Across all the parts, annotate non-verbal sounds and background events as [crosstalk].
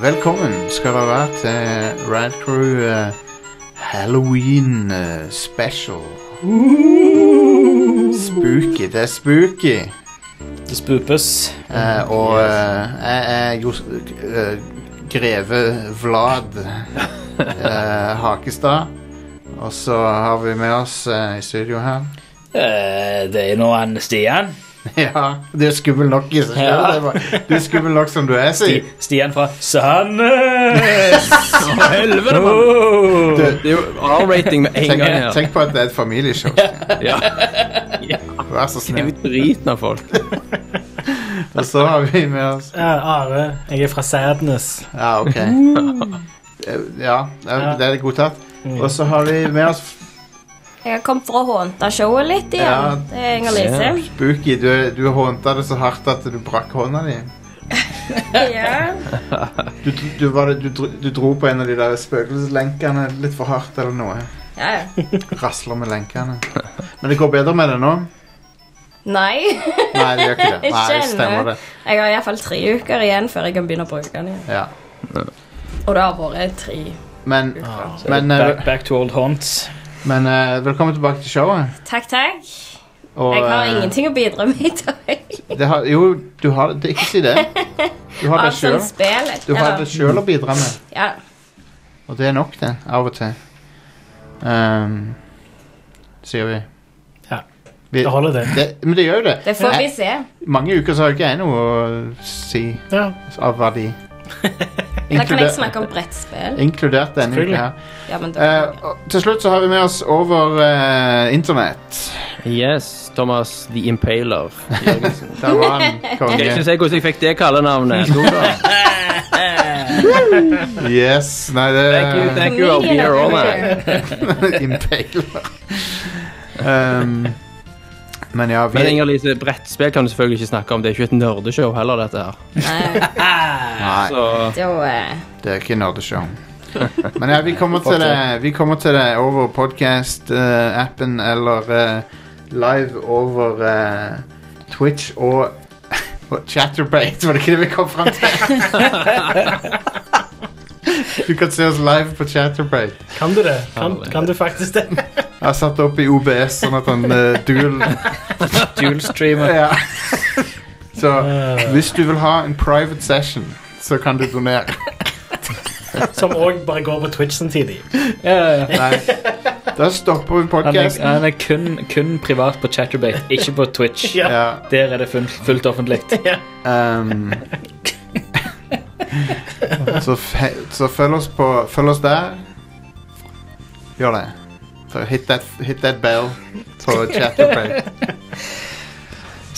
Velkommen skal dere være til Rad Crew eh, Halloween eh, special. Spooky. Det er spooky. Det spupes. Eh, og eh, jeg er Jos eh, greve Vlad eh, Hakestad. Og så har vi med oss eh, i studio her [laughs] Eh, det er nå han Stian. Ja, du er skummel nok i seg selv. Ja. det var- Du er skummel nok som du er, Sti si. Stian fra Sandnes! [laughs] Å, helvete, mann! Oh! Du, [laughs] Det er jo R-rating med en tenk, gang her. tenk på at det er et familieshow. Ja, Vær så det er snill. jo driten av folk. Og så har vi med oss Ja, Are, jeg er fra Sædnes. Ja, ok. Ja, Ja. det er godtatt. Og så har vi med oss Jeg har kommet for å hånte showet litt igjen. Ja. Det er Inger Lise. Spooky. Du, du håndta det så hardt at du brakk hånda di. Ja. Du, du, var det, du, dro- du dro på en av de der spøkelseslenkene litt for hardt eller noe. ja. ja. Rasler med lenkene. Men det går bedre med det nå? Nei. Nei, det gjør ikke det. Nei, [laughs] Ikke ennå. stemmer det. Jeg har iallfall tre uker igjen før jeg kan begynne å bruke den igjen. Ja. Og det har vært tre. Men, men, eh, Back, back to old haunts. men eh, velkommen tilbake til showet. Takk, takk. Og, Jeg har eh, ingenting å bidra med i dag. Det har, jo, du har det. Ikke si det. Du har det Av sånn sjøl. spill. Du har det Eller, sjøl å bidra med. ja. Og det er nok det, av og til. Ehm, sier vi. Ja. vi Det holder, det. det, men det gjør jo det. Det får vi Jeg- se. Mange uker så har ikke jeg noe å si Ja. av [laughs] verdi. Da kan jeg Inkluder- snakke om brettspill. Inkludert denne uka her. Ja, men da Eh, og til slutt så har vi med oss over eh, internett. Yes, Thomas The Impaler. Jørgensen. Der var han, [laughs] Jeg konge. syns jeg hvordan jeg fikk det [laughs] kallenavnet. Jo da. Yes. Nei, det Thank you, thank you, I'll be here all night. [laughs] Impaler. Ehm, men ja, vi Men Inger-Lise, brettspill kan du selvfølgelig ikke snakke om. Det er ikke et nerdeshow heller, dette her. Nei, Nei. Så da eh, Det er ikke nerdeshow. Men ja, vi kommer til det, vi kommer til det over podcast-appen eller eh, live over eh, Twitch og [laughs] og Chatterbait, var det ikke det vi kom frem til? du kan se oss live på Chatterbait. Kan du det? Kan, kan du faktisk det? [laughs] Jeg har satt det opp i OBS, sånn at han eh, dual... Dual [laughs] streamer. Ja. Så Eh, hvis du vil ha en private session, så kan du donere. Som òg bare går på Twitch samtidig. Ah, Ja, ja, ja. Nei, da stopper vi Han er, podcasten. han er kun, kun privat på Chatterbate, ikke på Twitch. Ja. Ja. Der er det fullt, fullt offentlig. Ehm, [laughs] så, fe- så følg oss på Følg oss der. Gjør det. Så hit that, hit that bell på Chatterpay.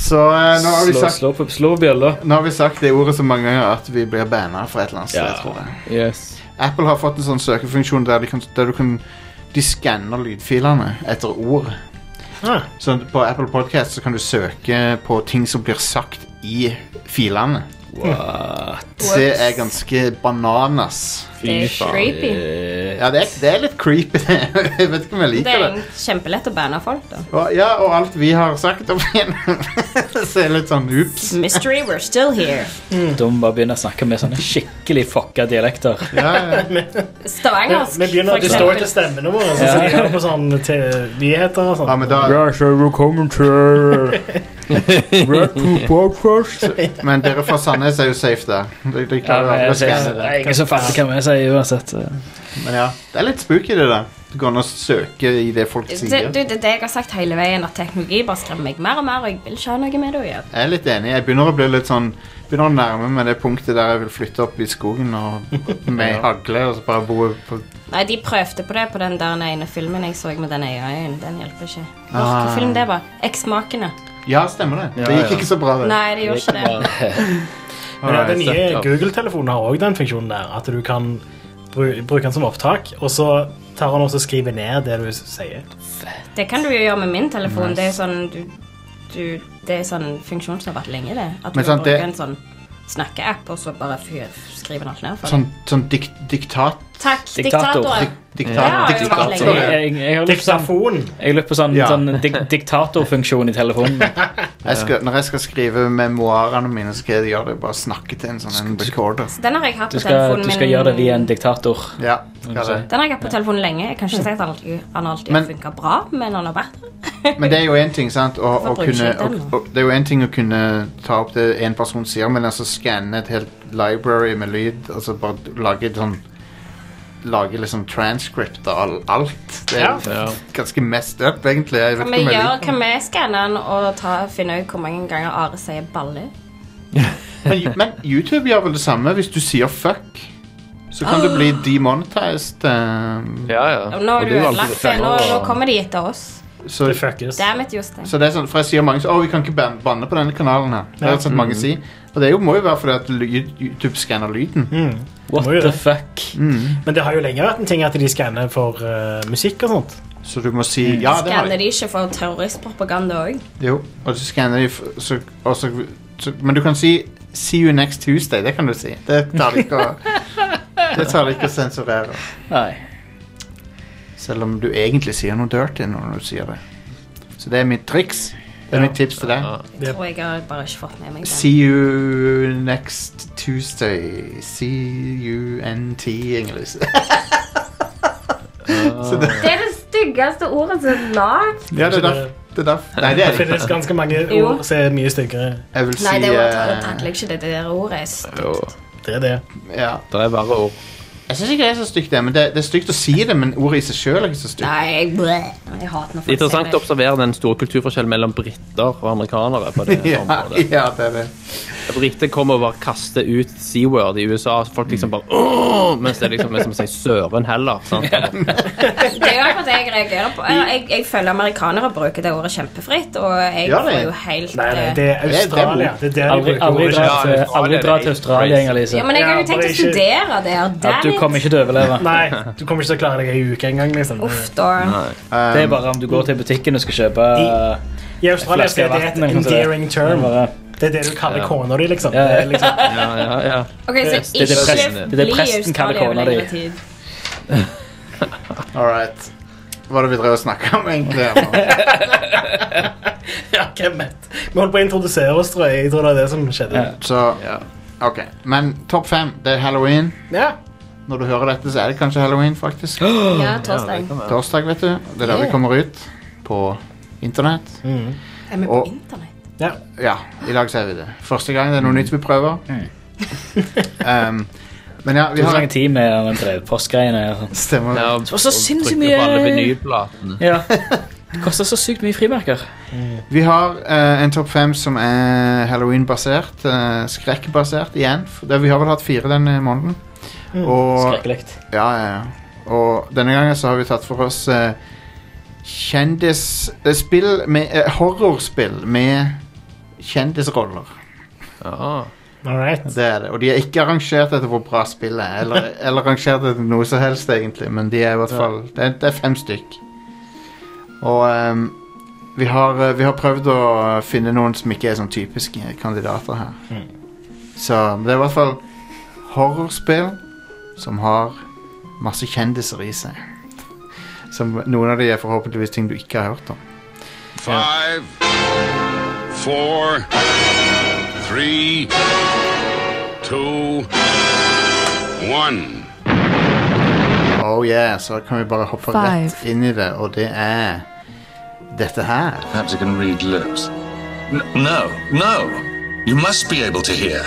Så eh, nå, har vi Slå, sagt, slå, på, slå bjølla. nå har vi sagt det ordet så mange ganger at vi blir banna fra et eller annet sted. Ja. tror jeg. yes. Apple har fått en sånn søkefunksjon der, de kan, der du kan De skanner lydfilene etter ord. Ah, Så på Apple Podcast så kan du søke på ting som blir sagt i filene. [laughs] What? Det er ganske bananas. det er faen. creepy. Ja, det er, det [laughs] er litt creepy. jeg vet ikke om jeg Det liker det. er kjempelett å banne folk, da. Og, ja, og alt vi har sagt om henne, [laughs] ser litt sånn ups. Mystery, we're still here. Da må vi bare begynne å snakke med sånne skikkelig fucka dialekter. Ja, ja. Stavangersk, Vi begynner, for Det står eksempel. til stemmene våre, så sitter vi på sånne te- nyheter ja, og sånn. men da velkommen til Red to Podcast. Men dere fra Sandnes er jo safe der. De, de Ja, klarer men aldri å jeg sier- skanne det. jeg er ikke så fattig hva vi sier uansett. Men ja, det er litt spooky, det der. Det går an å søke i det folk Det, sier. du, det er det jeg har sagt hele veien, at teknologi bare skremmer meg mer og mer, og jeg vil ikke ha noe med det å gjøre. Jeg er litt enig. Jeg begynner å bli litt sånn Begynner å nærme meg det punktet der jeg vil flytte opp i skogen [laughs] og med hagle og så bare bo på Nei, de prøvde på det på den der ene filmen jeg så med den øyeøyen. Den hjelper ikke. Ah. Hvilken film det var? Eksmakene. Ja, stemmer det. Det Ja, gikk ja. ikke så bra, det. Nei, det gjorde ikke det. Men ja, den Alright, nye up. Google-telefonen har òg den funksjonen der, at du kan bru bruke den som opptak, og så tar han også og skriver ned det du s- sier. Det kan du jo gjøre med min telefon. Det er sånn du, du, Det er sånn funksjon som har vært lenge, det. At du Men kan sant, det- bruke en sånn snakkeapp, og så bare fyr, skriver den alt ned for deg. Sånn, sånn dikt, diktat Takk. Diktatoren. Diktatoren. Diktat, Ja, diktator. ja, ja. Jeg, jeg, jeg har lyst på sånn, Diktafon. jeg har lyst på sånn, Ja. sånn dik diktatorfunksjon i telefonen. [laughs] Jeg skal, når jeg skal skrive memoarene mine, så skal jeg gjøre det bare snakke til en sånn en recorder. Så den har jeg hatt Du på skal, telefonen du skal gjøre det via en diktator. Ja, skal det. Den har jeg hatt på telefonen lenge. Jeg kan ikke si at han alltid- han alltid har Men- funka bra, men han har vært der. Men det er jo én ting, sant å, å Hvorfor bruker kunne, ikke den, å, da? å, Det er jo en ting å kunne ta opp det en person sier, men altså skanne et helt library med lyd, og så bare lage et sånn Lage liksom transcript av all- alt. Det er jo Ja. ganske messed up, egentlig. Jeg vet Kan ikke vi, om jeg gjøre, liker kan vi skanne den og ta, finne ut hvor mange ganger Are sier 'balle'? Men, men YouTube gjør vel det samme. Hvis du sier fuck, så kan Ah. du bli demonetized. eh, Ja, ja. Nå har Og du det er jo ødelagt alltid det. Nå, feil. nå kommer de etter oss. så, Det fuckes. Damn it, Jostein. så det er sånn, For jeg sier mange så, Å, vi kan ikke ban- banne på denne kanalen her. Det er sånn Mm. mange sier. Og det er jo, må jo være fordi at lyd- YouTube skanner lyden. Mm. Mm. What Må jo the det. fuck? Men det har jo lenge vært en ting at de skanner for eh, musikk og sånt. Så du må si ja, det har Skanner jeg. de ikke for terroristpropaganda òg? Jo, og så skanner de f- så, og så, så, Men du kan si 'See you next Tuesday'. Det kan du si. Det tar de ikke [laughs] å Det tar de ikke å sensurere. Nei. Selv om du egentlig sier noe dirty når du sier det. Så det er mitt triks. Det er Ja. mitt tips til deg. Ja. Ja. Tror jeg har bare ikke fått med meg den. See you next Tuesday. C-U-N-T i engelsk. Det er det styggeste ordet som er lagd. Ja, det er derf. Det er derf. Nei, det er Det det finnes ikke. ganske mange Jo. ord som er mye styggere. Jeg vil Nei, si det var- eh, takler jeg ikke det der ordet. Jeg s- Jo, Det er det. ja. det er verre ord. Jeg syns ikke det er så stygt, det. Men det, det er stygt å si det, men ordet i seg sjøl er ikke så stygt. Nei, jeg, bleh. jeg hater når folk Interessant å sier det. observere den store kulturforskjellen mellom briter og amerikanere. på [laughs] det ja, området. [laughs] ja, det er det. Briter kommer og bare kaster ut SeaWorld i USA, så folk liksom bare Åh! Mens det er liksom vi som sier søren heller. sant? Det er jo akkurat det jeg reagerer på. Jeg, jeg, jeg føler amerikanere bruker det ordet kjempefritt, og jeg Ja, det- får jo helt Nei, nei, eh, det Det er er- det er Australia. Det er der de Aldri, bruker aldri ordet. dra Ja, til, Australia, aldri dra det til er Australia, crazy. Inger-Lise. Ja, men jeg Ja, har jo tenkt bare å ikke- studere det. og Ja, du damn it. kommer ikke til å overleve. Nei, du kommer ikke til å klare deg ei uke engang. Liksom. Uff, da. Um, Det er bare om du går til butikken og skal kjøpe De- I Australia Flaske så er det vann, et eller noe sånt der. endearing term. bare, Det er det du kaller Ja. kona di, liksom. Ja, ja. Det er liksom Ja, ja, ja. Ok, så det- ikke det er presten- det er bli presten kaller Australia over kona di. lengre tid. All right. Hva var det vi drev og snakka om, egentlig? her [laughs] nå? ja, hvem vet? Vi holdt på å introdusere oss, tror jeg. Jeg tror det er det som skjedde. Så Ja. OK. Men topp fem, det er halloween. Ja. Når du hører dette, så er det kanskje halloween, faktisk. Ja, Ja, torsdag. det kan være. Torsdag, vet du. Det er da vi Yeah. kommer ut. På internett. Mm. Er vi på Og- internett? ja. Ja, i dag så er vi det. Første gang det er noe Mm. nytt vi prøver. [laughs] um, men ja, vi tok så har lang tid med den brevpostgreiene. og sånn. Stemmer. Ja, Og så sinnssykt trykker på alle mye- vinylplatene. Ja. [laughs] Det koster så sykt mye frimerker. Vi har eh, en topp fem som er halloween-basert. eh, skrekkbasert igjen. For det, vi har vel hatt fire denne måneden. Mm. Og, Skrekkelig. ja, ja, ja. og denne gangen så har vi tatt for oss eh, kjendisspill med eh, Horrorspill med kjendisroller. Ja. All right. Det er det. Og de er ikke arrangert etter hvor bra spillet er, eller, eller arrangert etter noe som helst, egentlig, men de er i hvert fall Det er, det er fem stykk. Og ehm, vi, har, eh, vi har prøvd å finne noen som ikke er sånn typiske kandidater her. Så det er i hvert fall horrorspill som har masse kjendiser i seg. Som Noen av de er forhåpentligvis ting du ikke har hørt om. Five, four, three, two, one. Oh yeah, så kan vi bare hoppe Five. rett inn i det, og det er dette her. Perhaps you can read lips. N- no, no. You must be able to hear.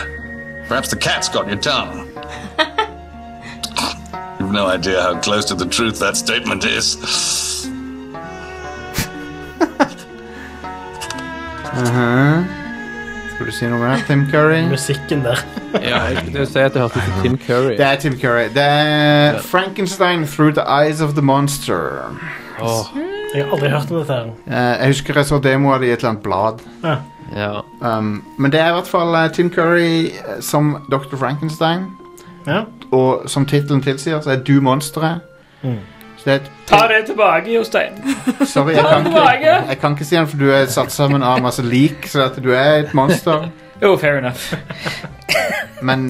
Perhaps the cat's got your tongue. [laughs] You've no idea how close to the truth that statement is. Skal du si noe mer, Tim Curry? Musikken der. ja, jeg skulle si at det hørtes ut som Tim Curry. Det er Tim Curry. Det er Frankenstein Through the Eyes of the Monster. Åh, Jeg har aldri hørt om dette. her Eh, jeg husker jeg så demoen i et eller annet blad. ja. Um, men det er i hvert fall eh, Tim Curry eh, som Dr. Frankenstein. Ja. Og som tittelen tilsier, så er du monsteret. Så det er et Ta det tilbake, Jostein. Sorry, jeg [laughs] kan, ikke, jeg kan ikke si den, for du er satt sammen av masse lik, så at du er et monster. Jo, fair enough. Men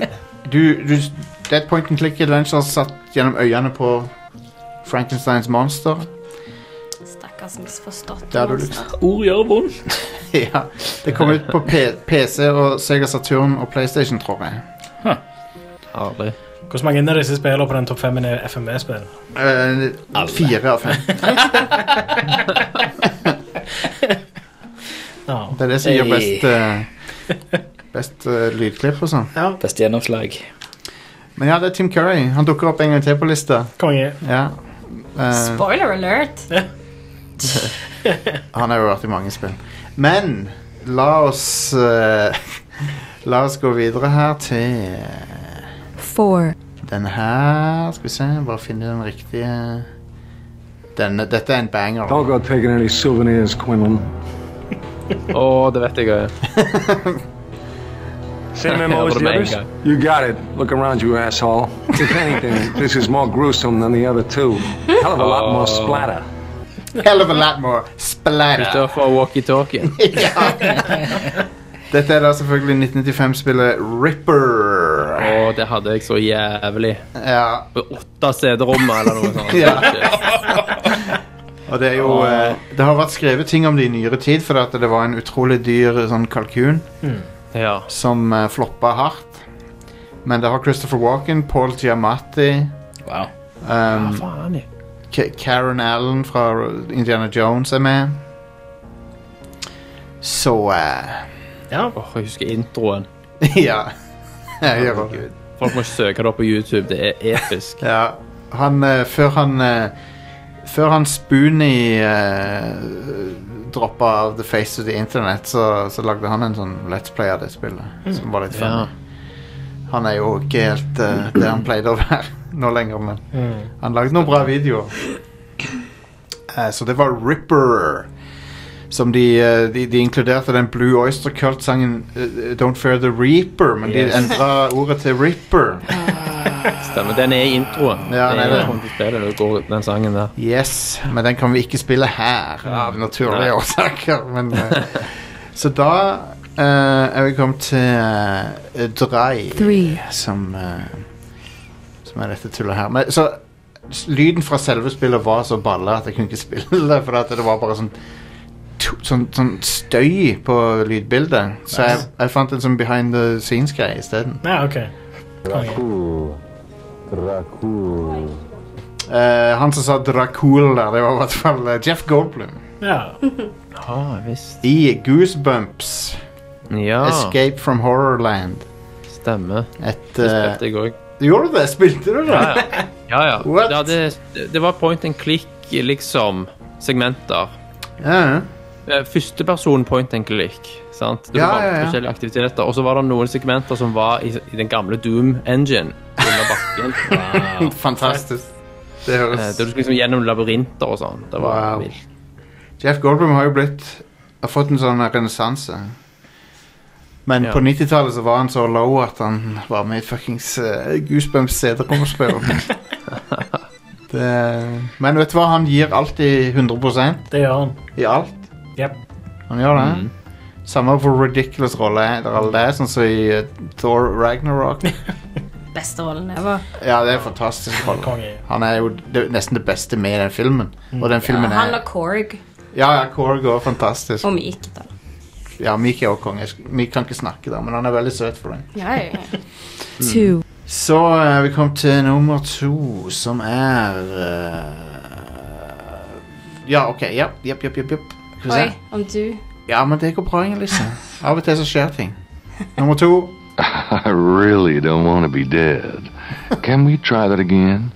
du, du, Det er et point and click adventure satt gjennom øynene på Frankensteins monster. Stakkars misforstått. Der du monster. Ord gjør vondt. [laughs] ja, det kom ut på P PC og Sega Saturn og PlayStation, tror jeg. Herlig. Hvor mange av disse spillene på den topp femmen er FMV-spill? Eh, fire av fem. Ja. Det er det som gir Hey. best eh, Best eh, lydklipp og sånn. Best gjennomslag. Men ja, det er Tim Curry. Han dukker opp en gang til på lista. Konge. Ja. Eh, Spoiler alert! han har jo vært i mange spill. Men la oss eh, [laughs] La oss gå videre her til four, denne her. Skal vi se, bare finne den riktige denne, Dette er en banger. Don't go taking any souvenirs, Quinlan. Å, det vet jeg òg. Same Jeg memo as hører the med en others? gang. You got it. Look around you, asshole. If anything, this is more gruesome than the other two. Hell of a lot more splatter. Hell of a lot more splatter. [laughs] Utenfor walkietalkien. Dette er da selvfølgelig 1995-spillet Ripper. Å, det hadde jeg så jævlig. Ja, Med Åtte CD-rom eller noe sånt. Ja. Og det er jo eh, Det har vært skrevet ting om det i nyere tid, for at det var en utrolig dyr eh, sånn kalkun ja. som eh, floppa hardt. Men det har Christopher Walken, Paul Giamatti Wow. um, Faen, jeg. K Karen Allen fra Indiana Jones er med. Så eh, Ja. Åh, jeg husker introen. [laughs] Ja. Jeg gjør det. Folk må søke det opp på YouTube. Det er episk. Ja, han eh, Før han eh, Før han Spoonie eh, droppa av The Face of the Internet, så, så lagde han en sånn Let's Play av det spillet. Som var litt Ja. fun. Han er jo ikke helt eh, det han pleide å være [laughs] nå lenger, men han lagde noen bra videoer. Eh, så det var Ripper. Som de, eh, de, de inkluderte den Blue Oyster Cult-sangen eh, Don't Fear the Reaper, men de endra ordet til Ripper. Stemmer. Den er i introen. Ja, den er det. det. Spillet, når du går ut den sangen der. Yes, men den kan vi ikke spille her av naturlige Nei. årsaker. Men, eh, så da eh, er vi kommet til eh, Dry, three, som, eh, som er dette tullet her. Men, så s- lyden fra selve spillet var så balle at jeg kunne ikke spille det, for at det var bare sånn to- Sånn, sånn støy på lydbildet. Så jeg, jeg fant en sånn behind the scenes-greie isteden. ja, ok. Konge. Eh, han som sa Dracul der, det var i hvert fall eh, Jeff Goldblum. Ja. Ja, visst. I Goosebumps. Ja, Ah. Escape from Horrorland. stemmer. Et, Det eh, spilte jeg òg. gjorde du det? Spilte du det? Ja, ja. ja, ja. What? ja det, det var point and click, liksom, segmenter. Ja, Eh, Førsteperson point and click. Sant? Det Ja, var ja, ja. forskjellige aktiviteter. Og så var det noen segmenter som var i, i den gamle Doom Engine. Under [laughs] bakken. ja. Fantastisk. Det Eh, høres Der du skulle liksom gjennom labyrinter og sånn. Det var Wow. vilt. Jeff Goldblum har jo blitt Har fått en sånn renessanse. Men Ja. på 90-tallet så var han så low at han var med i fuckings eh, Goosebumps [laughs] CD-romspill. Det- Men vet du hva? Han gir alltid 100 Det gjør han. i alt. Jep. Han gjør det. Mm. Samme hvor ridiculous rolle er- det er. Det er sånn som i eh, Thor [laughs] Ragnarok. Beste rollen ever. Ja, det er en fantastisk rolle. Konge. Han er jo det, nesten det beste med den filmen. Og den filmen Han er og Korg Ja, ja, Korg er fantastisk. og Meek, da. Ja, Mik er også konge. Jeg sk- Mik kan ikke snakke, da, men han er veldig søt for det. Ja, ja, ja. two, Så eh, vi kom til nummer to, som er eh, Ja, OK. Ja, jepp, jepp, jepp. jepp. Skal vi Oi, se. om du Ja, men det går bra, Inger-Lise. Av og til så skjer ting. Nummer to. I really don't want to be dead. Can we try that again?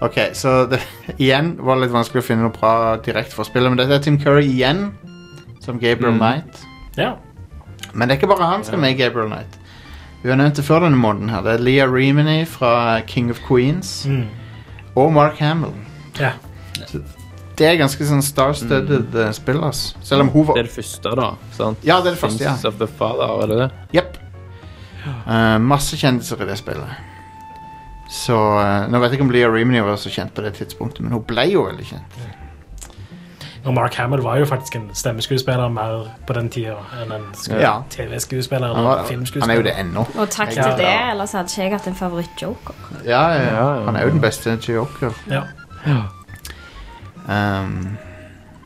OK, så det, [laughs] igjen var det litt vanskelig å finne noe bra direkte for spillet, men dette er Tim Curry igjen, som Gabriel Knight. Ja. Men det er ikke bare han som er med i Gabriel Knight. Vi har nevnt det før denne måneden her. Det er Leah Remini fra King of Queens. Mm. Og Mark Hamill. Ja. Det er ganske sånn star-studded eh, spill, ass. Selv om hun var Det er det første, da. sant? Ja, det er det første, ja. Sons of the Father, er det det? Jepp. Eh, masse kjendiser i det spillet. Så eh, Nå vet jeg ikke om Leah Remini var så kjent på det tidspunktet, men hun ble jo veldig kjent. Og Mark Hamill var jo faktisk en stemmeskuespiller mer på den tida enn en sku- Ja. TV-skuespiller Han var- eller filmskuespiller. han er jo det ennå. Og takk til det, ellers hadde ikke jeg hatt en favorittjoker. Ja, ja, ja. Han er jo den beste joker. Ja. Ehm,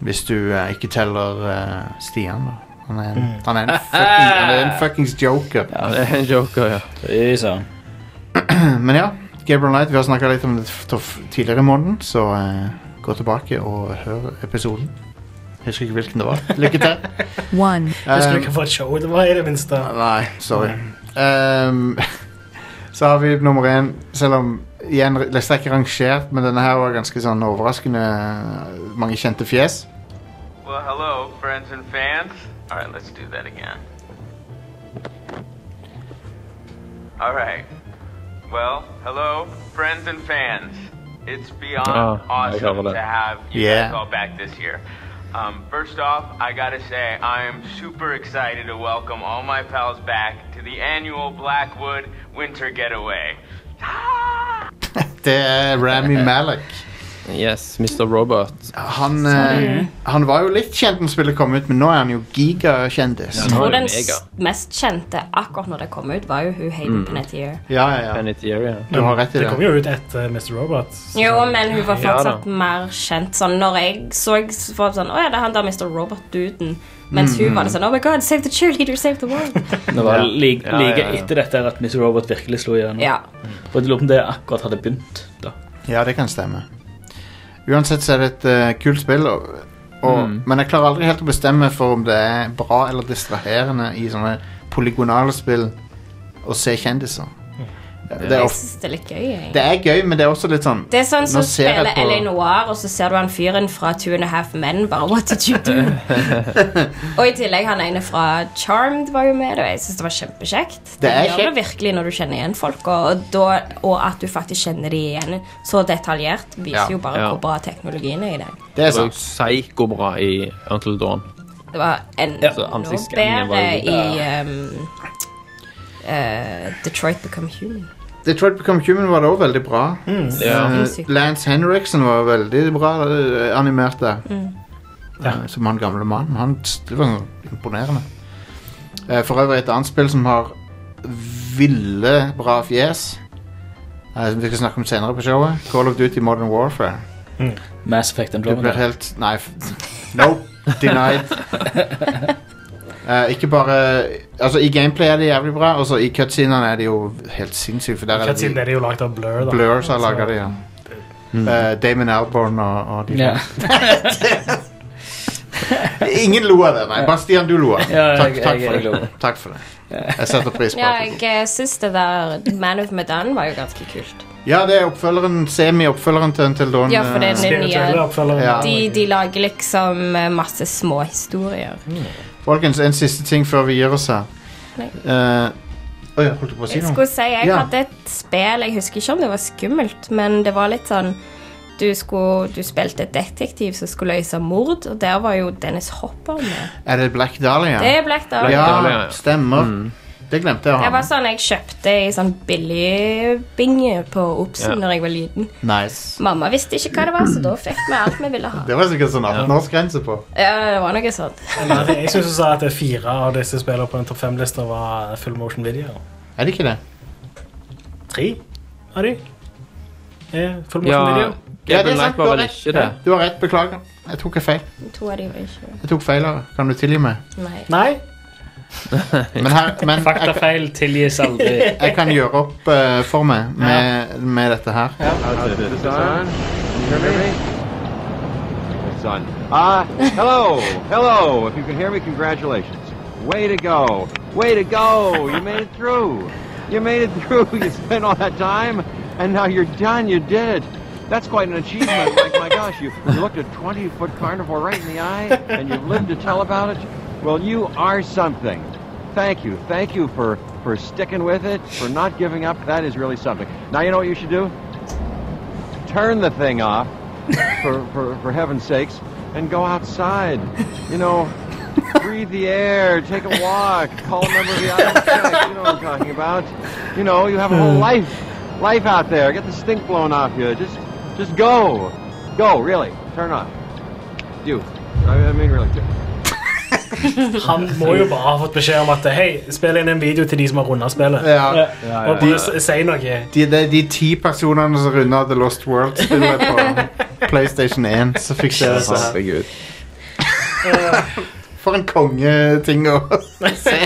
hvis du eh, ikke teller eh, Stian, da. Han er en, Mm. han er en, fucking, han er en [laughs] fuckings joker. [clears throat] Ja, det er en joker, ja. Fy søren. Men ja, Gabriel Knight, vi har snakka litt om det f- tof- tidligere i måneden, så eh, gå tilbake og hør episoden. Jeg husker ikke hvilken det var. Lykke til. Ehm, One. Eh, Husker du ikke hva et show det var, i det minste? Nei, sorry. Ehm, [laughs] så har vi nummer én, selv om igjen, lista er ikke rangert, men denne her var ganske sånn overraskende eh, mange kjente fjes. [laughs] Well, hello, friends and fans. All right, let's do that again. All right. Well, hello, friends and fans. It's beyond Oh, I awesome covered it. to have you Yeah. guys all back this year. Um, first off, I gotta say I am super excited to welcome all my pals back to the annual Blackwood Winter Getaway. Det er [laughs] Rami Malek. Yes, Mr. Robot. Han, eh, han var jo litt kjent når spillet kom ut, men nå er han jo gigakjendis. Jeg tror den s- mest kjente akkurat når det kom ut, var jo hun Hayden Panettiere. Ja, ja, ja. Du har rett i Det det. kom jo ut etter Mr. Robot. så- Jo, men hun var Ja da. fortsatt mer kjent. Sånn, når jeg så for sånn, Å ja, det er han der Mr. Robot-duden. Mens hun Mm. var det sånn Oh my God, save the cheerleader, save the world. Det var Ja. like, Ja, like ja, ja. etter dette her at Miss Robot virkelig slo igjennom. Ja. Og jeg lurer på om det akkurat hadde begynt. da. Ja, det kan stemme. Uansett så er det et eh, kult spill, og, og, men jeg klarer aldri helt å bestemme for om det er bra eller distraherende i sånne polygonale spill å se kjendiser. Det er, jeg of- synes det er litt gøy. Jeg. det er gøy, men det er også litt sånn Det er sånn som Nå ser jeg spiller på- L.A. Noir, og så ser du han fyren fra Two and a Half Men bare What did [laughs] you do? og i tillegg han ene fra Charmed var jo med, og jeg synes det var kjempekjekt. Det er gjør det virkelig når du kjenner igjen folk, og, og, da, og at du faktisk kjenner de igjen så detaljert, viser Ja, jo bare ja. hvor bra teknologien er i dag. Det er sant. sånn- Psycho-bra i Until Dawn. Det var en Ja. Så noe ansiktsskanningen var bedre jo i der. um, eh, Detroit Become Human. Detroit Become Human var det også veldig bra. Hmm. Ja. Eh, Lance Henriksen var veldig bra eh, animert der. Eh, Som han gamle mannen. Han, det var sånn imponerende. Eh, For øvrig et annet spill som har ville bra fjes. eh, Som vi skal snakke om senere på showet. Call of Duty Modern Warfare. Mass Effect Du Andromeda. blir helt Nei. f- Nope. Denied. Eh, ikke bare Altså, i gameplay er det jævlig bra, og så i cutscenene er det jo helt sinnssykt, for der er det Cutscene er det jo lagd av Blur. da. Blur som har laga Så- det, ja. Eh, Damon Albarn og, og de Ja. der. Ingen lo av det, nei. Bare Stian, du lo av det. Ja, jeg- Takk, takk, jeg- jeg for lo. det. takk for det. Jeg setter pris på Ja, det. jeg eh, synes det der Man of Medan var jo ganske kult. Ja, det er oppfølgeren, semi-oppfølgeren til Until Dawn. eh, Ja, for det er den nye Ja. de, de lager liksom eh, masse små historier. Folkens, en siste ting før vi gir oss her. Nei. Eh, Oi, jeg holdt på å si Jeg noe. skulle si, jeg Ja. hadde et spill, jeg husker ikke om det var skummelt, men det var litt sånn du, skulle, du spilte et detektiv som skulle løse mord, og der var jo Dennis Hopper med. Er det Black Dahlia? Det er Black Dahlia. Ja, Black Dahlia, ja. stemmer. Det glemte jeg å Det ha var med. sånn jeg kjøpte i sånn billig binge på Obsen Ja. når jeg var liten. Nice. Mamma visste ikke hva det var, så da fikk vi alt vi ville ha. Det var sikkert sånn 18-årsgrense på. Ja, det var noe sånt. Nei, det- Jeg syns hun sa at fire av disse spillene på den topp fem-lista var full motion video. Er det ikke det? Tre av de er full motion Ja, video. Ja, Gabriel Knight var du har vel rett. ikke det. Du har rett, beklager. Jeg tok feil. To av de var ikke Jeg tok feil her. Kan du tilgi meg? Nei. Nei. Men her, men jeg, Faktafeil tilgis aldri. jeg kan gjøre opp eh, for meg med, med dette her. It's on. Ah, hello, hello. If you can hear me, congratulations. Way to go, way to go. You made it through. You made it through. You spent all that time, and now you're done. You did it. That's quite an achievement. Like my gosh, you, you looked a 20-foot carnivore right in the eye, and you've lived to tell about it. Well, you are something. Thank you, thank you for for sticking with it, for not giving up. That is really something. Now you know what you should do. Turn the thing off for, for, for heaven's sakes, and go outside. You know, breathe the air, take a walk, call a member of the audience. You know what I'm talking about. You know, you have a Hmm. whole life, life out there. Get the stink blown off you. Just, just go, go. Really, turn off. You, I, I mean, really. Han må jo bare ha fått beskjed om at Hei, spill inn en video til de som har runda spillet. Ja. Ja, ja, ja. Og bare s- si noe. De, de, de ti personene som runda The Lost World-spillet [laughs] på PlayStation 1, så fikk dere dette her. Herregud. For en kongeting å se.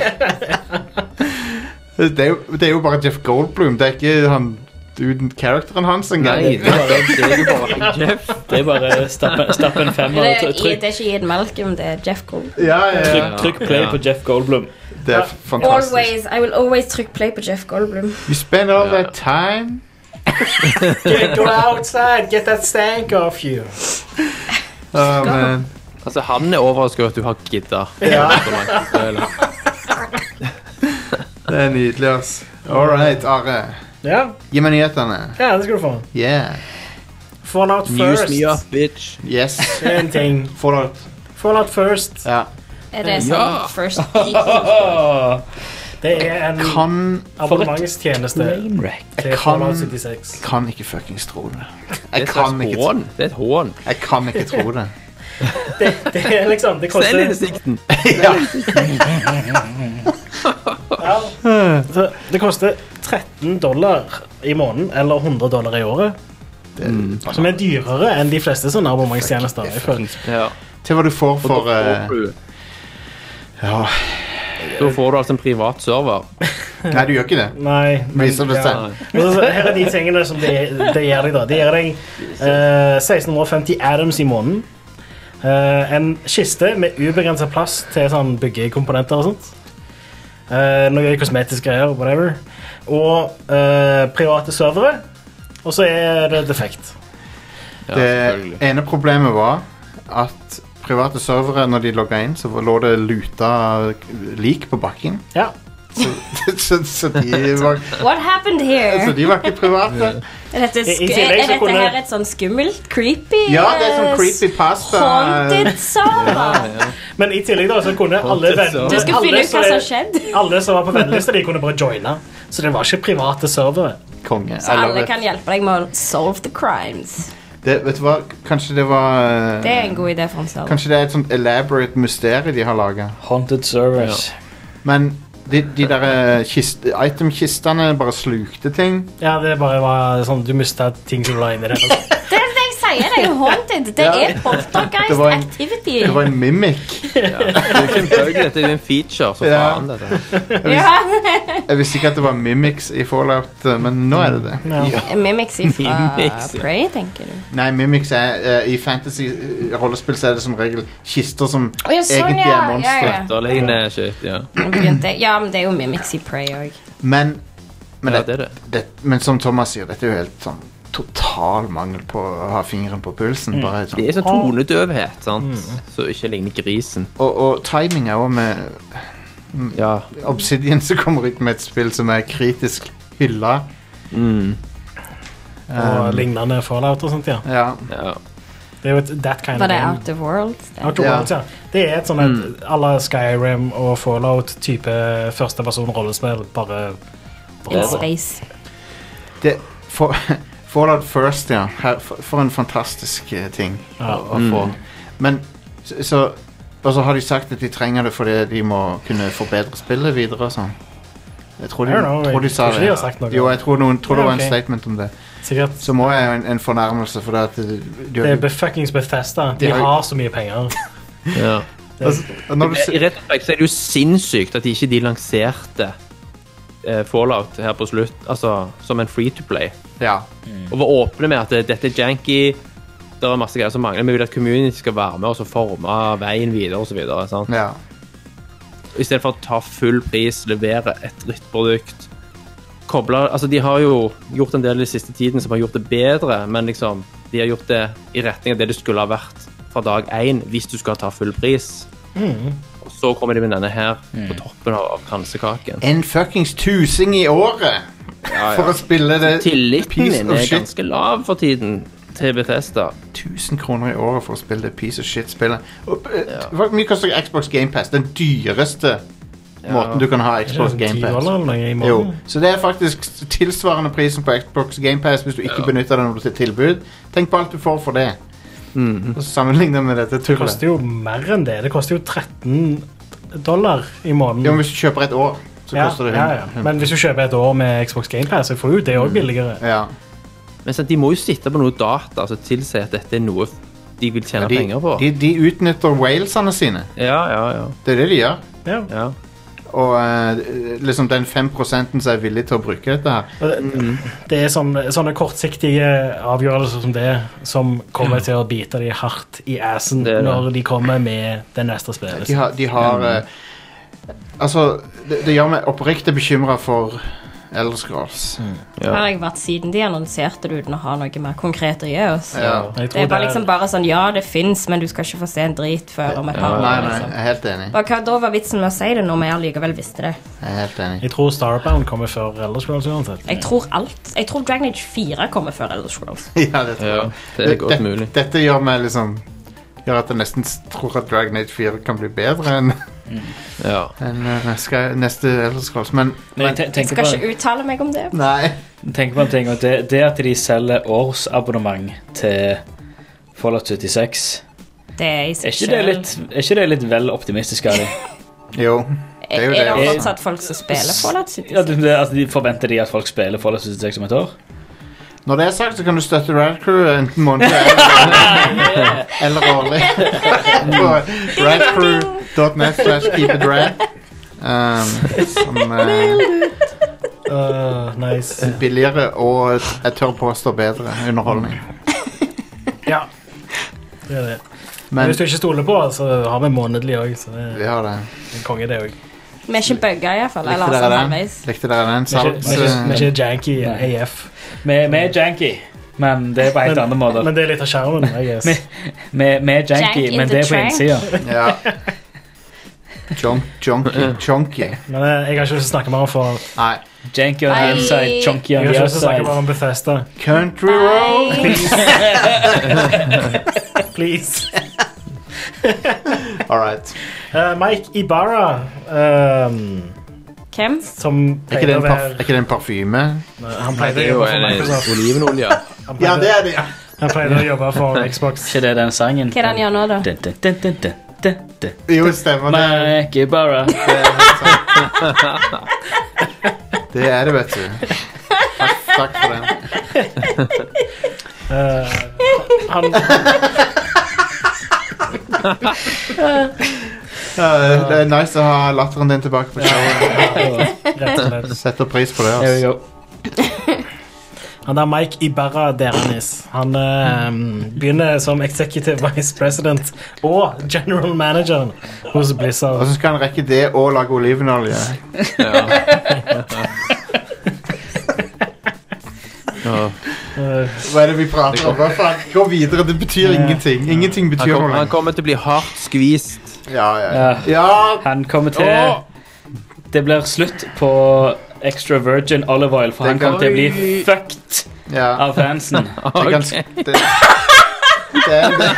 Det er, jo, det er jo bare Jeff Goldblum. Det er ikke han uten characteren hans engang. Nei, det er bare- det er jo bare Jeff. Det er bare stappe- stappe en femmer Det og er, try- trykk- det er ikke Ian Malcolm, det er Jeff Gold. Trykk, trykk play på Jeff Goldblum. Det er fantastisk. Always, I will always trykke play på Jeff Goldblum. You spend all that time Get- Go outside, get that stank off you. man. Altså, han er overrasket over at du har gidda. Ja. Så langt, så langt. Det er nydelig, ass. All right, Are. Ja, Gi meg nyhetene. ja det skal du få. Yeah. Fallout News first. me up. Bitch. Yes. Det er en ting. Fallout. Fallout first. Ja. Er det sånn Ja. first Det er en kan, abonnementstjeneste Trainwreck. til Jeg Fallout kan, 76. jeg kan ikke fuckings tro det. Det er Jeg et kan slags ikke tro hån. Det er et hån. Jeg kan ikke tro [laughs] det. [laughs] Det er liksom Det koster Selv innsikten. Ja. Ja. Så Det koster 13 dollar i måneden, eller 100 dollar i året. Mm. sånn. Som er dyrere enn de fleste sånne abonnementstjenester. ifølge- Til hva du får Og for da eh, får du- Ja. Da får du altså en privat server. Nei, du gjør ikke det. Nei. men- Viser det ja. seg. Og så- Her er de tingene som det de gir deg. da Det gir deg eh, 1650 Adams i måneden. Eh, en kiste med ubegrensa plass til sånn byggekomponenter og sånt. Eh, noe kosmetiske greier, whatever. Og eh, private servere. Og så er det defekt. Det ene problemet var at private servere, når de logga inn, så lå det luta lik på bakken. [laughs] Ja. så, så, de var, What happened så here? de var ikke private. Er dette, Altså, I- i sk er tillegg så dette kunne- her et sånn skummelt, creepy Ja, det er eh, sånn creepy pasta. Haunted server. Men i tillegg da, så kunne alle venner Du skal finne alle, ut hva som som- skjedde. alle som var på vennelista, de kunne bare joine. Så det var ikke private servere. Konge. Så alle kan hjelpe deg med å solve the crimes. det, vet du hva, kanskje det var eh, Det er en god idé for en server. Kanskje det er et sånt elaborate mysterium de har laga. Haunted servers. Men de, de der eh, kist, itemkistene bare slukte ting. Ja, det bare var sånn Du mista ting som lå inni der. Det er det jeg sier, det er jo haunted. Det Ja. er poltergeist Det var en- activity. Det [laughs] var en mimic. Det er jo ikke en bug, dette er en feature. Så Ja. faen, dette. Ja. [laughs] Jeg visste ikke at det var mimics i Fallout, eh, men nå er det det. Mimics ifra Mimics, ja. Prey, tenker du. Nei, mimics er eh, I fantasy-rollespill så er det som regel kister som Å, ja, sånn, egentlig ja. er monstre. Ja, ja. Etterligne shit, ja. Nå begynte jeg- Ja, men det er jo Mimics i Prey òg. Men, men, Ja, det, det er det men som Thomas sier, dette er jo helt sånn total mangel på å ha fingeren på pulsen. Bare sånn. Det er sånn tonedøvhet, sant? Så ikke ligner grisen. Og, og timing er også med Ja. Obsidian som kommer ut med et spill som er kritisk hylla. Mm. Og Um, lignende fallout og sånt, ja. ja. Ja. Det er jo et that kind Var of det game. Out of World? Out of Worlds, ja. Det er et sånn Mm. et à la Skyrim og fallout-type førsteperson rollespill, bare In bra. space. Det, for, [laughs] Fallout First, ja. Her, for, for en fantastisk eh, ting Ja. å, å Mm. få. Men så, så Og så har de sagt at de trenger det fordi de må kunne forbedre spillet videre og sånn. Jeg tror de, I don't know, tror de jeg sa tror ikke det. de har sagt noe. Jo, jeg tror, noen, tror Ja, det var ok. en statement om det. Sikkert. Som òg er en, en fornærmelse, for det at eh, de, de, Det er be- fuckings Bethesda. De De har jo- har så mye penger. ja. altså, når du, I rett og slett så er det jo sinnssykt at ikke de lanserte eh, Fallout her på slutt, altså som en free to play. Ja. Og var åpne med at eh, dette er janky, det er masse greier som mangler. Vi vil at community skal være med og så forme veien videre osv. Ja. I stedet for å ta full pris, levere et drittprodukt. Koble, altså de har jo gjort en del de siste tiden som har gjort det bedre, men liksom, de har gjort det i retning av det det skulle ha vært fra dag én, hvis du skal ta full pris. Mm. Og så kommer de med denne her på toppen av, av kransekaken. En fuckings tusing i året ja. for å spille det Tilliten piece min of er oh, shit. ganske lav for tiden til Bethesda. 1000 kroner i året for å spille det piece of shit-spillet. Og, eh, Hvor mye koster Xbox GamePass? Den dyreste måten du kan ha Xbox Er det sånn 10 GamePass. dollar eller noe i måneden? Jo. Så det er faktisk tilsvarende prisen på Xbox GamePass hvis du ikke benytter den når du til tilbud. Tenk på alt du får for det. Mhm. Og Sammenlignet med dette Det tullet. koster jo mer enn det. Det koster jo 13 dollar i måneden. Jo, men hvis du kjøper et år, så koster det ja, 100. ja. Men hvis du kjøper et år med Xbox Game Pass, så får du det Mm. òg billigere. Men sant, de må jo sitte på noe data som tilsier at dette er noe de vil tjene de, penger på. De, de utnytter walesene sine. Ja, ja, ja. Det er det de gjør. Ja. Og eh, liksom den 5 som er villig til å bruke dette her. Og Det, Mm. det er sånne, sånne kortsiktige avgjørelser som det, som kommer til å bite de hardt i assen Det er det. når de kommer med det neste spillet. De har, de har eh, Altså, det, det gjør meg oppriktig bekymra for Elder Scrolls. Det har jeg vært siden de annonserte det uten å ha noe mer konkret å gi oss. Ja. Jeg tror Det er bare det er- liksom bare sånn Ja, det fins, men du skal ikke få se en drit før om et Nei, par år. nei, Liksom. jeg er helt enig. Bare hva da var vitsen med å si det når vi allikevel visste det? Jeg er helt enig. Jeg tror Starbound kommer før Elder Scrolls uansett. Jeg tror alt Jeg tror Dragon Age 4 kommer før Elder Scrolls. [laughs] ja, det tror jeg. det er godt det- mulig. Dette gjør meg liksom Gjør at jeg nesten s- tror at Dragon Age 4 kan bli bedre enn enn, eh, Sky- neste Elder Scrolls, men Men jeg te- Jeg tenker skal på, ikke uttale meg om det. Nei. tenker på en ting, og det, det at de selger årsabonnement til Fallout 76 Det er i er ikke, seg det selv- litt, er ikke det litt vel optimistisk [laughs] av dem? jo, Er er det fortsatt folk som spiller Fallout 76? Ja, det, det- altså, de forventer de at folk spiller Fallout 76 om et år? Når det er sagt, så kan du støtte Rad Crew enten månedlig eller, eller årlig. På radcrew.net slash keep it rad. Um, som eh, Uh, billigere og jeg tør påstå bedre underholdning. Ja. Det er det. Men- Men hvis du ikke stoler på, så har vi månedlig òg. Vi har det. En konge, det òg. Vi er ikke bugga, iallfall. Eller Likte altså dere den? halvveis. Likte dere den? Vi er ikke- Salt, vi er ikke- eh, Vi er ikke janky Nei. AF. Vi vi er janky, men det er på helt andre måter. Men det er litt av skjermen. I guess. Vi vi- vi er janky, Jank in men the det er på trank. innsida. Ja. Junk, junky, chunky. Men eh, jeg har ikke lyst til å snakke mer om for Nei. Janky on the inside, chunky on Jeg the har ikke lyst til å snakke outside. mer om Bethesda. Country road. Please. [laughs] All right. Eh, Mike Ibarra ehm, Hvem? Som Er ikke det pleide å en, parf være er ikke det en parfyme? Nei, han pleide Nei, det er å jo jobbe for en, eh, Microsoft. [laughs] olivenolje. han Ja, pleide- det er det, ja. Han pleide å jobbe for Xbox. Ikke det den sangen? Hva er det han gjør nå, da? Dun, dun, dun, dun, dun, dun, dun. Jo, stemmer det. Mike Ibarra. Det er det, vet du. Takk, [laughs] takk for den. Eh, han [laughs] Ja, det er nice å ha latteren din tilbake på showet. slett. Setter pris på det. Altså. Jo, jo. Han der Mike Ibarra Deranis Han ehm, begynner som executive [laughs] vice president og general manager hos Blizzard. Og så skal han rekke det og lage olivenolje. Eh, Hva er det vi prater om? Hva faen? Gå videre, det betyr ingenting. Ingenting Han betyr kommer, noe. han kommer til å bli hardt skvist. Ja, ja, ja. Han kommer til Åh! Det blir slutt på Extra Virgin Olive Oil, for Det han kommer kan- til å bli fucked Ja. av fansen. Det er ganske det, det, er en del,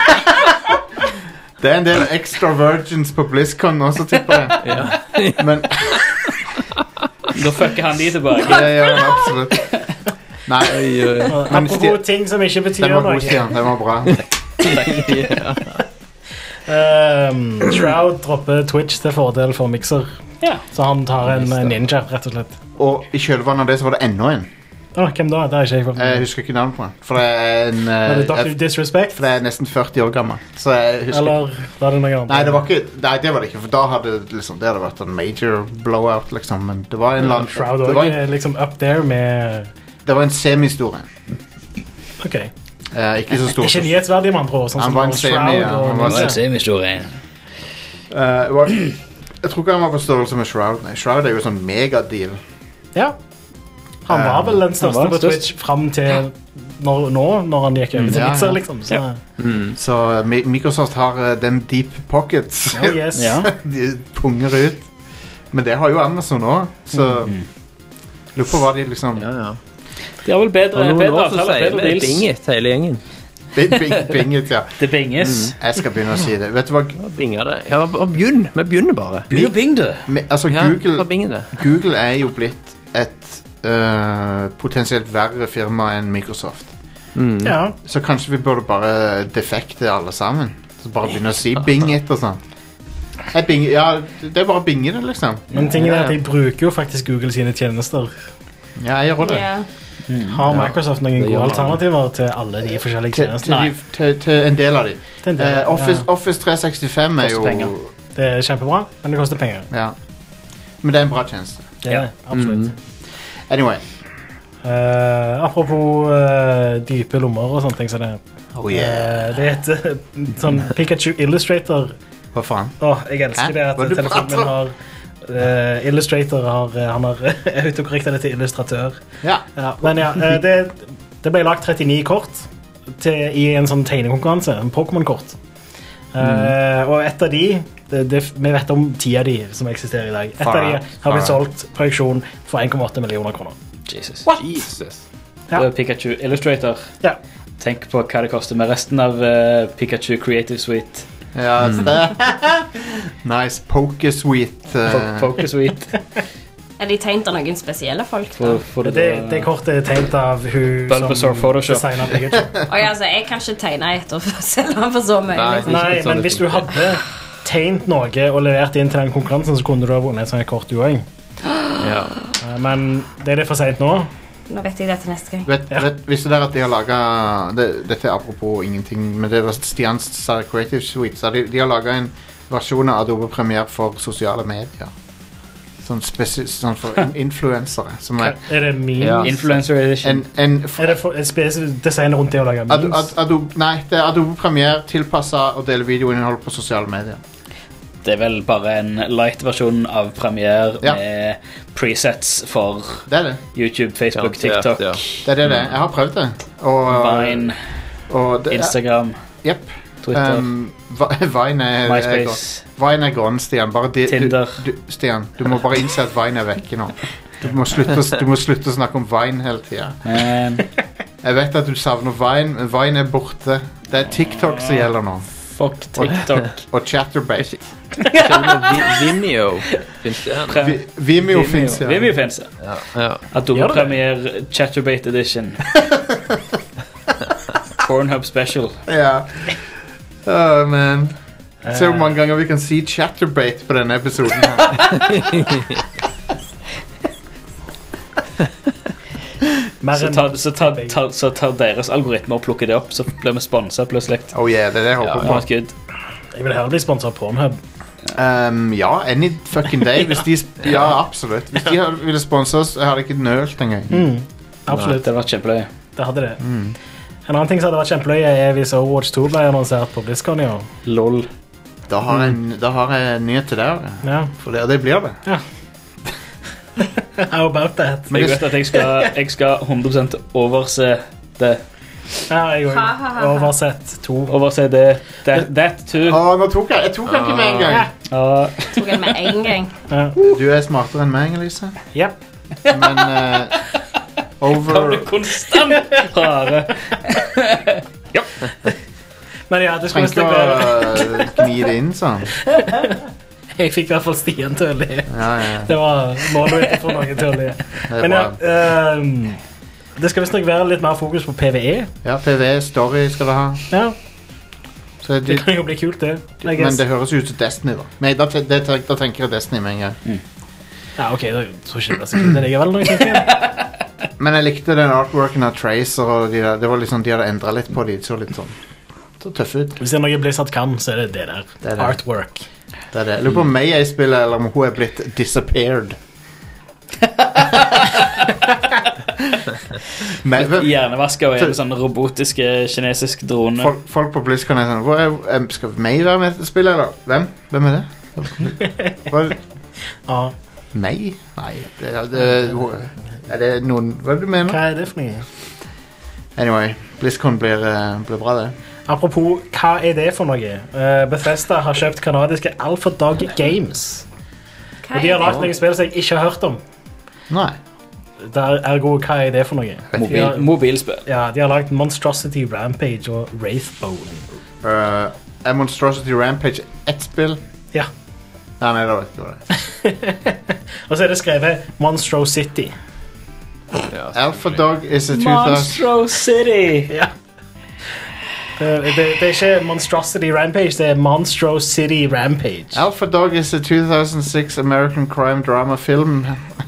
det er en del extra virgins på BlizzCon også, tipper jeg. [laughs] Men Da fucker han de det tilbake. gjør han absolutt. Nei, [laughs] men Apropos Stian- ting som ikke betyr den var noe. god, Stian. Den var bra. Ehm, Shroud dropper Twitch til fordel for Mixer. Ja. Så han tar en eh, ninja, rett og slett. Og i kjølvannet av det så var det enda en. Å, hvem da? Det har ikke jeg fått Jeg husker ikke navnet på den. For det er en Var Mm. det eh, Dr. jeg- Disrespect? For det er nesten 40 år gammel. Så jeg husker Eller var det noe annet? Nei, det var ikke Nei, det var det ikke, for da hadde det liksom, det hadde vært en major blowout, liksom. Men det var en eller Shroud annen Det var også en, er liksom up there med det var en semihistorie. OK. Eh, ikke så stor. Ikke nyhetsverdig, med andre ord. Sånn Han som var en Shroud semi, ja. og- Han var en semihistorie. Eh, det var, jeg tror ikke han var på størrelse med Shroud. Nei, Shroud er jo sånn megadeal. Ja. Han var Um, vel den han var største på størst. Twitch fram til når, nå, når han gikk over til Ja, Mixer, ja. liksom. Så, Så eh, Mi- Microsoft har eh, dem deep pockets. Oh, yes. Ja. [laughs] de punger ut. Men det har jo Amazon òg, så lurer på hva de liksom De har vel bedre, Og noen bedre år så avtaler, sier bedre det deals. binget hele gjengen. Bing, bing, binget, ja. Det binges. Jeg skal begynne å si det. Vet du hva? Binger Mm. det. Ja, og begynn. Vi begynner bare. Blir bing, du. Men, altså, Ja, Google, bare binge det. Google er jo blitt et eh, potensielt verre firma enn Microsoft. Mm. Ja. Så kanskje vi burde bare defekte alle sammen. Så bare begynne å si bing etter sånn. Jeg bing, ja, det er bare å binge det, liksom. Men tingen er at jeg bruker jo faktisk Google sine tjenester. Ja, jeg gjør det. Har Microsoft noen Det gjør gode han. alternativer til alle de Mm. forskjellige Til, til, tjenestene? de- til, til en del av dem. Til en del, ja. Office, Office 365 er Koster jo penger. Det er kjempebra, men det koster penger. Ja. Men det er en bra tjeneste. Det er det, Mm. absolutt. Anyway. Eh, apropos eh, dype lommer og sånne ting som det. Oh, yeah. Eh, det heter sånn Pikachu Illustrator. Hva faen? Åh, jeg elsker Hæ? det at Hva du telefonen min prater? har eh, Illustrator har, eh, [laughs] han har autokorrekta det til illustratør. Ja. Men ja, eh, det, det ble lagt 39 kort til, i en sånn tegnekonkurranse. En Pokémon-kort. Eh, Mm. og et av de det, det, Vi vet om ti av de som eksisterer i dag. Et av Far de out, har blitt far out. solgt på auksjon for 1,8 millioner kroner. Jesus. What? Jesus. Ja. Det er Pikachu Illustrator. Ja. Tenk på hva det koster med resten av eh, Pikachu Creative Suite. Ja, Mm. [laughs] Nice. Pokesuite. eh, Pokesuite. [laughs] Er de tegnet av noen spesielle folk? da? For, for Det, det kortet er tegnet av hun Bulbasaur Photoshop. designet Pikachu. Oi, altså, jeg kan ikke tegne etter for selv om for så mye. liksom. Nei, sånn men hvis du hadde tegnet noe og levert inn til den konkurransen, så kunne du ha vunnet et sånt kort du òg. Men det er det for seint nå. Nå vet jeg det til neste gang. Vet, vet, visste dere at de har laget det, Dette er apropos ingenting Men det var Stian sa Creative Suite så de, de har laget en versjon av Adobe Premiere for sosiale medier Sånn, spesi- sånn [laughs] for in influensere som er, Er det memes? Ja. Influencer edition. en, en Er det for, et spesifikt design rundt det å lage Ad, memes? Ad, Adobe, Nei, det er Adobe Premiere tilpasset å dele videoinnhold på sosiale medier Det er vel bare en light-versjon av Premiere Ja. med presets for Det er det YouTube, Facebook, TikTok, Det er det det er. Jeg har prøvd det og, Vine, og det- Instagram, Jepp. Twitter. Um, eh, Vi- [laughs] Vine er MySpace. er gone. Vine er gone, Stian. Bare de, Tinder. Du, du, Stian, du må bare innse at Vine er vekke nå. Du må slutte, å- du må slutte å snakke om Vine hele tida. Men Jeg vet at du savner Vine, men Vine er borte. Det er TikTok som gjelder nå. fuck [laughs] TikTok. Og, og Chatterbait. [laughs] Vimeo. Finnes det her? Vi- Vimeo fins, ja. Vimeo finnes det. Ja. ja. Adobe Gjør det? Premiere Chatterbait [laughs] Edition. Pornhub Special. ja. Åh, man. Se hvor mange ganger vi kan si Chatterbait på denne episoden. her. Mer Så enn tar, så, tar, tar, så tar deres algoritmer og plukker det opp, så blir vi sponsa plutselig. Oh yeah, det er det jeg håper på. Not good. Jeg vil heller bli sponsa av Pornhub. Um, ja, any fucking day. Hvis de, sp- ja, absolutt. Hvis de hadde- ville sponse oss, jeg hadde ikke nølt engang. Mm, Nei, absolutt. Det var kjempeløye. Det hadde det. Mm. En annen ting som hadde vært kjempeløye, er hvis Overwatch 2 ble annonsert på BlizzCon i år. Lol. Da har, jeg, da har jeg en nyhet til deg. Ja. For det, det blir det. [laughs] How about that? Men Jeg det, vet at jeg skal, [laughs] jeg skal 100 overse det. Ja, jeg òg. Ha, ha, ha, ha. Oversett to. Overse det. That, that too. Å, nå tok jeg Jeg tok den ikke med en gang. Ja, Tok jeg med en [laughs] gang. Du er smartere enn meg, Elise. Jep. Men [laughs] eh, over konstant rare. Men ja, det Trenger skulle visst ikke være å eh, gni det inn sånn. [laughs] Jeg fikk i hvert fall Stian til å le. Ja, ja. Det var målet mitt for noen til å le. Det er Men ja, bra. ehm, det skal visstnok være litt mer fokus på PVE. Ja, PV Story skal det ha. Ja, Så Det de, kan jo bli kult, det. I men guess. det høres ut som Destiny, da. Nei, da, te- det, te- da tenker jeg Destiny med en gang. Ja, ok, da tror jeg ikke det blir så kult. Det ligger vel noe kult i det. Men jeg likte den artworken av Tracer. Og de, der- det var liksom, de hadde endra litt på de. Så litt sånn Så tøffe ut. Hvis det er noe Blizzard kan, så er det det der. Det er det. Artwork. Det er det. Jeg lurer på om May er i spillet, eller om hun er blitt disappeared. May, hvem, Hjernevasker og en sånn robotiske kinesisk drone. folk, folk på BlizzCon er sånn Hvor er, em, Skal May være med i spillet, eller? Hvem? Hvem er det? Hva er det? Ja. May? Nei det, er- det, er- hun- Er det noen Hva er det du mener? Hva er det for noe? Anyway, BlizzCon blir, eh, blir bra, det. Apropos, hva er det for noe? Eh, Bethesda har kjøpt kanadiske Alpha Dog Games. Hva Og de har er det? lagd noen spill som jeg ikke har hørt om. Nei. Der, ergo, hva er det for noe? De Mobil, har, mobilspill. ja, de har lagd Monstrosity Rampage og Wraithbone. Eh, er Monstrosity Rampage ett spill? Ja. Nei, nei, da vet du hva det er. Og så er det skrevet Monstro City. Alpha Dog is a 2000 Monstro City! Ja. Det, det, det er ikke Monstrosity Rampage, det er Monstro City Rampage. Alpha Dog is a 2006 American crime drama film [laughs]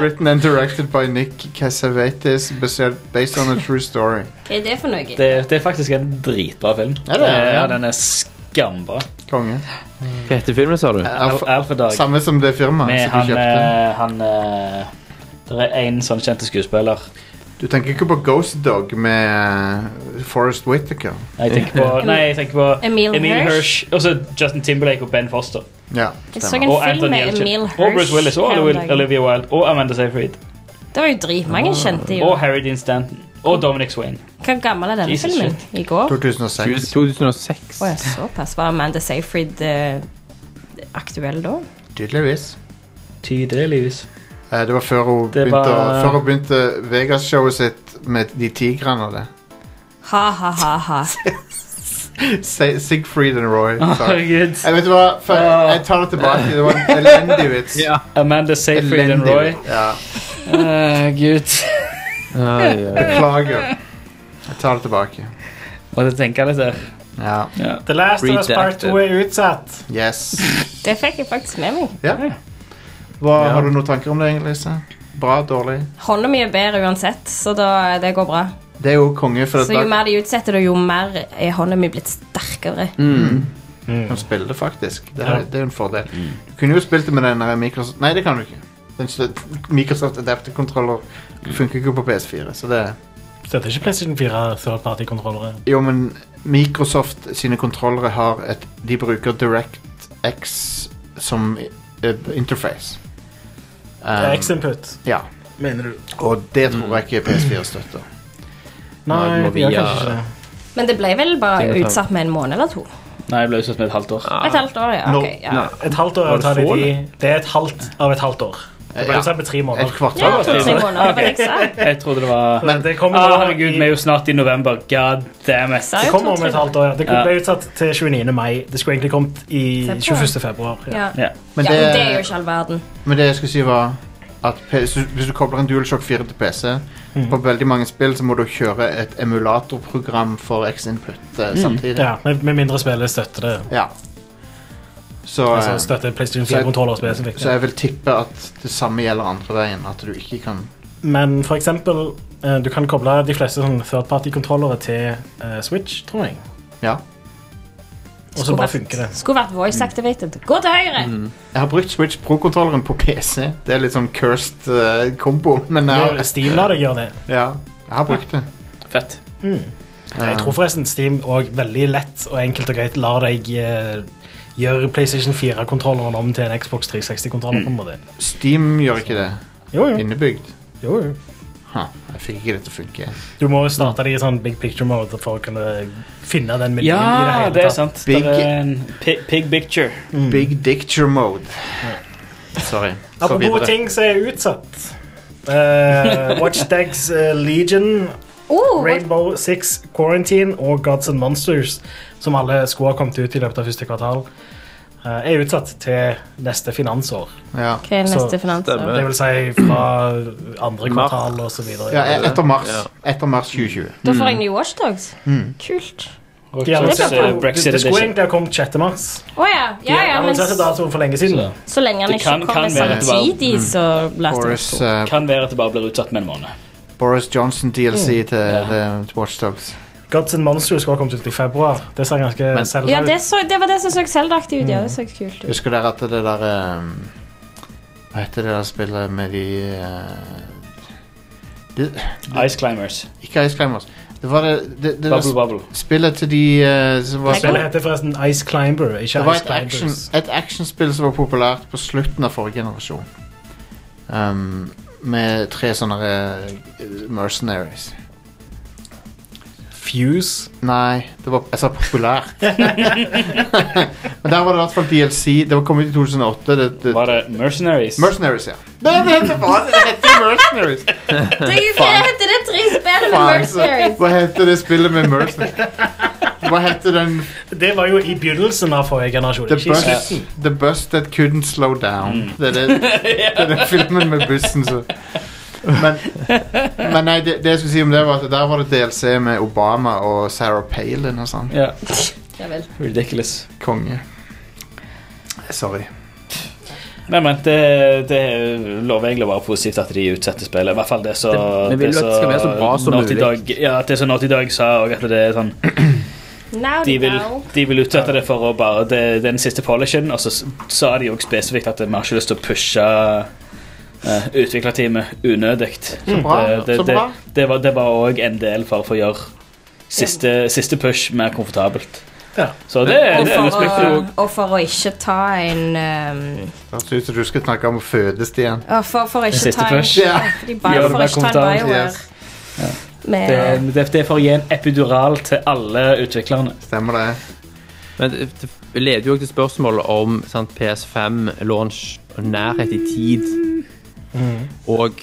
written and directed by Nick Cassavetes based based on a true story. Hva er det for noe? Det, det er faktisk en dritbra film. Er det? Eh, Ja, den er skambra. Konge. Hva heter filmen, sa du? Alpha, Alpha Dog. Samme som det firmaet Med som han, du kjøpte. eh, han eh, Det er en sånn kjente skuespiller. Du tenker ikke på Ghost Dog med eh, Forrest Whitaker. Jeg tenker på, nei, jeg tenker på Emil Hirsch. Og så Justin Timberlake og Ben Foster. Ja, Jeg så en Og film Anthony med Elchin. Emil Og Bruce Willis og her om Olivia- dagen. Olivia Wilde og Amanda Seyfried. Det var jo dritmange kjente, jo. Og Harry Dean Stanton. Og Dominic Swain. Hvor gammel er denne Jesus filmen? I går? 2006. 2006. Å ja, såpass. Var Amanda Seyfried eh, aktuell da? Tydeligvis. Eh, Tydeligvis. det var før hun Det begynte, var- å- før hun begynte Vegas-showet sitt med de tigrene og det. Ha-ha-ha-ha. Se- Siegfried and [laughs] Roy. sorry. Herregud. Jeg vet hva, for, jeg tar det tilbake. Det var en elendig vits. Amanda Seyfried and Elendig Roy. vits, Ja. Eh, Gud. Beklager. Jeg tar det tilbake. Måtte tenke litt der. Ja. The Last of Us Part 2 er utsatt. Yes. Det fikk jeg faktisk med meg. Ja. Hva, Har du noen tanker om det, egentlig, Lise? Bra, dårlig? Hånda mi er bedre uansett, så da, det går bra. Det er jo konge. For at Så jo da- mer de utsetter det, jo mer er hånda mi blitt sterkere. Mm. Kan spille det, faktisk. Det er, Ja. det er jo en fordel. Du kunne jo spilt det med den der Microsoft Nei, det kan du ikke. Den stø- Microsoft Adaptive Controller funker ikke på PS4. Så det Støtter ikke PlayStation 4 third party-kontrollere. Jo, men Microsoft sine kontrollere har et De bruker DirectX som eh, interface. Det er Um, X-input, ja. mener du. Og det tror jeg ikke PS4 støtter. Nei, Nei, det må vi gjør via- kanskje ikke det. Men det ble vel bare Det er jo utsatt med en måned eller to? Nei, jeg ble utsatt med et halvt år. Et halvt år, ja. Eh, ok, ja. Et halvt år Var det tar det så, i Det er et halvt av et halvt år. Det ble Ja. utsatt med tre måneder. Et kvartal. sånn. Ja, to-tre måneder, det sånn. var liksom, det jeg sa. Jeg trodde det var Men det kommer ah, nå Herregud, i- vi er jo snart i november. God damn it. Det kommer om et halvt år, ja. Det Ja. ble utsatt til 29. mai. Det skulle egentlig kommet i Februar. 21. februar. Ja. Ja. Ja, Men men det- det er jo ikke all verden. Men det jeg skulle si var at P- hvis du- hvis du kobler en DualShock 4 til PC Mm. På veldig mange spill så må du kjøre et emulatorprogram for X-input eh, samtidig. Ja, med, med mindre spillet støtter det. Ja. Så, eh, altså sånn. støtter PlayStation 4-kontroller spesifikt. så jeg vil tippe at det samme gjelder andre veien. At du ikke kan Men for eksempel, eh, du kan koble de fleste sånn third party-kontrollere til eh, Switch, tror jeg. Ja. Og så bare funker det. Skulle vært voice activated. Gå til høyre! Jeg har brukt Switch Pro-kontrolleren på PC. Det er litt sånn cursed eh, kombo. Men jeg, Ja, Steam lar deg gjøre det. ja, jeg har brukt det. Fett. Jeg tror forresten Steam òg veldig lett og enkelt og greit lar deg eh, gjøre PlayStation 4-kontrolleren om til en Xbox 360-kontroller. på en måte. Eh, Mm. Steam gjør ikke det. Jo, jo. Innebygd. Jo, jo. Huh, jeg fikk ikke det til å funke. Du må jo starte det i sånn big picture mode for å kunne finne den menyen. Ja, i det hele er tatt. sant. Det er en pi- pig picture. Big dicture mode. Sorry. Så Apropos videre. ting som er utsatt. Uh, Watchdags Legion, Oh, Rainbow Six Quarantine og Gods and Monsters, som alle skulle ha kommet ut i løpet av første kvartal, eh, er utsatt til neste finansår. Ja. Hva er Så- neste finansår? Det vil si fra andre kvartal og så videre. Ja, e- etter mars. Etter mars 2020. Da får jeg nye Watchdogs. Mm. Kult. De annonserte- Brexit, eh, Brexit det skulle edition. egentlig ha kommet 6. mars. Å ja. De Ja, ja, men annonserte datoen for lenge siden. så lenge han Det ikke kan- kommer kan være at det var- samtidig, så later det Boris, stå. eh, Kan være at det bare blir utsatt med en måned. Boris Johnson DLC til, til Watch Dogs. Gods and Monsters skulle ha kommet ut i februar. Det ser ganske selv Ja, det, så, det var det som så Zelda-aktig ut. Ja, det så kult ut. Husker dere at det der um, Hva heter det der spillet med de eh, uh, det, Ice Climbers. Ikke Ice Climbers. Det var eh, det, det, det der Bubble Bubble. spillet til de uh, som var Spillet heter forresten Ice Climber, ikke Det var Ice et, action, Climbers. et actionspill som var populært på slutten av forrige generasjon. Um, med tre sånne uh, mercenaries. Fuse? Nei, det var, jeg sa populært. Men der var det i hvert fall DLC. Det var kommet i 2008. Det, det, Var det Mercenaries? Mercenaries, ja. Det, det heter faen, det heter Mercenaries. Hva heter det tre spillet Faen, med så- Mercenaries? Hva heter det spillet med Mercenaries? Hva heter den Det var jo i begynnelsen av forrige generasjon. The ikke i Bus, slutten. the bus That Couldn't Slow Down. Det er det- det er den filmen med bussen som Men, men nei, det, det jeg skulle si om det, var at der var det DLC med Obama og Sarah Palin og sånn. Ja. Ja vel. Ridiculous. Konge. Eh, Sorry. Men, men det, det lover egentlig å være positivt at de utsetter spillet. I hvert fall det så Det- vi vil jo så at det skal være så bra som Naughty mulig. Dog, ja, at det som Naughty Dog sa, og at det er sånn Now de vil, now. de vil utsette det for å bare Det det er den siste polishen, og så s- sa de jo spesifikt at vi har ikke lyst til å pushe Uh, Utviklerteamet unødig. Så bra, Det, det, så bra. Det, det var- det var òg en del for, for å gjøre siste, siste push mer komfortabelt. Så det, og, det er for respekt å, for- og for å ikke ta en um, Høres ut som du skal snakke om å fødes igjen. og for, for å ikke Siste ta en, push. Ja. fordi Bio- Gjør det for å mer ikke ta en komfortabelt, Bioware. yes. Med, Det, er- Eh, det, det er for å gi en epidural til alle utviklerne. Stemmer det. Men det det leder jo også til spørsmålet om sant, PS5-launch og nærhet i tid. Og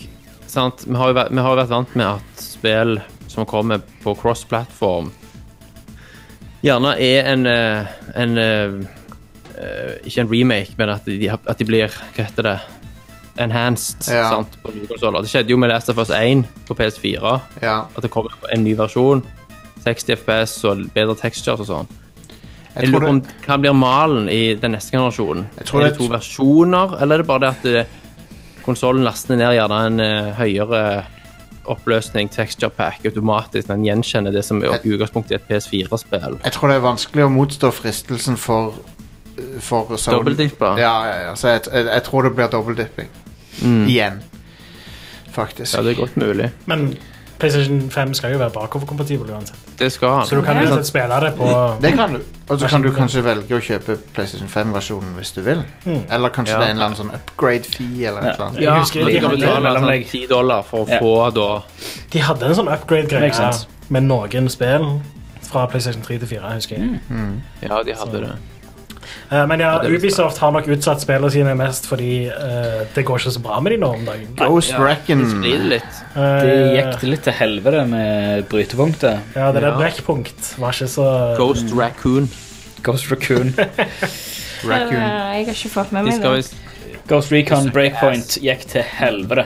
sant, vi, har jo vært, vi har jo vært vant med at spill som kommer på cross-platform, gjerne er en, eh, en eh, eh, Ikke en remake, men at de, at de blir Hva heter det? Enhanced. Ja. Sant, på nye konsoler. Det skjedde jo med Last of Us 1 på PS4. At det kom en ny versjon. 60 FPS og bedre textures og sånn. Jeg Jeg tror lurer på om Hva blir malen i den neste generasjonen? tror er det det to versjoner, eller er det bare det at konsollen laster ned gjerne en eh, høyere oppløsning, texture pack, automatisk? Den gjenkjenner det som er i utgangspunktet et PS4-spill. Jeg tror det er vanskelig å motstå fristelsen for for Sony. Dobbeltdipper. Ja, ja, ja. Så jeg, jeg, jeg tror det blir dobbeltdipping. Mm. Igjen. Faktisk. Ja, det er godt mulig. Men PlayStation 5 skal jo være bakoverkompatibel uansett. Det skal han. Så du kan jo Sånn- uansett spille det på Det kan du. Og så kan du kanskje velge å kjøpe PlayStation 5-versjonen hvis du vil. Mm. Eller kanskje Ja. det er en eller annen sånn upgrade-fee eller et eller annet. Ja, men du kan betale sånn 10 dollar for å Ja. få da De hadde en sånn Makes upgrade-greie sense. med noen spill fra PlayStation 3 til 4, husker jeg. Ja, de hadde det. Eh, men ja, Ja, det er litt Ubisoft har nok utsatt spillene sine mest fordi eh, det går ikke så bra med de nå om dagen. Eh, Ghost Recon. Det gikk litt til helvete med brytepunktet. Ja, det der brekkpunkt var ikke så Ghost Raccoon. Ghost Raccoon. Eh, jeg har ikke fått med meg det. Ghost Recon Breakpoint gikk til helvete.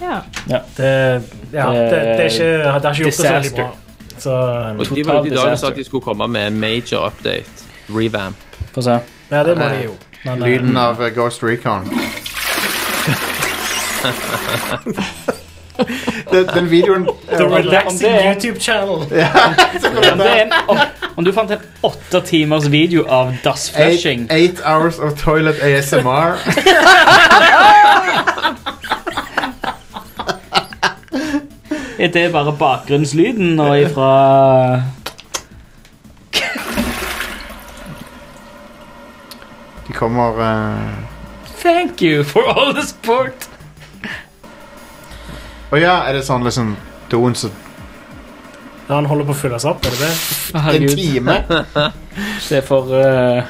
Ja. Ja. Det, ja, det, det, er ikke, det har ikke gjort det så veldig bra. Så, Og de var total ute i dag og sa disaster. at de skulle komme med en major update. Revamp. Få se. Ja, det må de jo. Men, eh, Lyden av eh, Ghost Recon. den, den videoen The relaxing er- YouTube channel. Om, det er en, om, om du fant en åtte timers video av Eight, dassflushing eight hours of toilet ASMR. Er det bare bakgrunnslyden nå ifra De kommer eh, Thank you for all the support! Å ja, er det sånn liksom Doen som Ja, han holder på å fylles opp, er det det? En time? Se for eh,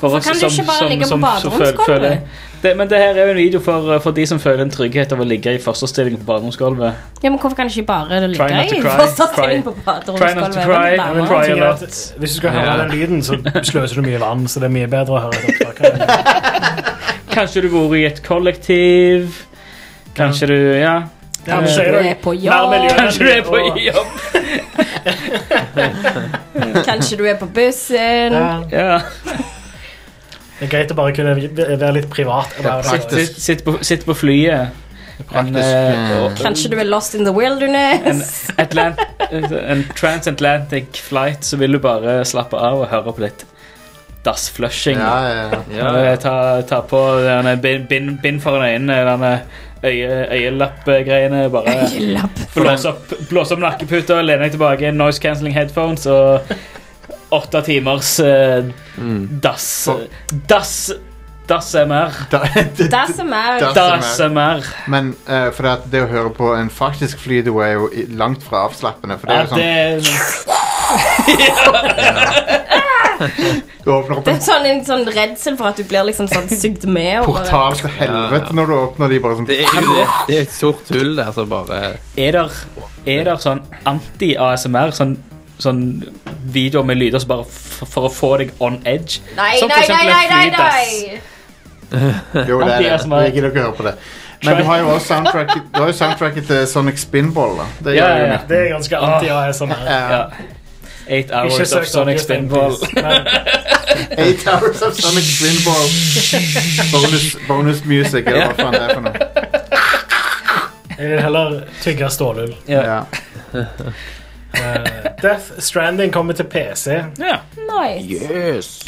For kan du ikke bare ligge på føl- baderomsgulvet? føler- det, men det her er jo en video for, for de som føler en trygghet av å ligge i fosterstilling på baderomsgulvet. ja, men hvorfor kan ikke bare ligge Try not to i cry, cry. fosterstilling på baderomsgulvet? Try not to cry, Det er and bare- cry a lot. Hvis du skal høre Ja. den lyden, så sløser du mye vann, så det er mye bedre å høre det. Kanskje du bor i et kollektiv. Kanskje du Ja. Kanskje Eh, du er på jobb. Mer miljø- Kanskje du er på jobb. Kanskje du er på bussen. Ja. Det er greit å bare kunne være litt privat. about it. Sitt, sitt, sitt, på, sitt på flyet. En, eh, og- Kanskje du er lost in the wilderness. Atlant en transatlantic flight, så vil du bare slappe av og høre på litt dassflushing. Ja, ja, ja. Og, eh, Ta, ta på denne bind bin, bin foran øynene, denne øye, øyelapp-greiene. Bare blåse opp, blåse opp nakkeputer, lene deg tilbake, noise cancelling headphones og åtte timers eh, Mm. dass... Dass... Dass-MR. Det som er Dass-MR. [laughs] Men eh, for det, at det å høre på en faktisk flydoe er jo i- langt fra avslappende. For det er jo Ja, det sånn Du åpner opp Det en er sånn en sånn redsel for at du blir liksom sånn sugd med. og bare- portal til helvete når du åpner de bare sånn Det er jo det. Det er et sort hull der som bare Er der, er der sånn anti-ASMR, sånn, sånn videoer med lyder som bare f for å få deg on edge? Nei, Som for nei, nei, eksempel en nei, nei, flydass. nei. Jo, det er det. Anti-ASMR. Jeg gidder ikke å høre på det. Men du har jo også [laughs] soundtracket, du har jo soundtracket til Sonic Spinball. da Det Ja, gjør ja, jo ja. nytten. Det er ganske anti å ha sånn her. Ja. Eight Ikke hours søk of opp Sonic just Spinball. Eight hours of Sonic Spinball. Bonus, bonus music, eller hva faen det er for noe. Jeg vil heller tygge stålull. Ja. Eh, Death Stranding kommer til PC. Nice. Yes.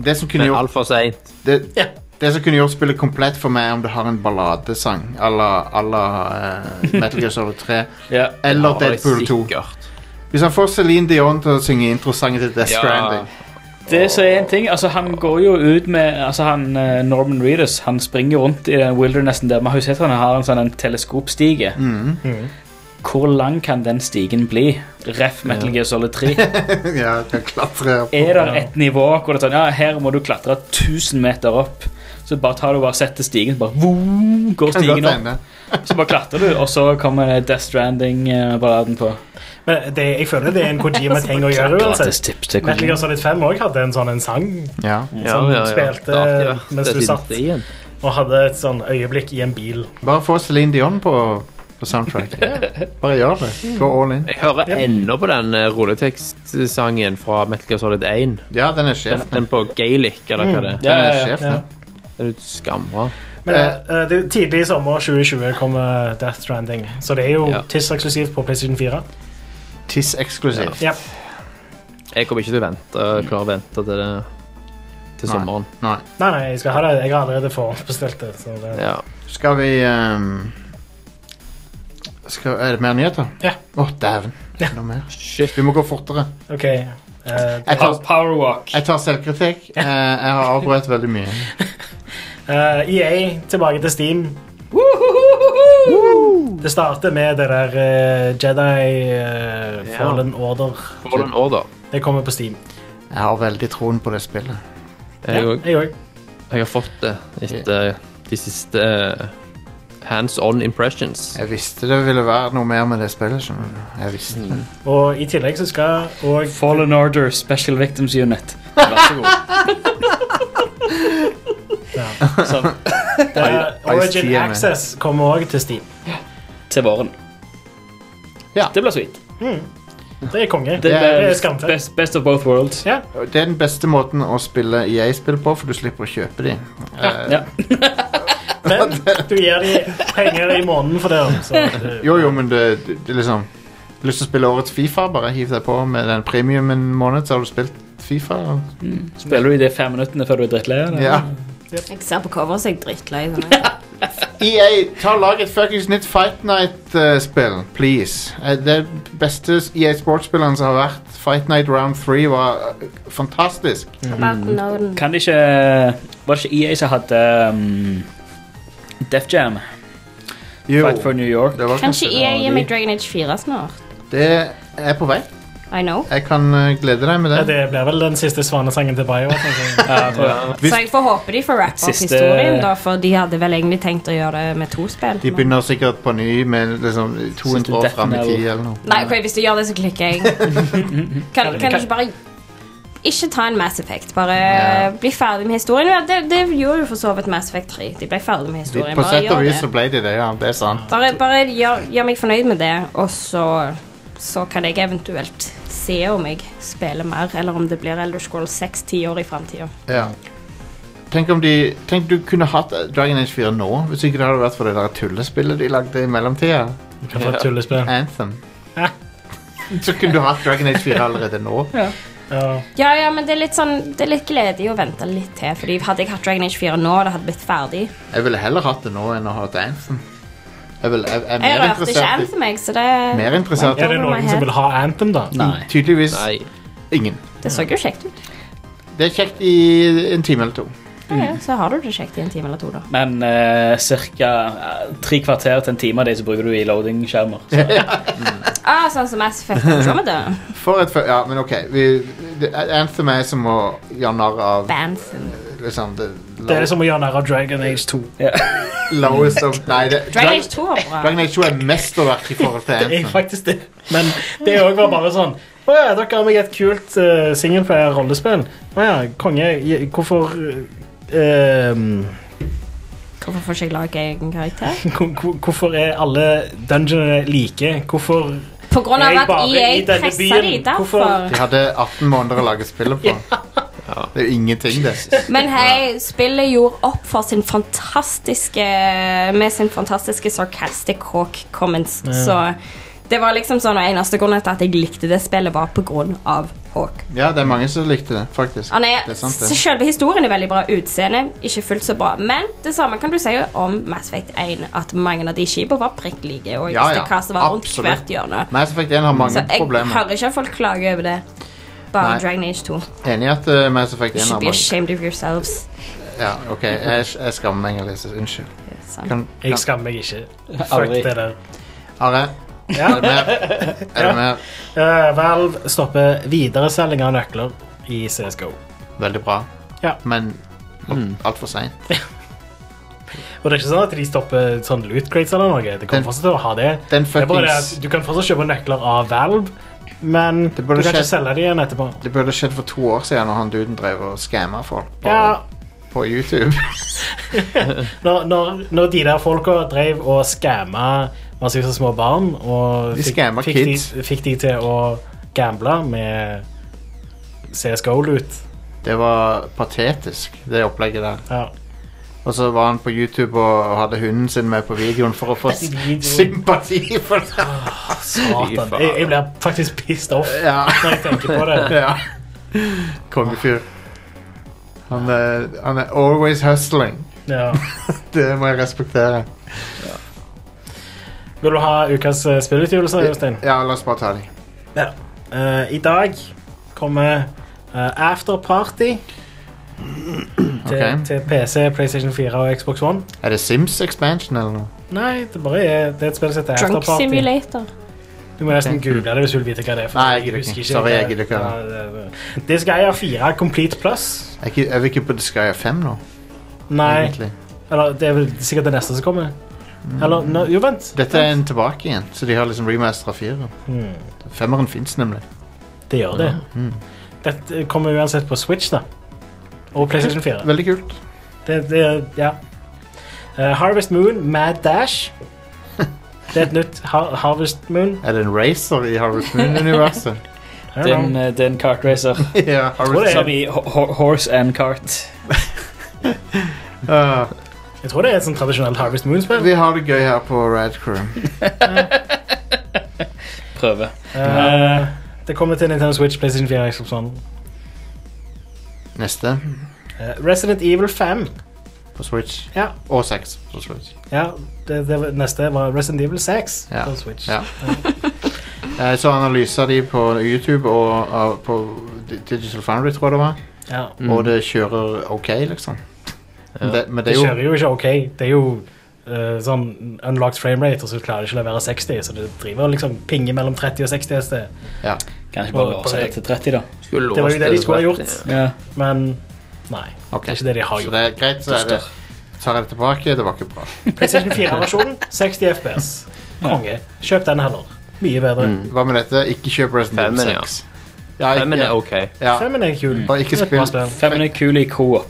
det som kunne Men gjort altfor seint. det, det som kunne gjort spillet komplett for meg, om det har en balladesang à la, à la eh, Metal Gear Solid 3 Ja. eller Ja, Deadpool 2. sikkert. Hvis han får Celine Dion til å synge introsangen til Death Ja. Stranding [laughs] Det som er en ting, altså Han går jo ut med altså han, eh, Norman Reedus han springer rundt i den wildernessen der. Vi har jo sett han har en sånn en teleskopstige. Mhm. Hvor lang kan den stigen bli? Ref Metal Gear Solid 3. Ja, kan klatre opp. Er det et nivå hvor det er sånn, ja, her må du klatre 1000 meter opp? Så bare tar du bare setter stigen, så bare vroom, går Kan stigen godt opp. Så bare klatrer du, og så kommer det Death Stranding-balladen på. Men det, jeg føler det er en [laughs] Kojima-ting å gjøre Gratis uansett. tips til Metal Gear Kojima. Solid 5 også hadde en sånn en sang Ja. som spilte Det har ikke vært mens det du siden satt krigen. og hadde et sånn øyeblikk i en bil. Bare få Celine Dion på, på [laughs] soundtrack. Bare gjør det. Gå all in. Jeg hører ennå på den eh, rulletekstsangen fra Metal Gear Solid 1. Ja, den er sjef. Den, den på Gaelic, eller hva det Mm. Ja, Den er ja, ja. sjef, den. ja. Den er skambra. Men eh, det, er tidlig i sommer 2020 kommer Death Stranding, så det er jo Ja. tiss eksklusivt på PlayStation 4. Tiss eksklusivt. Ja. Jeg kommer ikke til å vente, klare å vente til, det, til Nei. sommeren. Nei. Nei, nei, jeg skal ha det. Jeg har allerede forhåndsbestilt det. Så det Skal vi ehm, skal, Er det mer nyheter? Ja. Å, dæven. Er det Noe mer. Vi må gå fortere. OK. eh, Jeg tar- Powerwalk. Jeg tar selvkritikk. Eh, jeg har avbrøt veldig mye. Eh, EA tilbake til Steam. Det starter med det der eh, Jedi eh, Ja. Fallen Order. Fallen Order. Det kommer på Steam. Jeg har veldig troen på det spillet. Jeg, Ja, og- jeg òg. jeg har fått det etter de siste eh, hands on impressions. Jeg visste det ville være noe mer med det spillet. skjønner du. Jeg visste det. Mm. Og i tillegg så skal òg Fallen Order Special Victims Unit. Vær så god. Sånn. Eh, Origin Ice-tea, men. Access kommer òg til Steam. Til våren. Det blir sweet. Mm. Det er konge. Det er skamfett. best, best of both worlds. Ja. Det er den beste måten å spille EA-spill på, for du slipper å kjøpe de. Eh, Ja. Men du gir dem penger i måneden for det. Så eh, det Jo, jo, men det, det, det liksom Lyst til å spille årets Fifa? Bare hiv deg på med den premium en måned, så har du spilt Fifa. og- Spiller du i de fem minuttene før du er drittlei? eller? Ja. Jeg ser på coveret, så jeg er drittlei. sånn. EA, E ta og lag et fuckings nytt Fight Night-spill, please. Eh, det beste EA Sports-spilleren som har vært, Fight Night Round 3, var eh, fantastisk. Kan det ikke Var det ikke EA som hadde um, Def Jam? Jo. Fight for New York. Kanskje EA gir meg Dragon Age 4 snart. Det er på vei. I know. Jeg kan eh, glede deg med det. Ja, det blir vel den siste svanesangen til Bayo. Så jeg får håpe de får wrap opp Siste- historien, da, for de hadde vel egentlig tenkt å gjøre det med to spill. De begynner sikkert på ny med liksom, Siste 200 år Death fram i Knell. tid eller noe. Nei, ok, hvis du gjør det, så klikker [laughs] jeg. Kan, kan du ikke bare ikke ta en Mass Effect? Bare bli ferdig med historien. Ja, det, det gjorde jo for så vidt Mass Effect 3. De ble ferdig med De, historien. på Bare sett og gjør vis så det. ble de det, ja. Det er sant. Bare, bare gjør, gjør meg fornøyd med det, og så, så kan jeg eventuelt se om jeg spiller mer, eller om det blir Elder Scrolls 6 ti år i framtida. Ja. Tenk om de Tenk du kunne hatt Dragon Age 4 nå, hvis ikke det hadde vært for det der tullespillet de lagde i mellomtida. Hva for et tullespill? Anthem. [laughs] Så kunne du hatt Dragon Age 4 allerede nå. Ja, ja, men det er litt sånn Det er litt glede i å vente litt til. Fordi Hadde jeg hatt Dragon Age 4 nå, det hadde blitt ferdig. Jeg ville heller hatt det nå enn å ha hatt Anthem. Jeg, vil, jeg, jeg er Jeg mer rørte ikke interessert i Anthem, jeg, så det Mer interessert i- Er det noen som vil ha Anthem, da? Nei. Tydeligvis ingen. Det så jo kjekt ut. Det er kjekt i en time eller to. Ja, ja, så har du det kjekt i en time eller [laughs] to, da. Men uh, ca. tre kvarter til en time av de så bruker du i loading-skjermer. Så- Ah, sånn som Mass Effect Andromeda. For et fø- Ja, men OK. Vi, det, Anthem er som å gjøre narr av Banthem. Liksom, det, Det er som å gjøre narr av Dragon Age 2. Lowest of Nei, det, Dragon Age 2 var bra. Dragon Age 2 er mesterverk i forhold til [laughs] Det er Anthem. faktisk det. Men det òg var bare sånn Å ja, dere har meg et kult uh, eh, singleplayer-rollespill. Å ja, konge. i- Hvorfor eh, ehm, vanskelig å få seg lage egen karakter. [laughs] Hvor- hvor- Hvorfor er alle dungeonene like? Hvorfor På grunn er av jeg at bare EA i denne presser byen? de De derfor. hadde 18 måneder å lage spillet på. Det er jo ingenting, det. Men hei, spillet gjorde opp for sin fantastiske med sin fantastiske sarcastic hawk-comments. Ja. Så det var liksom sånn og eneste grunnen til at jeg likte det spillet, var på grunn av hawk. Ja, det er mange som likte det, faktisk. Han er, det er sant, s- det. Selve historien er veldig bra. Utseendet ikke fullt så bra. Men det samme kan du si om Mass Effect 1, at mange av de skipene var prikk like. Og jeg Ja, ja, visste hva som var rundt absolutt. hvert hjørne. Mass Effect 1 har Så mange jeg problemer. hører ikke at folk klager over det. Bare Nei. Dragon Age 2. Enig i at uh, Mass Effect You 1 should har be mange ashamed of yourselves. Ja, OK, jeg, jeg skammer meg, Elise. Unnskyld. sant. Jeg skammer meg ikke. Fuck Aldri. det der. Are, Ja. er det [laughs] mer? Er det mer? Eh, Valve stopper videreselging av nøkler i CSGO. Veldig bra. Ja. Men altfor seint. Og det er ikke sånn at de stopper sånn loot crates eller noe. De kommer fortsatt til å ha det. Den Det er bare det fuckings at du kan fortsatt kjøpe nøkler av Valve, men du kan burde ikke skjedd- selge de igjen etterpå. Det burde skjedd for to år siden, når han duden drev og skamma folk på, Ja. på YouTube. [laughs] Når, når, når de der folka drev og skamma massevis av små barn og De skamma fikk, kids. de, fikk de til å gamble med CSGO-loot Det var patetisk, det opplegget der. Ja. Og så var han på YouTube og hadde hunden sin med på videoen for å få s- sympati for det. Satan. Jeg, jeg blir faktisk pissed off når jeg tenker på [laughs] det. Ja. Kongefyr. Han er, han er always hustling. Ja. Det må jeg respektere. Vil du ha ukas eh, spillutgivelse, Jostein? Ja, la oss bare ta dem. Ja. Eh, I dag kommer eh, After Party til, Ok. til PC, PlayStation 4 og Xbox One. Er det Sims Expansion eller noe? Nei, det bare er, det er et spill som heter After Drunk Party. Simulator. Du må nesten Ok. google det hvis du vil vite hva det er. for Nei, jeg gidder husker ikke. Sorry, jeg hva- gidder ikke. Ja, det- det- Disgaea 4 Complete Plus. Er, ikke, er vi ikke på Disgaea 5 nå? Nei, Egentlig. eller det er vel sikkert det neste som kommer. Eller, no, jo, vent. Dette er en tilbake igjen, så de har liksom remastera 4. Hmm. Femmeren fins nemlig. Det gjør det. Mm. Dette kommer uansett på Switch da Og PlayStation 4 Veldig kult det, det, ja. Eh, Harvest Moon Mad [laughs] Dash Det er et nytt Har Harvest Moon Er det en racer i Harvest Moon-universet? [laughs] Det I er don't en, know. eh, det er en kart racer. ja, tror det er- Som i ho- ho- horse and cart. Jeg tror det er et sånn tradisjonelt Harvest Moon-spill Ah. Vi har det gøy her på Radcrew. Prøve. Eh, Det kommer til Nintendo Switch, PlayStation 4 Xbox One Neste Eh, Resident Evil 5 på Switch. Ja. Og 6 på Switch. Ja, det, det var- neste var Resident Evil 6 Ja. På Switch Ja. [laughs] Jeg så analyser av de på YouTube og av- på Di- Digital Foundry, tror jeg det var. Ja. Og det kjører OK, liksom. Men det, men det Det er jo kjører jo ikke ok. Det er jo eh, sånn unlocked framerate, og så klarer de ikke å levere 60, så det driver liksom pinge mellom 30 og 60 et sted. ja. Kanskje bare låse det til 30, da. Skulle Det var låst jo det de skulle ha gjort, Ja. men nei. Ok. Det er ikke det de har Så gjort. det er greit, så er det, tar jeg det tilbake. Det var ikke bra. PlayStation 4-versjonen, 60 FPS. Konge. Kjøp den heller. Mye bedre. Hva med dette? Ikke kjøp Resident Evil Femmen, ja. 6. Ja, ikke- Femmen er ok. Ja. Mm. Femmen er kul. Bare ikke Det er et bra spill spill. Femmen er kul i co-op.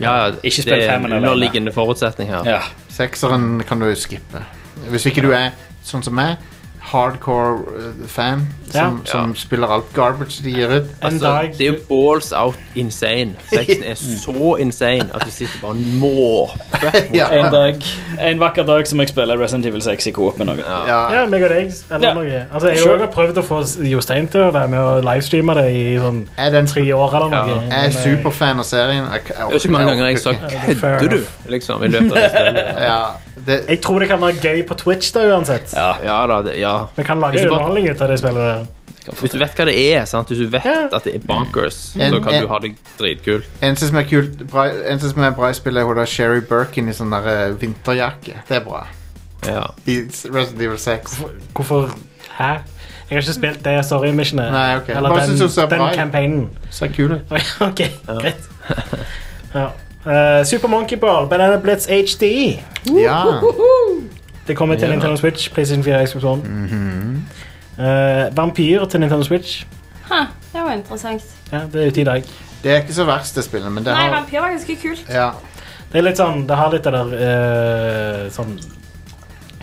Ja, ja, Ikke spill det er femmen en alene. underliggende forutsetning her. Ja. Sekseren kan du skippe. Hvis ikke du er sånn som meg, hardcore eh, fan som, Ja. som spiller alt garbage de gir ut. Altså, det er jo balls out insane. Sexen er Mm. så insane at du sitter bare og måper. En dag En vakker dag så må jeg spille Resident Evil 6 i co-op med noen. Ja. Ja, meg og deg. Eller Ja. noe. Altså, jeg Sure. har også prøvd å få Jostein til å være med og livestreame det i sånn Er den tre år eller noe. Jeg er superfan av serien. Jeg, jeg, Det er ikke mange ganger jeg sa ikke. 'kødder du?' liksom, i løpet av det spillet. ja, det, Jeg tror det kan være gøy på Twitch da, uansett. [laughs] Ja da, det, ja. Vi kan lage Hvis du bare- underholdning ut av det spillet der. Hvis du vet hva det er, sant? hvis du vet at det er bonkers, så En- kan en- du ha det dritkult. eneste som er kult bra, Eneste som er bra i spillet, er hun der Sherry Birkin i sånn der eh, vinterjakke. Det er bra. Ja. I s- Resident Evil 6. Hvorfor Hæ? Jeg har ikke spilt det Sorry-missionet. Nei, ok. Eller Bare den, synes du ser bra den ut. campaignen. [laughs] Ser kul ut. ok, greit. Ja. Eh, Super Monkey Ball, Banana Blitz HD. Ja. Det kommer til Ja. Nintendo Switch, PlayStation 4 og Xbox One. Eh, Vampyr til Nintendo Switch. Ha, det var interessant. Ja, det er ute i dag. Det er ikke så verst, det spillet, men det Nei, har vampyr var ganske kult. ja. Det er litt sånn Det har litt det der eh, sånn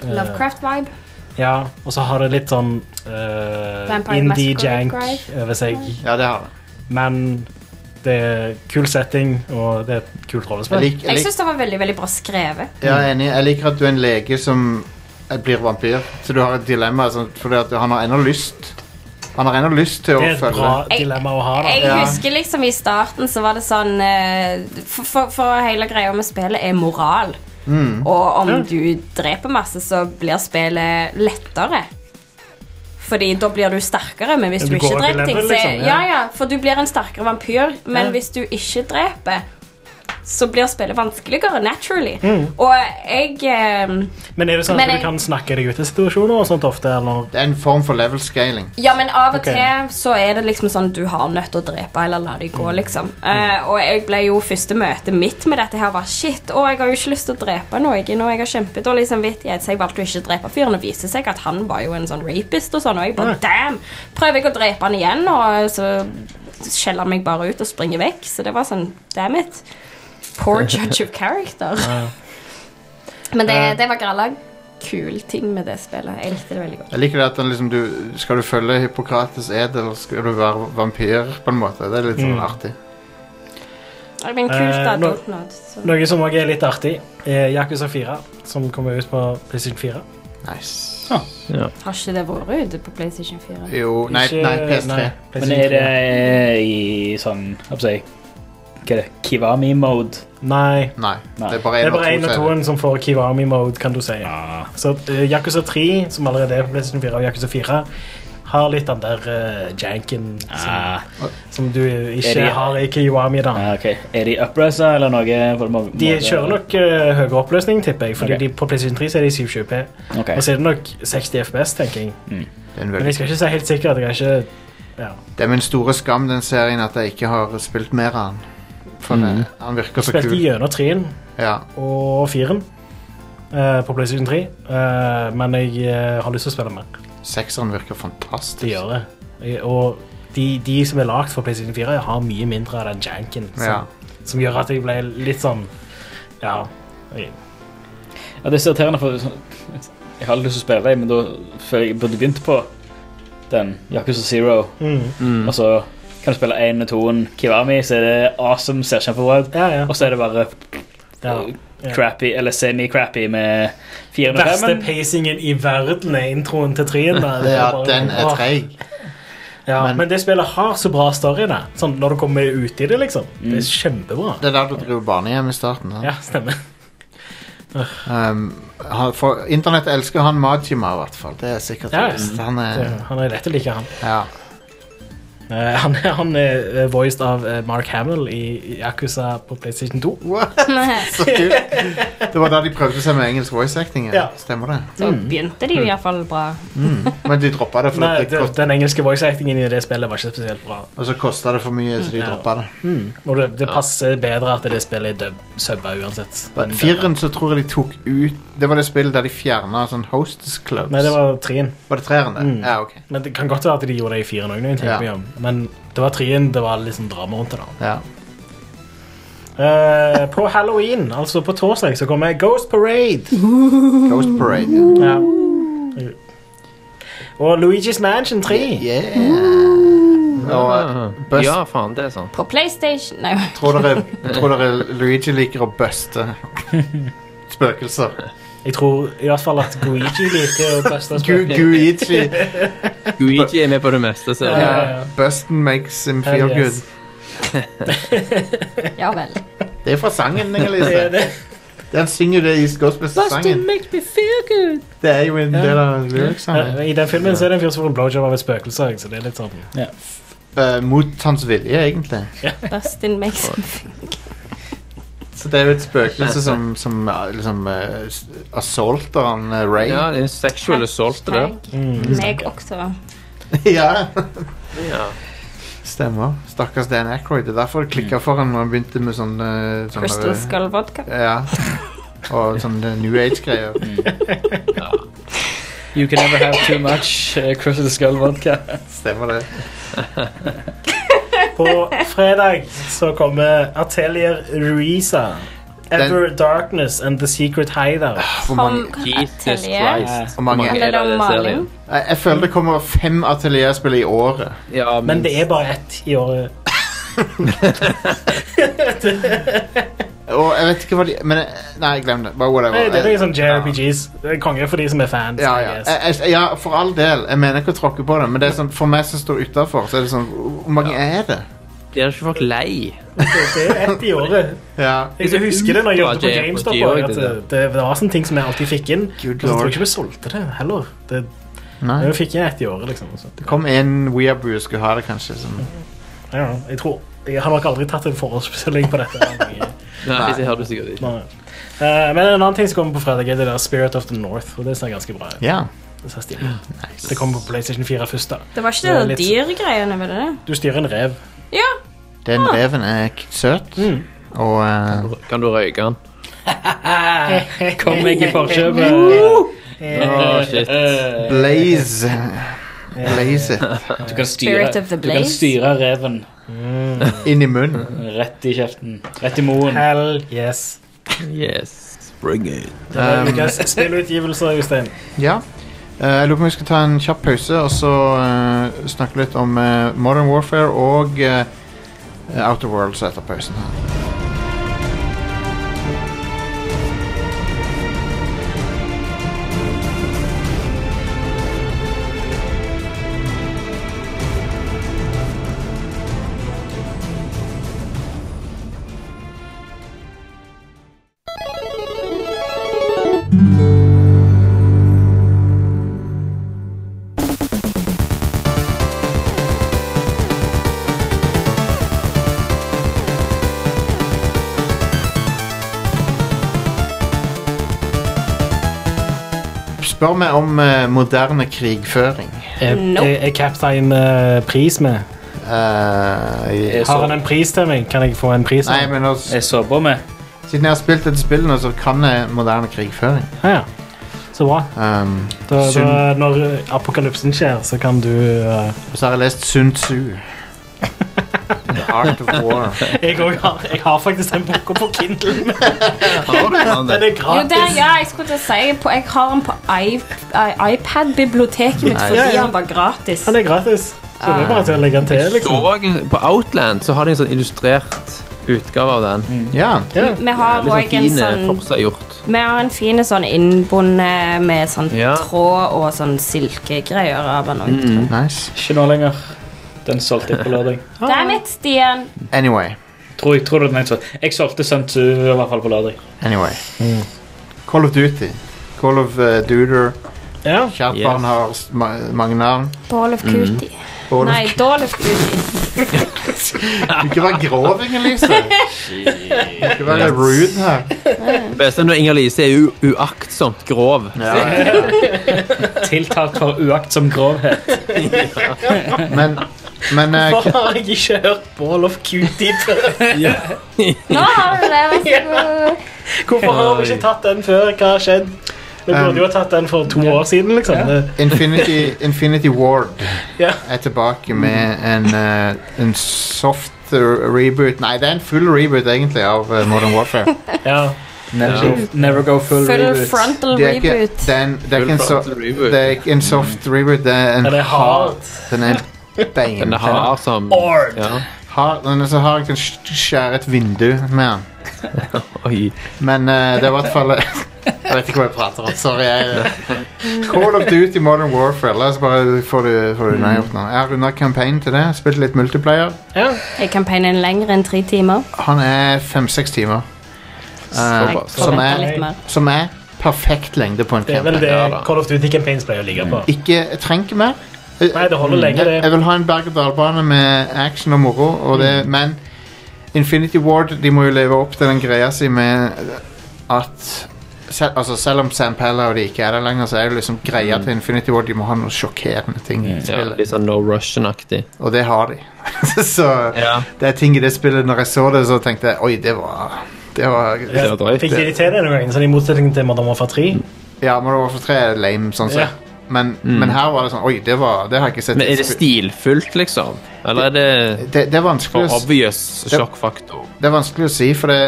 eh, Lovecraft-vibe. Ja, og så har det litt sånn eh, Vampire indie-jank Masquerade-vibe. over seg. Ja, det har det. Men det er kul setting, og det er et kult rollespill. Jeg lik- Jeg syns det var veldig veldig bra skrevet. Ja, jeg er enig. Jeg liker at du er en lege som blir vampyr. Så du har et dilemma. Sånn, fordi at han har ennå lyst. Han har ennå lyst til å Det er et følge bra dilemma å ha, da. Jeg Ja. husker liksom i starten så var det sånn eh, For, for, for hele greia med spillet er moral. Mm. Og om du dreper masse, så blir spillet lettere. Fordi da blir du sterkere, men hvis Ja, du, du går ikke opp i dreper ting, level, så liksom, ja. ja, ja, For du blir en sterkere vampyr, men Ja. hvis du ikke dreper, så blir spillet vanskeligere, naturally. Mm. Og jeg eh, Men er det sånn Men at jeg- du kan snakke deg ut av situasjoner og sånt ofte? Eller? Det er en form for level scaling. Ja, men av og Ok. til så er det liksom sånn du har nødt til å drepe eller la de gå, liksom. Eh, og jeg ble jo første møte mitt med dette her var shit, å, jeg har jo ikke lyst til å drepe noen, og jeg har kjempedårlig samvittighet, så jeg valgte å ikke drepe fyren. Det viste seg at han var jo en sånn rapist og sånn, og jeg bare damn! Prøver jeg å drepe han igjen, og så skjeller han meg bare ut og springer vekk. Så det var sånn damn it. Poor judge of character. Men det, det var gralla kul ting med det spillet. Jeg likte det veldig godt. Jeg liker det at den liksom, du, Skal du følge Hippokrates ed, eller skal du være vampyr? på en måte Det er litt sånn Mm. artig. Jeg mener, kult Eh, da, nå- Don't Nod. så- Noe som også er litt artig, er Yakuza 4, som kommer ut på PlayStation 4. Nice. Har ikke det vært ute på PlayStation 4? Ikke- Men er det eh, i sånn Hva skal jeg si Hva er det? Kiwami-mode? Nei. Det er Det bare er én og bare en to. av sier det. toen som får Kiwami-mode, kan du si. Så eh, Yakuza 3, som allerede er på PlayStation 4, og Yakuza 4 har litt den der eh, janken som, som du ikke Er de- har i Kiwami. da. Ah, ok. Er de upressa eller noe? For det må, De må- kjører nok eh, høyere oppløsning, tipper jeg, fordi Ok. de, på PlayStation 3 så er de 720P. Ok. Og så er det nok 60 FPS, tenker jeg. Det er en Men jeg veldig- skal ikke si helt sikkert. Jeg kan ikke ja. Det er min store skam, den serien, at jeg ikke har spilt mer av den. For Mm. det, han virker så Spilte kul. gjennom 3-en Ja. og 4-en eh, på PlayStation 3, eh, men jeg eh, har lyst til å spille mer. Sekseren virker fantastisk. De gjør det. Jeg- Og de, de som er lagd for PlayStation 4, har mye mindre av den janken som, Ja. som gjør at jeg ble litt sånn Ja. jeg- Ja, det er så irriterende, for sånn- jeg har lyst til å spille det, men da føler jeg jeg burde begynt på den Yakuza Zero. Mm. Og så kan du spille én og toen Kiwami, så er det awesome, ser kjempebra ut. Og så er det bare ja. crappy, eller semi-crappy med Verste 405. pacingen i verden er introen til 3-en. da. Det er Ja, bare- den er Åh. treig. Ja, men, det spillet har så bra story, da. Sånn, når du kommer ut i det, liksom. Det er kjempebra. Det er der du driver barnehjem i starten. sant? Ja, stemmer. Um, han- for Internett elsker han Majima, i hvert fall. Det er sikkert Ja, visst. ja. Han er, Det- han er lett å like, han. ja. Eh, han, han er eh, voiced av eh, Mark Hamill i Yakuza på PlayStation 2. Så kult. Det var da de prøvde seg med engelsk voice acting. Ja. Stemmer det? Så begynte de i hvert fall bra. Mm. Men de droppa det, for Nei, det det, kost, den engelske voice actingen i det spillet var ikke spesielt bra. og så kosta det for mye, så de Ja. droppa det. Og det, det passer bedre at det spillet er dub- subba uansett. Men Fireren så tror jeg de tok ut Det var det spillet der de fjerna sånn Hostess Clubs. Nei, det var treen. Var det treeren, det? Mm. Ja, ok. Men det kan godt være at de gjorde det i firen òg, Ja. men det var treen det var liksom drama rundt det. da. Ja. Eh, på halloween, altså på torsdag, så kommer Ghost Parade. Ghost Parade, ja. Og Luigi's Mansion 3. Og Bust Ja, faen, det er sånn. På PlayStation Nei. [laughs] tror, dere, tror dere Luigi liker å buste spøkelser? Jeg tror i hvert fall at Guigi liker å beste Gu- [laughs] Guigi. Guigi er med på det meste, så Ja, Busten makes him Hell feel yes. good. Ja vel. Det er fra sangen, Det Inger-Lise. er det. Den synger du i Ghostbusters-sangen. makes me feel good. Det er jo en Ja. del av lyricsene. Eh, I den filmen så er det en fyr som får en blowjob av et spøkelse. også, Så det er litt sånn Eh, mot hans vilje, egentlig. Bustin makes me feel Så det er jo et spøkelse som, som eh, liksom eh, s- assaulter han eh, Ray. Ja, det er en sexual assault, det der. Meg også. [laughs] ja. Ja. Stemmer. Stakkars Dan Aykroyd. Det er derfor det Mm. klikka for han når han begynte med sånn eh, sånn, Crystal eh, Skull Vodka. Ja. Og sånn eh, New Age-greier. Mm. You can never have too much uh, Crystal Skull vodka. Stemmer det. På fredag så kommer Atelier Ruiza. Ever Darkness and The Secret Hideout. Hvor mange- Jesus Christ. Hvor mange Eller det er maling. Jeg, jeg føler det kommer fem atelierspill i året. Men det er bare ett i året. Og jeg vet ikke hva de Men jeg, nei, glem det. Bare whatever. Nei, det er Jeg- sånn JRPGs. Det er konge for de som er fans. ja, I ja. guess. Jeg, jeg, ja, for all del. Jeg mener ikke å tråkke på det, men det er sånn, for meg som står utafor, så er det sånn Hvor mange er det? Blir ikke folk lei? Det er ett i [laughs] året. Ja. Jeg husker det når jeg jobbet på Ja, det er GameStop. på også, GameStop, At det det, det var sånne ting som jeg alltid fikk inn. Men jeg tror lord. ikke vi solgte det heller. Det, Nei. men vi fikk inn ett i året, liksom. Så. Det kom en weeaboo som skulle ha det, kanskje. Sånn. I don't know. Jeg, tror, jeg har nok aldri tatt en forhåndsbestilling på [laughs] dette. Nei, det har du sikkert ikke. Nei. Eh, men en annen ting som kommer på fredag, er det der Spirit of the North. Og det ser ganske bra ut. Ja. Det ser stilig ut. Det kommer på PlayStation 4 først. da Det var ikke Det er det der litt- dyrgreiene, var det det? Du styrer en rev. Ja. Den Ah. reven er k- søt, og eh, Kan du røyke den? Kom meg i forkjøpet. Eh, Åh, shit. eh, Blaze. Blaze it. Du kan styre, Spirit of the du kan Blaze. styre reven Inn i munnen. rett i kjeften. Rett i moen. Hell yes. Um, Yes, bring it. Det er Lukas spillutgivelser, Jostein. Ja. Eh, Jeg lurer på om vi skal ta en kjapp pause og så eh, snakke litt om eh, Modern Warfare og eh, Outer Worlds etter pausen. her. Spør meg om eh, moderne krigføring. Er, er, er Captain eh, pris med? Eh, Har han en pris til meg? Kan jeg få en pris? Nei, men også, Jeg så på meg. Siden jeg har spilt dette spillet, nå, så kan jeg moderne krigføring. Ja, ja. Så bra. Um, Da, da, Sun, når eh, apokalypsen skjer, så kan du eh, og så har jeg lest Sun Tzu. The Art of War. jeg, òg har, jeg har faktisk den boka på Kindle. du? den er Jo, det, gratis. ja, jeg skulle til å si på, Jeg har den på i- i- iPad-biblioteket mitt Nei. fordi Ja, ja. den var gratis. Den er gratis. Så det er bare til å legge den til. liksom. Og på Outland så har de en sånn illustrert utgave av den. Ja. Vi har Litt òg en sånn fin sånn forsa gjort. Vi har en fin sånn innbundet med sånn Ja. tråd og sånn silkegreier av den. også. Nice. Ikke nå lenger. Den solgte jeg på lørdag. Mm. Damn it, Stian. Anyway. Tror jeg, tror det var den jeg solgte. Jeg solgte Sun Tzu i hvert fall på lørdag. Anyway. Call of Duty. Call of uh, Duder. Ja. Kjært Yes. barn har s- ma mange navn. Ball of Mhm. Cootie. Ball of Nei, Doll of Cootie. Du kan ikke være grov, Inger Lise. Du kan ikke være rude her. Det beste er når Inger-Lise er u uaktsomt grov. Tiltalt for uaktsom grovhet. Men, men eh, Hvorfor har jeg ikke hørt Ball of Cutie før? Nå har du det, vær så god. Hvorfor har vi ikke tatt den før? Hva har skjedd? Vi Um, burde jo ha tatt den for to år siden, liksom. Det- Infinity, Infinity Ward Ja. er tilbake med en, eh, en soft eh, reboot Nei, det er en full reboot, egentlig, av eh, Modern Warfare. Ja. Never, go- never go full, Full reboot. frontal Det er ikke, reboot. det er en, det er ikke en, so Full frontal reboot. det er ikke en soft reboot, det er en Ja, det er hardt. Den er bein. Den er hard som Ord. ja. Har, den er så hard, jeg kan sk- skjære et vindu med den. Oi. Men eh, det er i hvert fall [laughs] Jeg vet ikke hva jeg prater om. Sorry. Jeg, Call of Duty Modern Warfare. La oss bare få det få det unnagjort nå. Jeg har runda campaign til det. Spilt litt multiplayer. Ja. Jeg kan pegne den lenger enn tre timer. Han er fem-seks timer. Eh, Jeg som, forventer litt er, mer. som er perfekt lengde på en Det er vel campaign. det Call of Duty Campaigns pleier å ligge på. Ikke Jeg trenger ikke mer. Eh, Nei, det holder lenge, Jeg, jeg det. vil ha en berg-og-dal-bane med action og moro, og det, Mm. men Infinity Ward de må jo leve opp til den greia si med at sel, altså Selv om Sam Pella og de ikke er der lenger, så er det liksom greia Mm. til Infinity Ward de må ha noen sjokkerende ting i Ja, spillet. litt sånn No Russian-aktig. Og det har de. [laughs] så Ja. det er ting i det spillet Når jeg så det, så tenkte jeg Oi, det var Det var Det var drøyt. Fikk de det til denne gangen, sånn i motsetning til Modern Warfare 3? Ja, men det var for tre lame, sånn sett. Ja. Men, men her var det sånn Oi, det var Det har jeg ikke sett Mm. Men i er det spill- stilfullt, liksom? Eller er det det, det er vanskelig for å s- obvious sjokkfaktor? Det er vanskelig å si, for det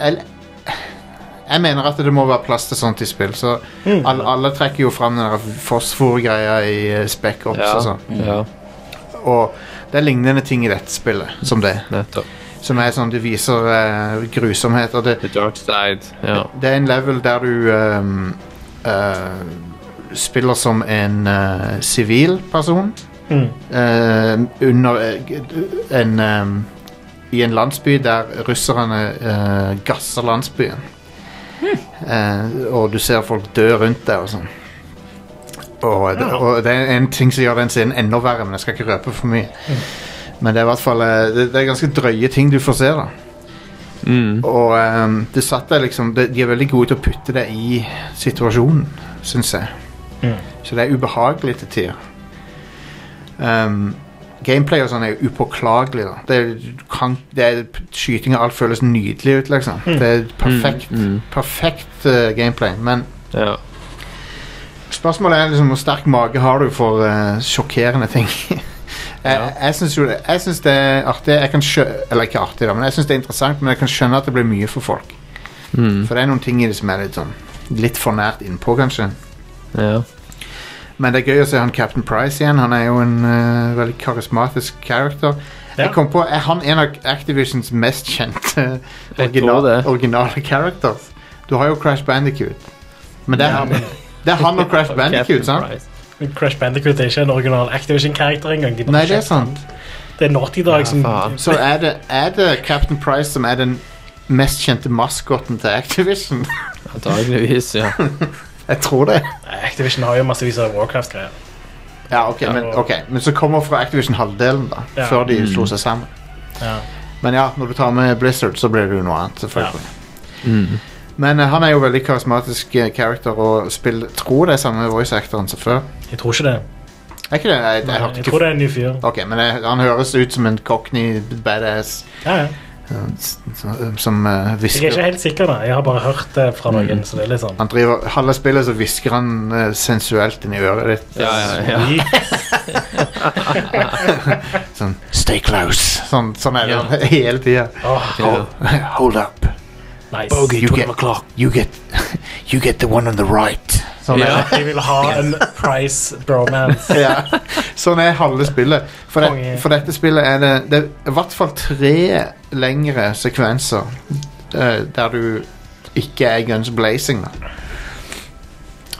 jeg, Jeg mener at det må være plass til sånt i spill. Så alle, alle trekker jo fram den der fosforgreia i eh, Spec Ops Ja, og sånn. ja. Og det er lignende ting i dette spillet som det. Som er sånn, det viser eh, grusomheter. Det, det er en level der du ehm, eh, spiller som en eh, sivil person. Mm. Eh, under eh, en ehm, I en landsby der russerne eh, gasser landsbyen. Eh, og du ser folk dø rundt deg og sånn. Og, det- og det er en ting som gjør den scenen enda verre, men jeg skal ikke røpe for mye. Men det er i hvert fall eh, det, det er ganske drøye ting du får se, da. Mm. Og ehm, det satt der liksom det, De er veldig gode til å putte det i situasjonen, syns jeg. Mm. Så det er ubehagelig til tider. Ehm, gameplay og sånn er jo upåklagelig. Da. Det, er- du kan, det er, skyting og alt føles nydelig ut, liksom. Mm. Det er perfekt, Mm, mm. perfekt eh, gameplay, men Spørsmålet er liksom hvor sterk mage har du for eh, sjokkerende ting. [laughs] jeg jeg syns jo det, jeg synes det er artig. Jeg kan skjø eller ikke artig, da, men jeg synes det er interessant, men jeg kan skjønne at det blir mye for folk. For det er noen ting i det som er litt sånn Litt for nært innpå, kanskje. Men det er gøy å se han Captain Price igjen. Han er jo en eh, veldig karismatisk character. Jeg kom på, Er han en av Activisions mest kjente originale, originale characters? Du har jo Crash Bandicoot. Men det er, Ja, men- han, det er han og Crash Bandicoot, sant? Crash Bandicoot er ikke en original Activision-karakter engang. De bare Nei, det er kjøpte sant. den. Det er Naughty Dog som Så er det, er det Captain Price som er den mest kjente maskotten til Activision? Antageligvis, ja. [laughs] Jeg tror det. Nei, Activision har jo massevis av Warcraft-greier. Ja, ok, Ja. Men, ok, men så kommer fra Activision halvdelen, da. Ja. Før de Mm. slo seg sammen. Ja. Men ja, når du tar med Blizzard, så blir det jo noe annet, selvfølgelig. Men eh, han er jo veldig karismatisk eh, character og spiller Tror det er samme voice actoren som før. Jeg tror ikke det. Er ikke det? Jeg, jeg, Nei, hørte jeg ikke- tror det er en ny fyr. Ok, men jeg, han høres ut som en cockney badass Ja, ja. eh, s- som, som eh, Jeg er hvisker ikke helt sikker, da. Jeg har bare hørt det fra noen. Mm. så det er litt sånn Han driver halve spillet, så hvisker han eh, sensuelt inn i øret ditt. Ja, ja, ja. sånn Stay close. Sånn, sånn er det [laughs] hele tida. Åh. Hold, hold up. Nice. Bogey, you, get, you, get, you get the one on the right. Sånn ja. er det. Jeg vil ha en Price [laughs] bromance. ja. Sånn er halve spillet. For, det, for dette spillet er det, det er i hvert fall tre lengre sekvenser eh, der du ikke er Guns Blazing. Da.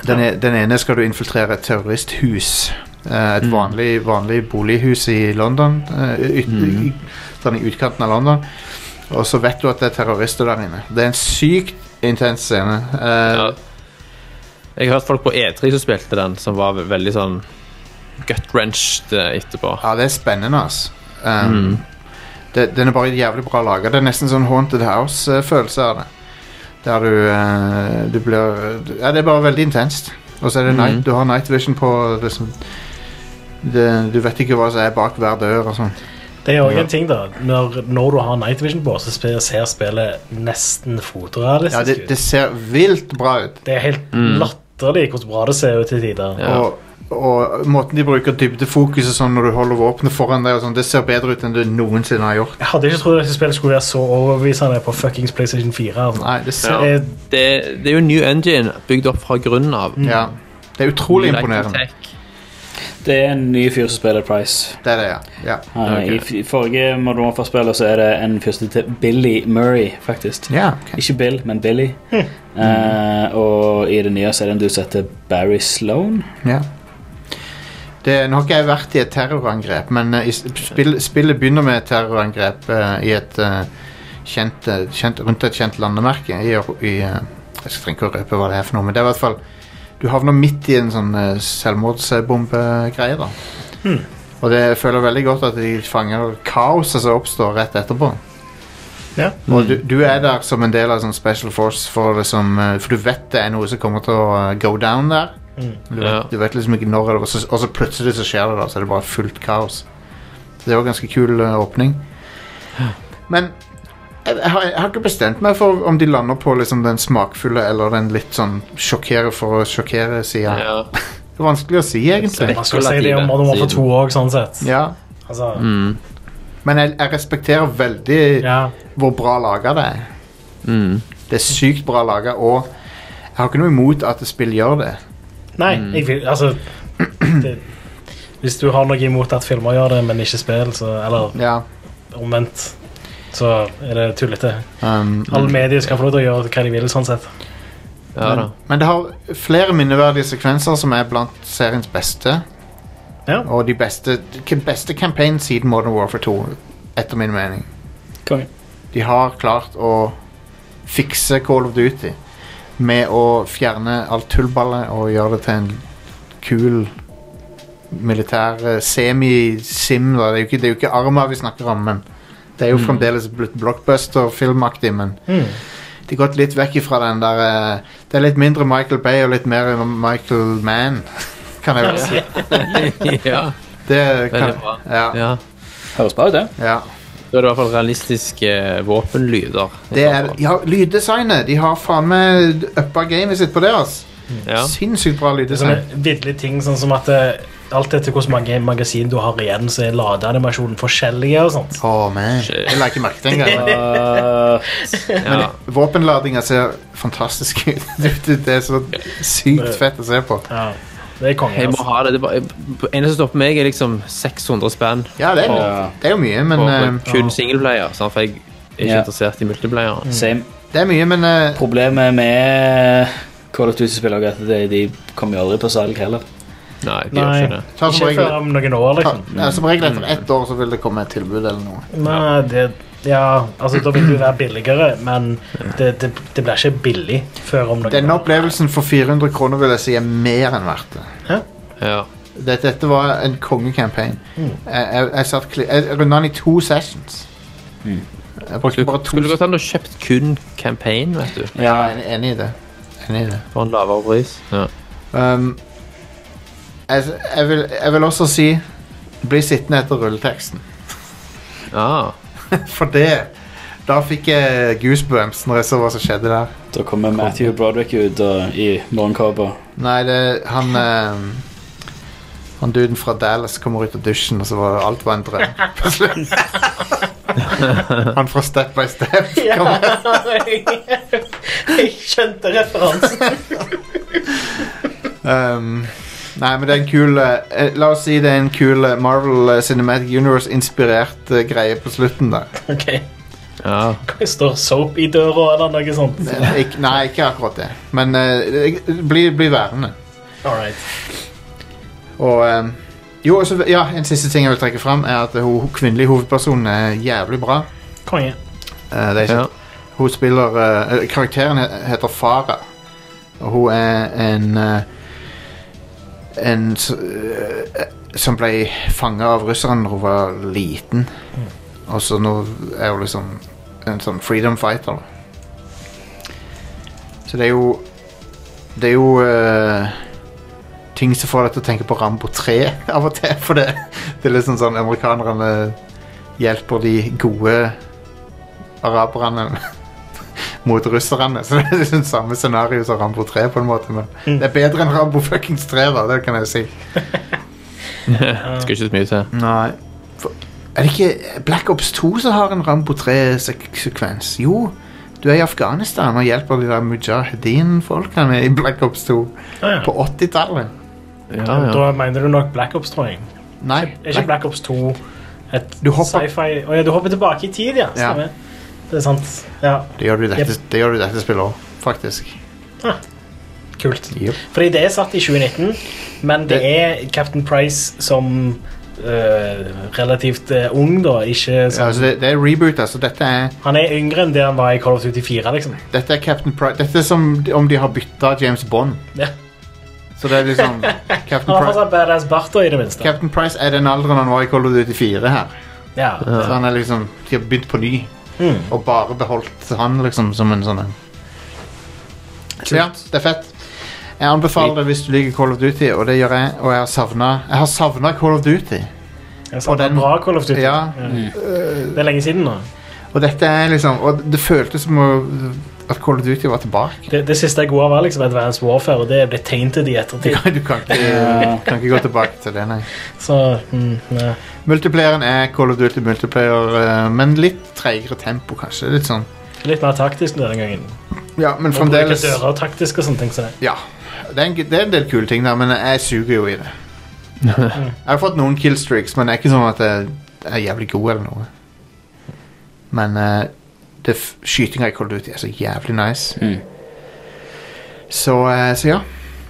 Den, e- den ene skal du infiltrere et terroristhus. eh, et vanlig, vanlig bolighus i London. eh, yt, i- Sånn i utkanten av London. Og så vet du at det er terrorister der inne. Det er en sykt intens scene. Eh, Jeg har hørt folk på E3 som spilte den, som var ve- veldig sånn gut-wrenched eh, etterpå. Ja, det er spennende, ass. Um, Mm. det, den er bare jævlig bra laga. Det er nesten sånn Haunted House-følelse av det. Der du, eh, du blir Ja, det er bare veldig intenst. Og så er det Mhm. night, du har night vision på liksom, det, Du vet ikke hva som er bak hver dør og sånn. Det er òg Ja. en ting, da. Når, når du har Night Vision på, så spe- ser spillet nesten Ja, fotorealistisk det, ut. det ser vilt bra ut. Det er helt Mm. latterlig hvor bra det ser ut til tider. Og, og måten de bruker dybdefokus og sånn når du holder våpenet foran deg, og sånn, det ser bedre ut enn du noensinne har gjort. Jeg hadde ikke trodd dette spillet skulle være så overbevisende på fuckings PlayStation 4. altså. Ja. Det, det er jo en New Engine bygd opp fra grunnen av. Ja. Det er Mm. utrolig imponerende. Det er en ny fyr som spiller Price. Det er det, ja. Han, Ok. I f- i forrige Modern Warfare-spillet så er det en fyr som heter Billy Murray, faktisk. Ikke Bill, men Billy. Eh, og i det nye så er det en dude som heter Barry Sloan. Ja. Det, nå har ikke jeg vært i et terrorangrep, men eh, i s- spill, spillet begynner med et terrorangrep eh, i et, eh, kjent, eh, kjent, rundt et kjent landemerke. I, Euro- i, eh, jeg skal ikke å røpe hva det er for noe, men det er i hvert fall Du havner midt i en sånn eh, selvmordsbombegreie, da. Hmm. Og det jeg føler veldig godt at de fanger kaoset som oppstår rett etterpå. Ja. Og du, du er der som en del av sånn Special Force, for, liksom, eh, for du vet det er noe som kommer til å eh, go down der. Mm. Du vet, du vet liksom ikke når det er, og så, og så plutselig så skjer det, da, så er det bare fullt kaos. Så det var ganske kul eh, åpning. Men jeg, jeg, har, jeg har ikke bestemt meg for om de lander på liksom den smakfulle eller den litt sånn sjokkere for å sjokkere-sida. Det er vanskelig å si, egentlig. Man skal si det om Modern Warfare 2 òg, sånn sett. Ja. Mm. Altså, Mm. Men jeg, jeg respekterer veldig hvor bra laga det er. Det er sykt bra laga, og jeg har ikke noe imot at spill gjør det. Nei, Mm. jeg vil Altså [clears throat] det, Hvis du har noe imot at filmer gjør det, men ikke spill, så Eller omvendt, så er det tullete. Um, Alle medier skal få lov til å gjøre hva de vil, sånn sett. men, [laughs] men det har flere minneverdige sekvenser som er blant seriens beste. Og de beste, de beste campaign siden Modern Warfare 2, etter min mening. De har klart å fikse Call of Duty med å fjerne alt tullballet og gjøre det til en kul militær eh, semi-sim. da. Det er jo ikke, det er jo ikke Arma vi snakker om, men det er jo Mm. fremdeles blitt blockbuster-filmaktig. men Mm. de har gått litt vekk ifra den der eh, Det er litt mindre Michael Bay og litt mer Michael Mann, kan jeg vel si. Ja. Det kan, Veldig bra. ja. Høres bra ut, det. Ja. Da er det i hvert fall realistiske eh, våpenlyder. Det er, ja, lyddesignet. De har faen meg uppa gamet sitt på det. ass. Sinnssykt bra Det er sånne lyddesign. vidlige ting, sånn som at eh, alt etter hvor mange magasin du har igjen, så er ladeanimasjonen forskjellige og sånt. Å, man. Jeg la ikke merke til engang. Men Eh, ja. våpenladinga ser fantastisk ut. [laughs] Det det er så sykt fett å se på. Det er konge. Jeg må Altså. ha det. det bare, eneste som stopper meg, er liksom 600 spenn. Ja, det er- For- det er jo mye, men, for- eh, for Kun singleplayer, sant, for jeg er ikke Ja. interessert i multiplayer. Mm. Same. Det er mye, men eh, Problemet med Call of Duty-spill er at de, de kommer jo aldri på salg heller. Nei, de gjør Nei. ikke det. Ta som Ikke regel- før om noen år, liksom. Ja, som regel etter ett år så vil det komme et tilbud eller noe. Nei, det Ja, altså, da vil det være billigere, men det, det, det blir ikke billig før om noen Denne opplevelsen for 400 kroner vil jeg si er mer enn verdt det. Ja. Dette, dette var en kongecampaign. Mm. Jeg, jeg, jeg, satt kli- jeg runda den i to sessions. Jeg brukte bare to Skulle gått an å kjøpt kun campaign, vet du. Ja, jeg er enig i det. Enig i det. For en lavere pris. Ja. Um, jeg, jeg, vil, jeg vil også si Bli sittende etter rulleteksten. For det Da fikk jeg goosebumps når jeg så hva som skjedde der. Da kommer Matthew Broderick ut og, i morgenkåpa. Nei, det, han um, Han duden fra Dallas kommer ut av dusjen, og så var alt var en drøm. han fra Step by Step. kommer- [laughs] Jeg skjønte referansen. Um, nei, men det er en kul eh, La oss si det er en kul eh, Marvel eh, Cinematic Universe-inspirert eh, greie på slutten der. Ok, Ja. det står soap i døra eller noe sånt. Ik nei, Eh, ikke akkurat det. Men eh, det- bli, bli værende. All right. Og ehm, jo, og så- ja, en siste ting jeg vil trekke fram, er at hun hun kvinnelige hovedpersonen er jævlig bra. Konge. Eh, det er ikke, Hun spiller eh, Karakteren he- heter Farah. Og hun er en eh, En s- eh, som ble fanga av russerne da hun var liten. Og så nå er hun liksom en sånn freedom fighter. da. Så det er jo Det er jo eh, ting som får deg til å tenke på Rambo 3 [laughs] av og til. For det, det er liksom sånn amerikanerne hjelper de gode araberne mot russerne. [laughs] Så det er liksom samme scenario som Rambo 3, på en måte. Men Mm. det er bedre enn Rambo fuckings 3, da. Det kan jeg si. Skal ikke så mye til. Nei. For- Er det ikke Black Ops 2 som har en Rambo 3-sekvens? Jo, du er i Afghanistan og hjelper de der mujahedin-folkene i Black Ops 2 Ja, ja. på 80-tallet. Da mener du nok Black Ops, tror jeg. Nei, Er ikke Black Ops 2 et Du hopper- sci-fi Å ja, du hopper tilbake i tid, ja. Ja. Stemmer. Det er sant. Ja. Det gjør du i dette, Yep. det gjør du i dette spillet òg, faktisk. Kult. Yep. Fordi det er satt i 2019, men det er Captain Price som øh, relativt øh, ung, da. Ikke Ja, som altså det, det er reboot, altså. Dette er, Han er yngre enn det han var i Call of Duty 4, liksom. dette er Captain Price Dette er som om de har bytta James Bond. Ja. Så det er [laughs] liksom Han Captain har Price, fortsatt badass bart, da, i det minste. Captain Price er den alderen han var i Call of Duty 4 her. Ja. Så han er liksom De har begynt på ny. Mm. Og bare beholdt han liksom som en sånn en. Så ja, det er fett. Jeg anbefaler det hvis du liker Call of Duty, og det gjør jeg. Og jeg har savna Jeg har savna Call of Duty. Jeg sa det var bra Call of Duty. Ja. Det er lenge siden nå. Og dette er liksom Og det føltes som å, at Call of Duty var tilbake. Det, det siste jeg var, var liksom Advanced Warfare, og det ble tainted i ettertid. Du kan ikke, kan ikke gå tilbake til det, nei. Så, mm, nei. Multiplayeren er Call of Duty multiplayer, eh, men litt treigere tempo, kanskje. Litt sånn Litt mer taktisk denne gangen. Ja, men Og bruke fremdeles dører taktisk og sånne ting som det. Ja. Det er, en, det er en del kule ting der, men jeg suger jo i det. jeg har fått noen killstreaks, men det er ikke sånn at jeg er jævlig god eller noe. Men eh, det f- skytinga i Cold Duty er så jævlig nice. Så, eh, så ja.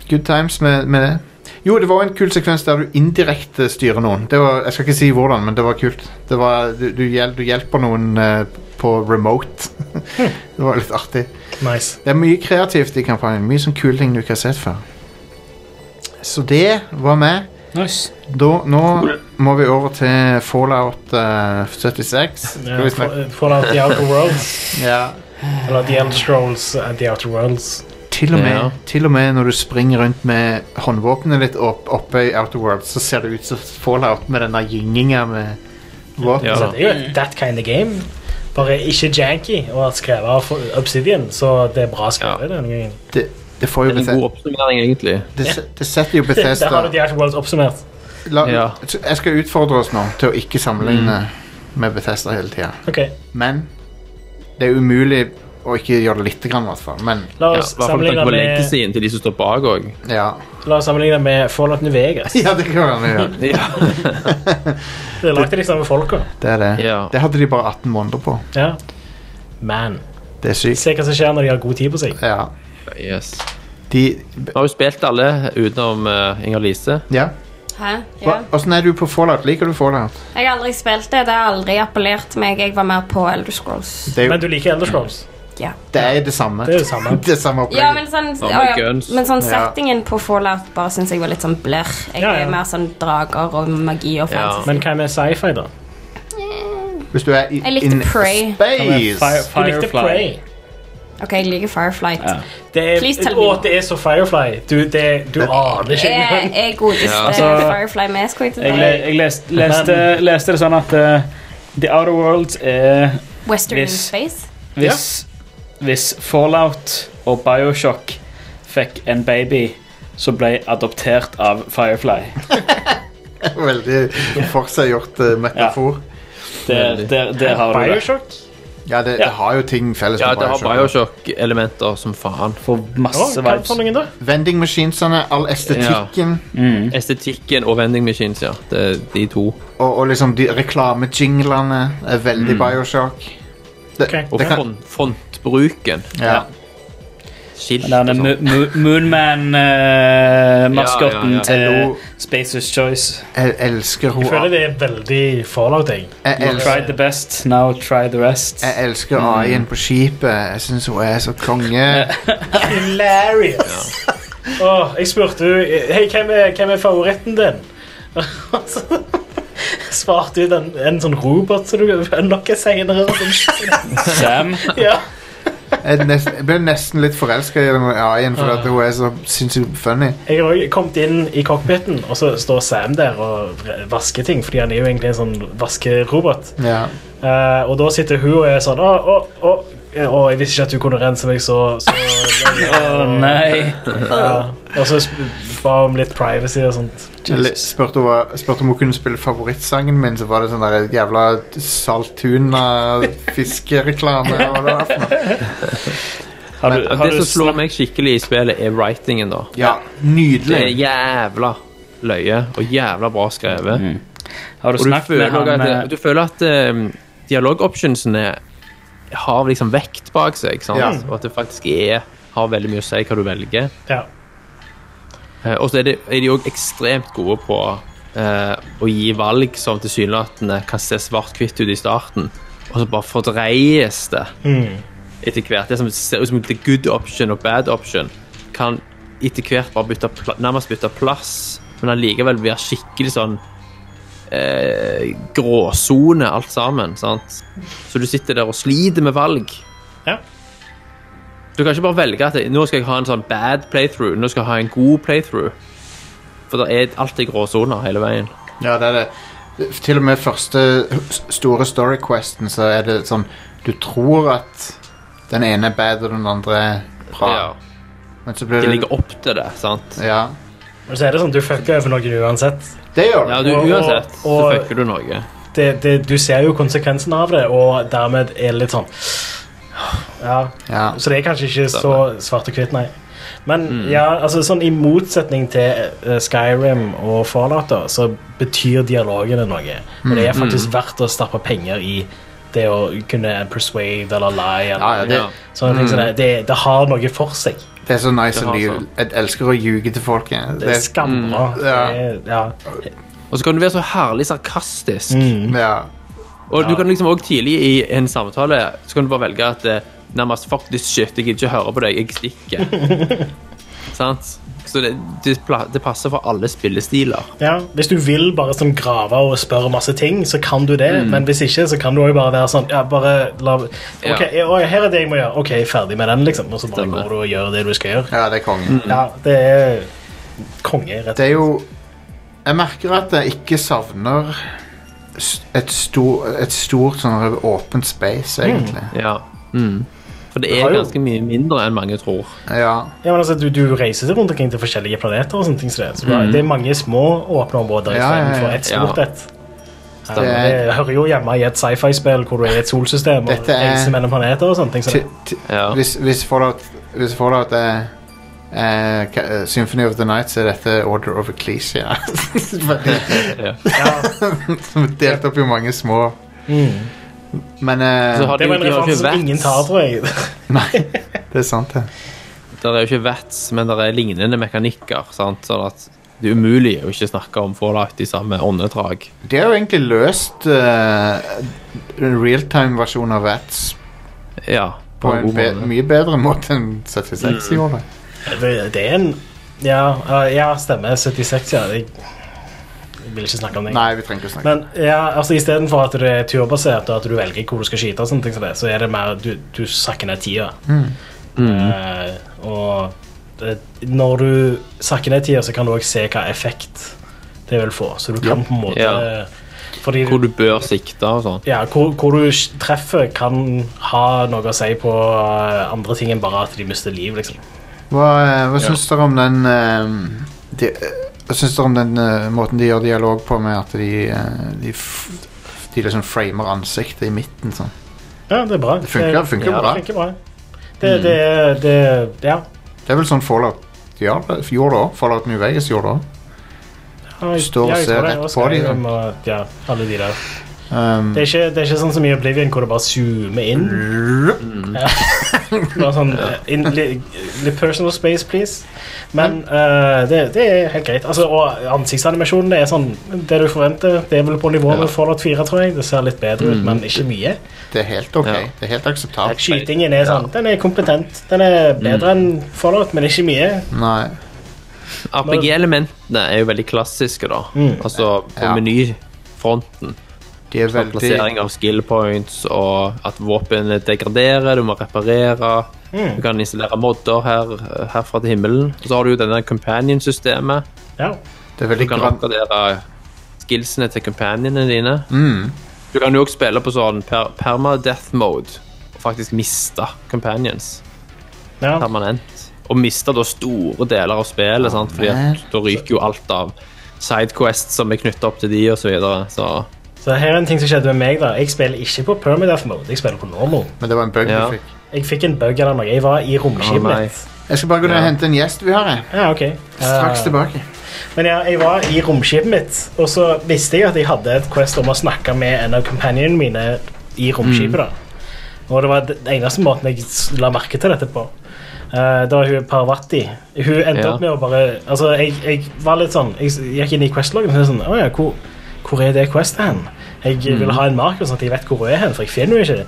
Good times med, med det. Jo, det var en kul sekvens der du indirekte styrer noen. Det var, jeg skal ikke si hvordan, men det var kult. Det var, du, du, hjel, du hjelper noen eh, på remote. [laughs] det var litt artig. Nice. Det er mye kreativt i kampanjen. Mye sånn kule ting du ikke har sett før. Så det var meg. Da, nå må vi over til Fallout eh, 76. Skal vi snakke- Fallout The Outer Worlds. ja. Eller The Elder Scrolls and The Outer Worlds. Til og, med, Ja. til og med når du springer rundt med håndvåpenet litt opp, oppe i Outer World, så ser det ut som Fallout med denne gynginga med våpen. Så det er jo et that kind of game. Bare ikke janky og skrevet av Obsidian, så det er bra skrevet. denne gangen. Det, det får jo Det er en Bethe- god oppsummering, egentlig. det, se- det setter jo Der har du Bethesda The Outer Worlds oppsummert. La, Ja. Jeg skal utfordre oss nå til å ikke sammenligne Mm. med Bethesda hele tida. Ok, Men det er umulig å ikke gjøre det lite grann, i hvert fall. Men La oss Ja, i hvert fall med tanke på sammenligne med- Siden til de som står bak òg. Ja. La oss sammenligne med Fallout New Vegas. [laughs] ja, det kan vi gjøre. Det er lagt av de samme folka. Det er det. Det hadde de bare 18 måneder på. Ja. Man. Det er sykt. Se hva som skjer når de har god tid på seg. Ja. [laughs] Yes. De har jo spilt alle utenom eh, Inger Lise. Ja. Hæ? Ja. Hva- Åssen er du på Fallout? Liker du Fallout? Jeg har aldri spilt det. Det har aldri appellert til meg. Jeg var mer på Elder Scrolls. Men du liker Elder Scrolls? Ja. Det er det samme. Det er det samme. [laughs] det samme opplegget. Ja, men sånn, Oh my å, ja, guns. men sånn Ja. settingen på Fallout bare syns jeg var litt sånn blør. Jeg Ja, ja. er mer sånn drager og magi og fantasy. Men hva med sci-fi, da? Hvis du er i Jeg likte Prey. Du likte Prey. Ok, jeg liker Fireflight. Det er, Please tell me å, more. Eh, det er så Firefly. Du, det, du aner ikke Jeg, engang. jeg godeste Ja. Altså, Firefly, men jeg skulle ikke Jeg, le, jeg leste, leste, leste det sånn at eh, The Outer Worlds er Western hvis- Space. Hvis, hvis Fallout og Bioshock fikk en baby som ble adoptert av Firefly [laughs] Veldig forseggjort uh, metafor. Der- der- der har du det. Bioshock? Ja, det, det har jo ting felles Ja, med det har Bioshock. Bioshock-elementer som faen. For Å, hva er det for noen, da? Vendingmaskinsene, all estetikken Mm. Estetikken og vending machines, ja. Det er de to. og, og liksom de reklamejinglene er veldig Bioshock. Det, Og det kan- font, fontbruken. Ja. Skilt Den der og sånn. Mo- Mo- Moonman-maskotten Ja, ja, ja. til Eh, Hello. Spacer's Choice. Jeg elsker Jeg føler det er veldig Fallout, jeg. You tried the best, now try the rest. Jeg elsker AI-en på skipet. Jeg syns hun er så [laughs] konge. Hilarious. Åh, jeg spurte hun Hei, hvem, er- hvem er favoritten din? [laughs] Og så svarte hun en, en sånn robot som du unlocker senere. og sånn. Sam. Ja. Jeg, nest, jeg ble nesten litt forelska i den AI-en fordi at hun er så sinnssykt funny. Jeg har også kommet inn i cockpiten, og så står Sam der og vasker ting. Fordi han er jo egentlig en sånn vaskerobot. Ja. Eh, og da sitter hun og er sånn Å, å, å. Å, jeg visste ikke at du kunne rense meg så så lenge.» nei. Ja. Og så sp- ba om litt privacy og sånt. Jeg li- Spurte, hun hva- spurte om hun kunne spille favorittsangen min, så var det sånn der jævla Saltuna-fiskereklame. eller hva det var for noe. Har du- har det du som slår meg skikkelig i spillet, er writingen, da. Ja, nydelig. Det er jævla løye og jævla bra skrevet. Har du og snakket med føler han, også eh, at, Du føler at eh, dialogoptionsene har liksom vekt bak seg, sant? Ja. og at det faktisk er, har veldig mye å si hva du velger. Ja. Eh, Og så er, det, er de òg ekstremt gode på eh, å gi valg som tilsynelatende kan se svart-hvitt ut i starten, og så bare fordreies det Mm. etter hvert. Det som ser ut som the good option og bad option, kan etter hvert bare bytte pla nærmest bytte plass, men allikevel være skikkelig sånn eh, gråsone, alt sammen. sant? Så du sitter der og sliter med valg. Ja. Du kan ikke bare velge at nå skal jeg ha en sånn bad playthrough, nå skal jeg ha en god playthrough. For det er alltid gråsoner hele veien. Ja, det er det. Til og med første s- store story questen, så er det sånn Du tror at den ene er bad, og den andre er bra. Ja. Men så blir det Det ligger opp til det, sant? Ja. Men så er det sånn, du fucker over noen uansett. Det gjør Ja, du, Og- og- uansett så og- fucker du noe. det, det, du ser jo konsekvensen av det, og dermed er det litt sånn Ja. Ja. Så det er kanskje ikke så svart og hvitt, nei. Men Mm. ja, altså sånn i motsetning til eh, Skyrim og Fallout, da, så betyr dialogene noe. Og det er Mm. faktisk Mm. verdt å stappe penger i det å kunne persuade eller lie. Eller, Ja, ja, det- sånne ting, som Mm. det, det, det har noe for seg. Det er så nice å Det har lyve. sånn. Jeg elsker å ljuge til folk. jeg. Det er Mm. skambra. Det Ja. er- Ja. Og så kan du være så herlig sarkastisk. Mm. Ja. Og du kan liksom også tidlig i en samtale Så kan du bare velge at eh, Nærmest fuck this shit, jeg gidder ikke høre på deg, jeg stikker. [laughs] Sant? Så det, det, pla- det passer for alle spillestiler. Ja, hvis du vil bare sånn grave og spørre masse ting, så kan du Mm. det. Men hvis ikke, så kan du også bare være sånn ja, bare la, Ok, Ja. ja. oi, Her er det jeg må gjøre. Ok, ferdig med den, liksom. Og så bare går du og gjør det du skal gjøre. Ja, det er konge. Ja, det er konge, rett og slett. Det er jo Jeg merker at jeg ikke savner s- et, stor, et stort sånn åpent space, egentlig. Ja. Mm. For det Det har er jo- ganske mye mindre enn mange tror. Ja. Ja, men altså, du, du reiser seg rundt omkring til forskjellige planeter. og sånne ting som det. er. Så bare- Mhm. Det er mange små åpne områder Ja, ja, ja. istedenfor ett stort Ja. et. Ja, det, hører jo hjemme i et sci-fi-spill hvor du er i et solsystem og Dette er- reiser mellom planeter. og sånne ting som det. Ti- ti- Hvis, hvis Fallout, hvis Fallout er eh, ka- eh, Symphony of the Night, så er dette Order of Ecclesia. [laughs] Ja. Som er delt opp i mange små Mm. Men eh, Så har Det var en de- de har ikke referanse som vært- ingen tar, tror jeg. Det er sant, det. Der er jo ikke vets, men der er lignende mekanikker. Sant? Sånn at det er umulig å ikke snakke om Fallout i samme åndedrag. De har jo egentlig løst eh, realtime-versjonen av VATS Ja, på, på en en god be måte. mye bedre måte enn 76 Mm. gjorde. [laughs] Det, det er en Ja, eh, ja stemmer. 76, ja. Jeg, jeg vil ikke snakke om det. Nei, vi trenger ikke å snakke. Men ja, altså istedenfor at det er turbasert, og at du velger hvor du skal skyte, og sånne ting som det, så er det mer du, du sakker ned tida. Eh, og det, når du sakker ned tida, så kan du òg se hva effekt det vil få. Så du kan Ja. på en måte Ja. Fordi Hvor du bør sikte og sånn. ja, hvor, hvor du sh- treffer, kan ha noe å si på eh, andre ting enn bare at de mister liv, liksom. Hva, eh, hva Ja. syns dere om den eh, de, eh, Hva syns dere om den eh, måten de gjør dialog på, med at de, eh, de, f de liksom framer ansiktet i midten sånn? Ja, det er bra. Det funker- funker ja, bra. Det funker bra. Det, det, det, ja. Det er vel sånn Fallout gjør det- gjorde det òg? Fallout New Vegas gjorde det òg? Ja, jeg- Står og ja, jeg ser tror det, rett og på de, Skyrim sånn. og- Ja, alle de der. Um, Det er ikke, det er ikke sånn som i Oblivion, hvor det bare zoomer inn. Ja. bare sånn eh, in, li, Litt personal space, please. Men eh, det, det er helt greit. Altså, og ansiktsanimasjonen det er sånn det du forventer. Det er vel på nivå med Fallout 4, tror jeg. Det ser litt bedre ut, Mm. men ikke mye. det er helt ok. Det er helt akseptabelt. Skytingen er sånn Den er kompetent. Den er Mm. bedre enn Fallout, men ikke mye. Nei. RPG-elementene er jo veldig klassiske, da. Mm. Altså på Ja. menyfronten. De er veldig... Plassering av skill points og at våpenet degraderer, du må reparere. Mm. Du kan installere modder her, eh, herfra til himmelen. Og så har du jo denne companion-systemet. Ja. Det er veldig du kan gran- oppgradere skillsene til companionene dine. Mm. Du kan jo også spille på sånn per perma-death mode og faktisk miste companions Ja. permanent. Og miste da store deler av spillet, sant? Fordi at da ryker jo alt av sidequests som er knytta opp til de, og så videre. Så Så her er en ting som skjedde med meg. da Jeg spiller ikke på permadeath mode, jeg spiller på normal. Men det var en bug Ja. du fikk. Jeg fikk en bug eller noe. Jeg var i romskipet Å, nei. mitt. Jeg skal bare gå ned og Ja. hente en gjest vi har, jeg. Ja, ok. Straks Eh, tilbake. Men ja, jeg var i romskipet mitt, og så visste jeg at jeg hadde et quest om å snakke med en av companionene mine i romskipet. Mm. da Og det var den eneste måten jeg s- la merke til dette på. Eh, det var hun Parvati. Hun endte Ja. opp med å bare Altså, jeg, jeg var litt sånn Jeg s- gikk inn i Quest-loggen og så sånn Å ja, hvor, hvor er det Questet hen? Jeg vil Mhm. ha en marker sånn at jeg vet hvor hun er hen, for jeg finner henne ikke.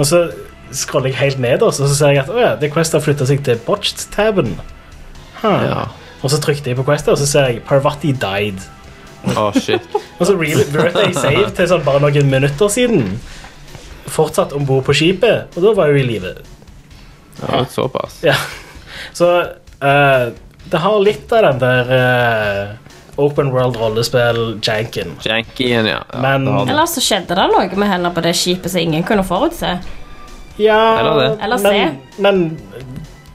Og så scroller jeg helt nederst, og så ser jeg at å ja, det Quest har flytta seg til botched-taben. Huh. Ja. Og så trykte jeg på Quest, og så ser jeg Parvati died. Å, shit. Og så [laughs] reverta jeg save til sånn bare noen minutter siden. Fortsatt om bord på skipet, og da var hun i live. Ja, såpass. Ja. Så eh, det har litt av den der eh, open world-rollespill-janken. Jankien, ja. ja Men- det har det. Eller så skjedde det noe med henne på det skipet som ingen kunne forutse. Ja, Eller det. Eller men, men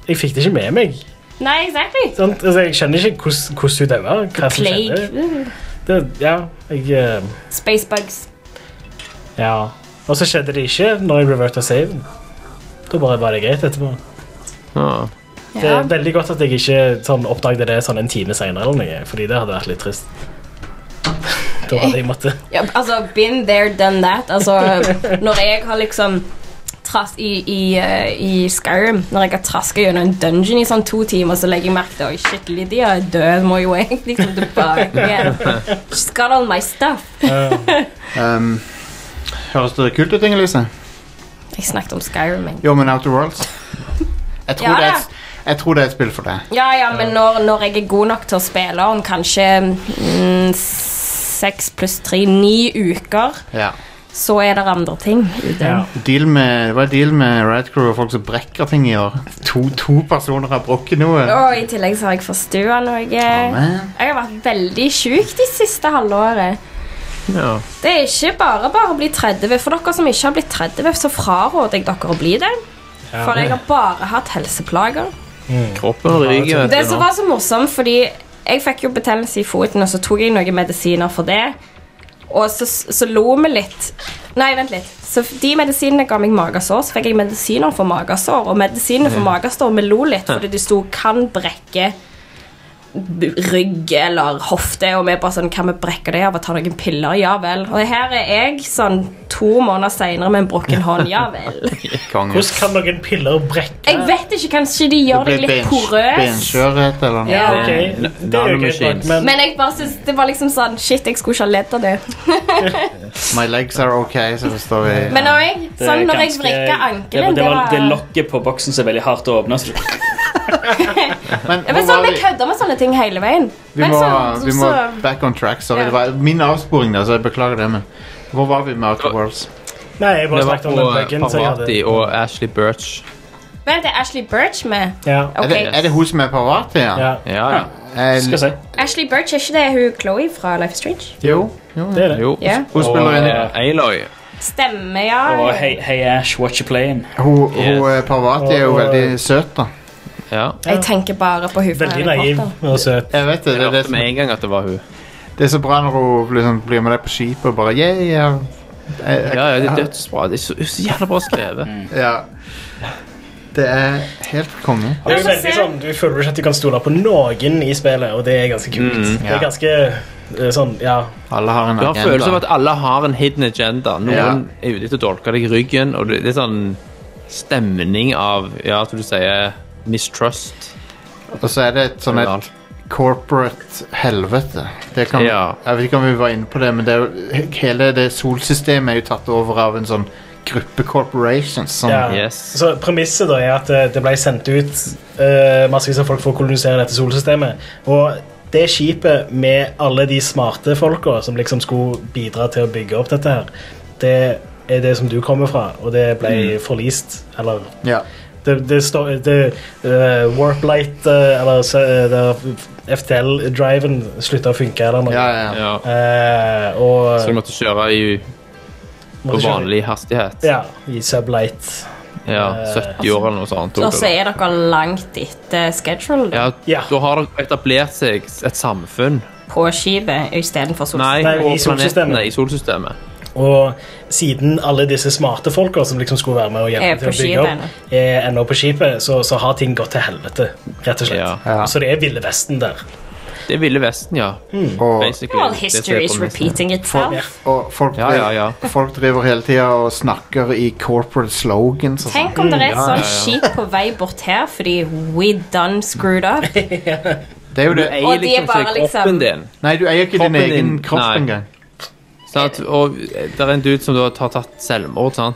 jeg fikk det ikke med meg. Nei, exactly. Sant? Altså, jeg skjønner ikke hvordan- hvordan hun døde. Hva som Plague. skjedde. Det, ja, jeg eh, Space bugs. Ja. Og så skjedde det ikke når jeg reverta saven. Da bare var det greit etterpå. Ah. Det er veldig godt at jeg ikke sånn, oppdaget det sånn en time senere, eller noe, fordi det hadde vært litt trist. da hadde jeg måttet Ja, altså, been there, done that. [laughs] Altså, når jeg har liksom tras i, i, eh, i Skyrim, når jeg har traska gjennom en dungeon i sånn to timer, så legger jeg merke til Oi, shit, Lydia er død, må jo jeg liksom [laughs] tilbake igjen. She's got all my stuff. Um, høres det kult ut, Inger-Lise? Jeg snakket om Skyrim. Jeg. Jo, men Outer Worlds? Jeg tror, Ja, det er ja. et, jeg tror det er et spill for deg. Ja, ja, men når, når jeg er god nok til å spille om kanskje mm, seks pluss tre, ni uker, Ja. så er det andre ting. ute. Deal med, det var et deal med Riot Crew og folk som brekker ting i år. To, to personer har brukket noe. Og i tillegg så har jeg forstua noe. Amen. Jeg har vært veldig sjuk de siste halvåret. Ja. Det er ikke bare bare å bli 30. For dere som ikke har blitt 30, så fraråder jeg dere å bli det. Ja. For jeg har bare hatt helseplager. Kroppen altså, ryker, vet Det du. som nå. var så morsomt, fordi jeg fikk jo betennelse i foten, og så tok jeg noen medisiner for det. Og så, så lo vi litt. Nei, vent litt. Så de medisinene ga meg magesår, så fikk jeg medisiner for magesår. Og medisinene for Ja. magesår, vi lo litt fordi det sto 'kan brekke b- rygg eller hofte', og vi bare sånn 'Kan vi brekke det av å ta noen piller?' Ja vel. Og her er jeg sånn to måneder seinere med en brukken hånd. Ja vel. [laughs] Konge. Hvordan kan noen piller brekke Jeg vet ikke, kanskje de gjør deg litt porøs? Benskjørhet eller noe. Ja, ok. Det er jo greit nok, men Men jeg bare synes det var liksom sånn Shit, jeg skulle ikke ha ledd av det. My legs are ok, så det står i Men når jeg, Det er sånn, når jeg ganske- vrikker det, var- ankelen, det, var- det det var lokket på boksen som er veldig hardt å åpne. så- Ja, men sånn, Vi kødder med sånne ting hele veien. Vi Men må, sånn, vi så- må så- back on track. Sorry, Ja. det var min avsporing, da, så jeg beklager det. Men hvor var vi med Outer Worlds? Nei, jeg bare Det var snakket om den på eh, buggen. så jeg hadde- Parvati og Ashley Birch. Vent, det er Ashley Birch med. Er, det, er Ok. det hun som er Parvati? Ja. Ja, ja. Skal se. Ashley Birch, er ikke det hun Chloé fra Life is Strange? Jo. jo. Det er det. Jo. Ja. Hun spiller og, inn- eh, Aloy. Stemmer, ja. Og hey, hey Ash, what you playing? Hun, hun eh, Parvati er jo Og- veldig søt, da. Ja. Jeg tenker bare på hun fra Harry Potter. og søt. Jeg vet det. Det, Jeg er det, lærte som, med en gang at det var hun. det er så bra når hun liksom blir med deg på skipet og bare yeah, yeah. Jeg- Ja, ja, det er jeg- dødsbra. Det er så, så jævla bra skrevet. Ja. Det er helt konge. Det er jo veldig sånn, Du føler ikke at du kan stole på noen i spillet, og det er ganske kult. Mm, Det ja. er ganske eh, sånn, ja Alle har en Du har følelsen av at alle har en hidden agenda. Noen Ja. er ute etter å dolke deg i ryggen, og det det er sånn stemning av Ja, som du sier, mistrust. Og så er det et sånn et corporate helvete. Det kan, Ja. Jeg vet ikke om vi var inne på det, men det er, jo- hele det solsystemet er jo tatt over av en sånn gruppe corporations. Som, Ah, Ja. Så Premisset da er at eh, det ble sendt ut eh, massevis av folk for å kolonisere dette solsystemet. Og det skipet med alle de smarte folka som liksom skulle bidra til å bygge opp dette her, det er det som du kommer fra, og det ble Mm. forlist, eller Ja. Det, det står det, eh, Warplight eh, eller så, eh, det- FTL-driven slutta å funke eller noe. Ja. Eh, og Så du måtte kjøre i på Måtte kjøre. vanlig hastighet. Ja, i sublight. Ja, Eh, 70 år eller noe sånt. tok Og det. så er dere langt etter schedule da. Ja, Da har det etablert seg et samfunn. på skipet istedenfor Nei, solsystemet. og planetene i solsystemet. Og siden alle disse smarte folka som liksom skulle være med og Er hjelpe til på å bygge skipet opp, er ennå på skipet, så, så har ting gått til helvete, rett og slett. Så det er Ville Vesten der. Det er Ville Vesten, ja. Og, Basically, Well, Mm. history is repeating itself. og folk, Ja, ja, ja. folk driver hele tida og snakker i corporate slogans. og Tenk sånn. om det er sånn skip på vei bort her fordi we done screwed up. Det er jo det. Du eier Og de er liksom bare ikke kroppen liksom- din. Nei, du eier ikke din egen kropp engang. Sånn at, og det er en dude som da har tatt selvmord, sant?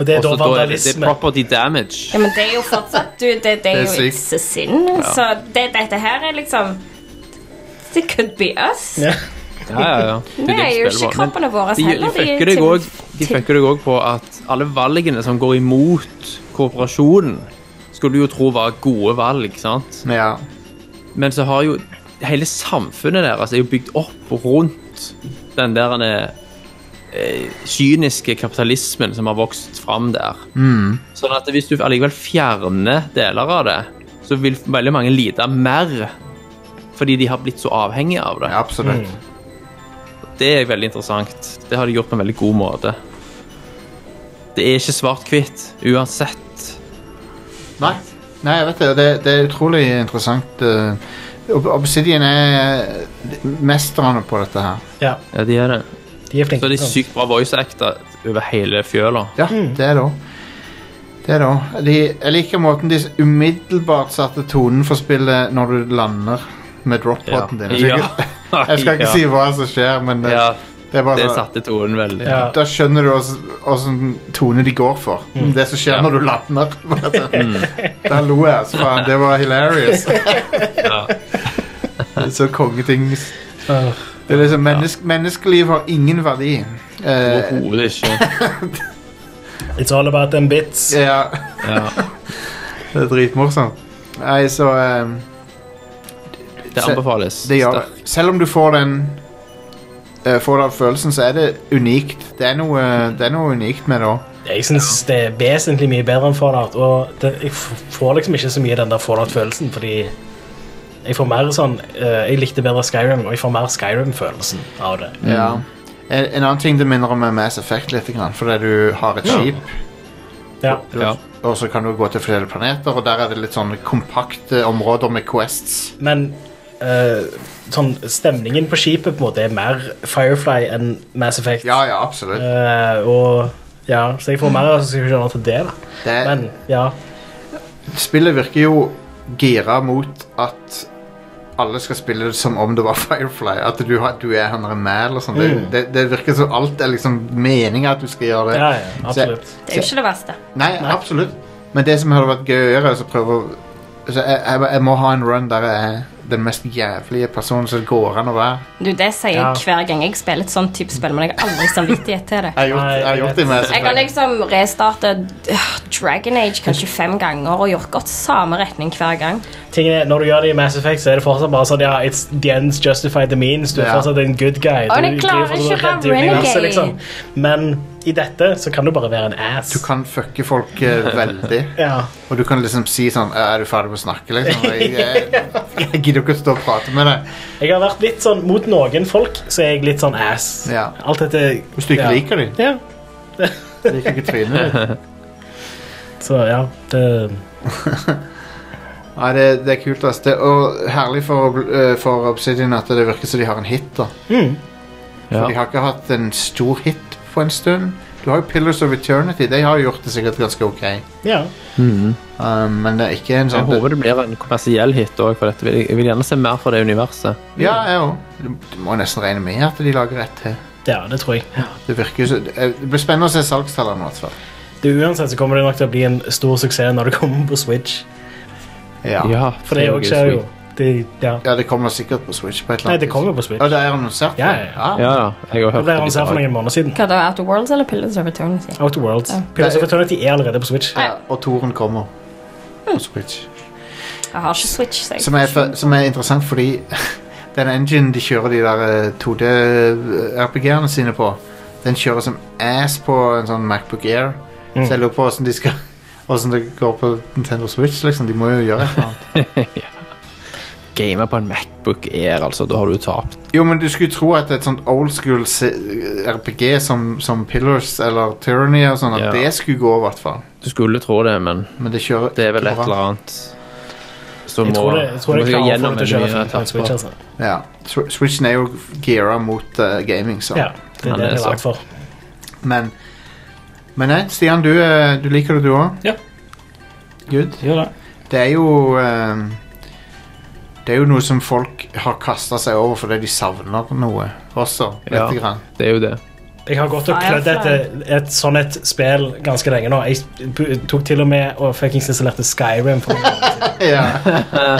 Og det er da Også det vandalisme. er property damage. Ja, men det er jo fortsatt du, det, det er Det er jo sykt. ikke synd. Ja. Så det, dette her er liksom It could be us. Ja. Ja, ja, ja. Det er Nei, det de jo ikke spiller på. Men kroppene våre de- heller, De de fucker deg til- også- de fucker deg òg på at alle valgene som går imot korporasjonen, skulle du jo tro var gode valg, sant? Ja. Men så har jo hele samfunnet deres er jo bygd opp rundt den der derne, eh, kyniske kapitalismen som har vokst fram der. Mm. Sånn at hvis du allikevel fjerner deler av det, så vil veldig mange lide mer fordi de har blitt så avhengige av det. absolutt. Mm. Det er veldig interessant. Det har de gjort på en veldig god måte. Det er ikke svart-hvitt uansett. Nei, Nei jeg vet det. og Det, det er utrolig interessant. eh, Ob- Obsidian er eh, mesterne på dette her. Ja. Ja, de er det. De er flinke. Så er de sykt bra voice actor over hele fjøla. Ja, det er det òg. Det er det også. De, jeg liker måten de s- umiddelbart satte tonen for spillet når du lander med drop-poten Ja. din. Jeg, skal Ja. ikke- [laughs] jeg skal ikke [laughs] Ja. si hva som skjer, men det, Ja, det er bare Det sånn- satte tonen veldig. Da skjønner du åssen tone de går for. Mm. Det som skjer Ja. når du lander. Bare sånn. Der lo jeg, altså. Faen, det var hilarious. Så kongeting Det er liksom menneske, Menneskeliv har ingen verdi. Eh, Overhodet [laughs] ikke. It's all about them bits. Ja. [laughs] det er dritmorsomt. Nei, så eh, Det se- anbefales Det gjør, sterkt. selv om du får den eh, Får den følelsen, så er det unikt. Det er noe, det er noe unikt med det òg. Jeg syns det er vesentlig mye bedre enn Fallout. Og det, jeg f- får liksom ikke så mye den der Fallout-følelsen, fordi jeg får mer sånn eh, Jeg likte bedre Skyrim, og jeg får mer Skyrim-følelsen av det. Ja. En, en annen ting det minner om, er Mass Effect litt, grann, fordi du har et Ja. skip. Ja. Du- Og så kan du gå til flere planeter, og der er det litt sånn kompakte områder med quests. Men eh, sånn stemningen på skipet på en måte er mer Firefly enn Mass Effect. Ja, ja, absolutt. Eh, og ja, så jeg får mer assosiasjoner til det, da. Det- Men ja. Spillet virker jo gira mot at alle skal spille det som om det var [laughs] Firefly. At du, har, du er han Remal og sånn. Det, Mm. det, det virker som alt er liksom meninga at du skal gjøre det. Ja, ja, absolutt. Så- Det er jo ikke det verste. Nei, absolutt. Men det som hadde vært gøy å gjøre, er å prøve å så jeg, jeg, jeg må ha en run der jeg er den mest jævlige personen som går an å være. Du, Det sier jeg Ja. hver gang jeg spiller et sånt type spill, men jeg har aldri samvittighet til det. Jeg har gjort, jeg har gjort det med Jeg kan liksom restarte øh, Dragon Age kanskje fem ganger og gjort godt samme retning hver gang. Tingen er, Når du gjør det i Mass Effect, så er det fortsatt bare sånn ja, it's the ends justify the means. Du er Ja. fortsatt en good guy. Å, Du den klarer driver fortsatt ikke og å være redder universet, liksom. renegade. Men i dette så kan du bare være en ass. Du kan fucke folk eh, veldig. Ja. Og du kan liksom si sånn «Ja, Er du ferdig med å snakke, liksom? Jeg, jeg, jeg gidder ikke å stå og prate med deg. Jeg har vært litt sånn Mot noen folk så er jeg litt sånn ass. Ja. Alt dette Hvis du ikke ja. liker dem. Ja. Liker ikke trynet ditt. Så ja, det Nei, det, det er kult. ass. Det, og herlig for, eh, for Obsidian at det virker som de har en hit. da mm. For Ja. de har ikke hatt en stor hit på en stund. Du har jo Pillars of Eternity. De har jo gjort det sikkert ganske ok. Ja. Um, men det er ikke en Jeg sånn håper det blir en kommersiell hit òg, for dette. vil- Jeg vil gjerne se mer fra det universet. Ja, jeg òg. Du, du må nesten regne med at de lager ett til. ja, det tror jeg. Det virker jo så Det det blir spennende å se salgstallene. i hvert fall. Det, uansett så kommer det nok til å bli en stor suksess når det kommer på Switch. Ja. Ja, For det òg skjer jo. Det, ja. Ja, det kommer sikkert på Switch. på et eller Nei, annet det kommer på Switch. Ja, Ah. det er annonsert? Ja, ja, ja. Ja, ja. Jeg har Det hørt ble det i annonsert for dag. noen måneder siden. Hva da, Outer Worlds eller Pillars of Eternity? Outer Worlds. Ja. Pillars of Eternity er allerede på Switch. Ja, og Toren kommer Hm. på Switch. Jeg har ikke Switch, så jeg Som er, fe- som er interessant fordi [laughs] den engine de kjører de der eh, 2D-RPG-ene sine på, den kjører som ass på en sånn Macbook Air. Mm. Så jeg lurer på åssen de skal [laughs] Hvordan det går på Nintendo Switch, liksom. De må jo gjøre et eller annet. Gamer på en Macbook Air, altså. Da har du tapt. Jo, men du skulle tro at et sånt old school se- eh, RPG som, som Pillars eller Tyranny og sånn, at Ja. det skulle gå, i hvert fall. Du skulle tro det, men Men det kjører det er vel ikke et bra. eller annet som Jeg tror må det- jeg tror må jeg vi klarer å få gjennom det til å en kjøre ny fint på en Switch, etappe. altså. Ja. Sw- Switchen er jo gira mot eh, gaming, så. Ja, det er det det er lagd for. Men, men nei, Stian, du, eh, du liker det du òg? Ja. Good. Gjør det. Det er jo eh, Det er jo noe som folk har kasta seg over fordi de savner noe også, Ja, lite grann. det er jo det. Jeg har gått og klødd etter et sånn et spill ganske lenge nå. Jeg p- tok til og med og fuckings installerte Skyrim. For [laughs] noen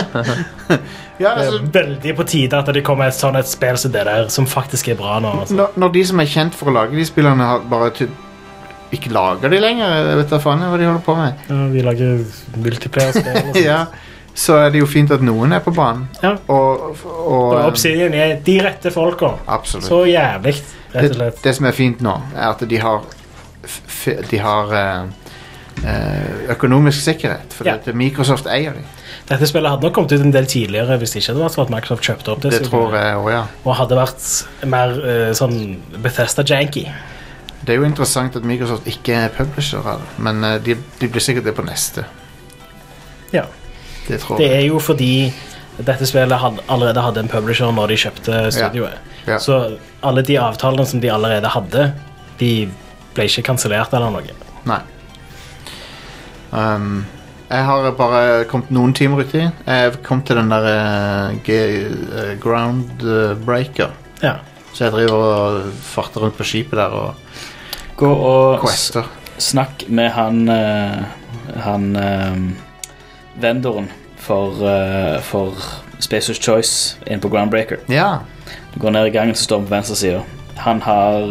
ja, [laughs] det er veldig på tide at det kommer et sånn et spill som det der, som faktisk er bra nå. Altså. Når, når de som er kjent for å lage de spillene, har bare ty ikke lager de lenger, jeg vet da faen hva de holder på med, Ja, vi lager [laughs] multiplayer-spill. og sånt. ja, så er det jo fint at noen er på banen. Ja. Og, og, Og Obsidian er de rette folka. Absolutt. Så jævlig, rett og det, slett. det som er fint nå, er at de har f- f- De har eh, eh, økonomisk sikkerhet, for Ja. at Microsoft eier dem. Dette spillet hadde nok kommet ut en del tidligere hvis det ikke hadde vært for at Microsoft kjøpte opp det. Det så- tror jeg òg, ja. Og hadde vært mer eh, sånn Bethesda-janky. Det er jo interessant at Microsoft ikke er publisher av det, men eh, de, de blir sikkert det på neste. Ja. Det tror Det jeg. er jo fordi dette spillet had, allerede hadde en publisher når de kjøpte studioet. Ja. Så alle de avtalene som de allerede hadde, de ble ikke kansellert eller noe. Nei. Um, jeg har bare kommet noen timer uti. Jeg kom til den der eh, G- eh, Ground eh, Breaker. Ja. Så jeg driver og farter rundt på skipet der og Gå og s- quester. snakk med han eh, Han eh, vendoren for, eh, for Spacer's Choice inne på Groundbreaker. Du går ned i gangen, så står han på venstre side. Han har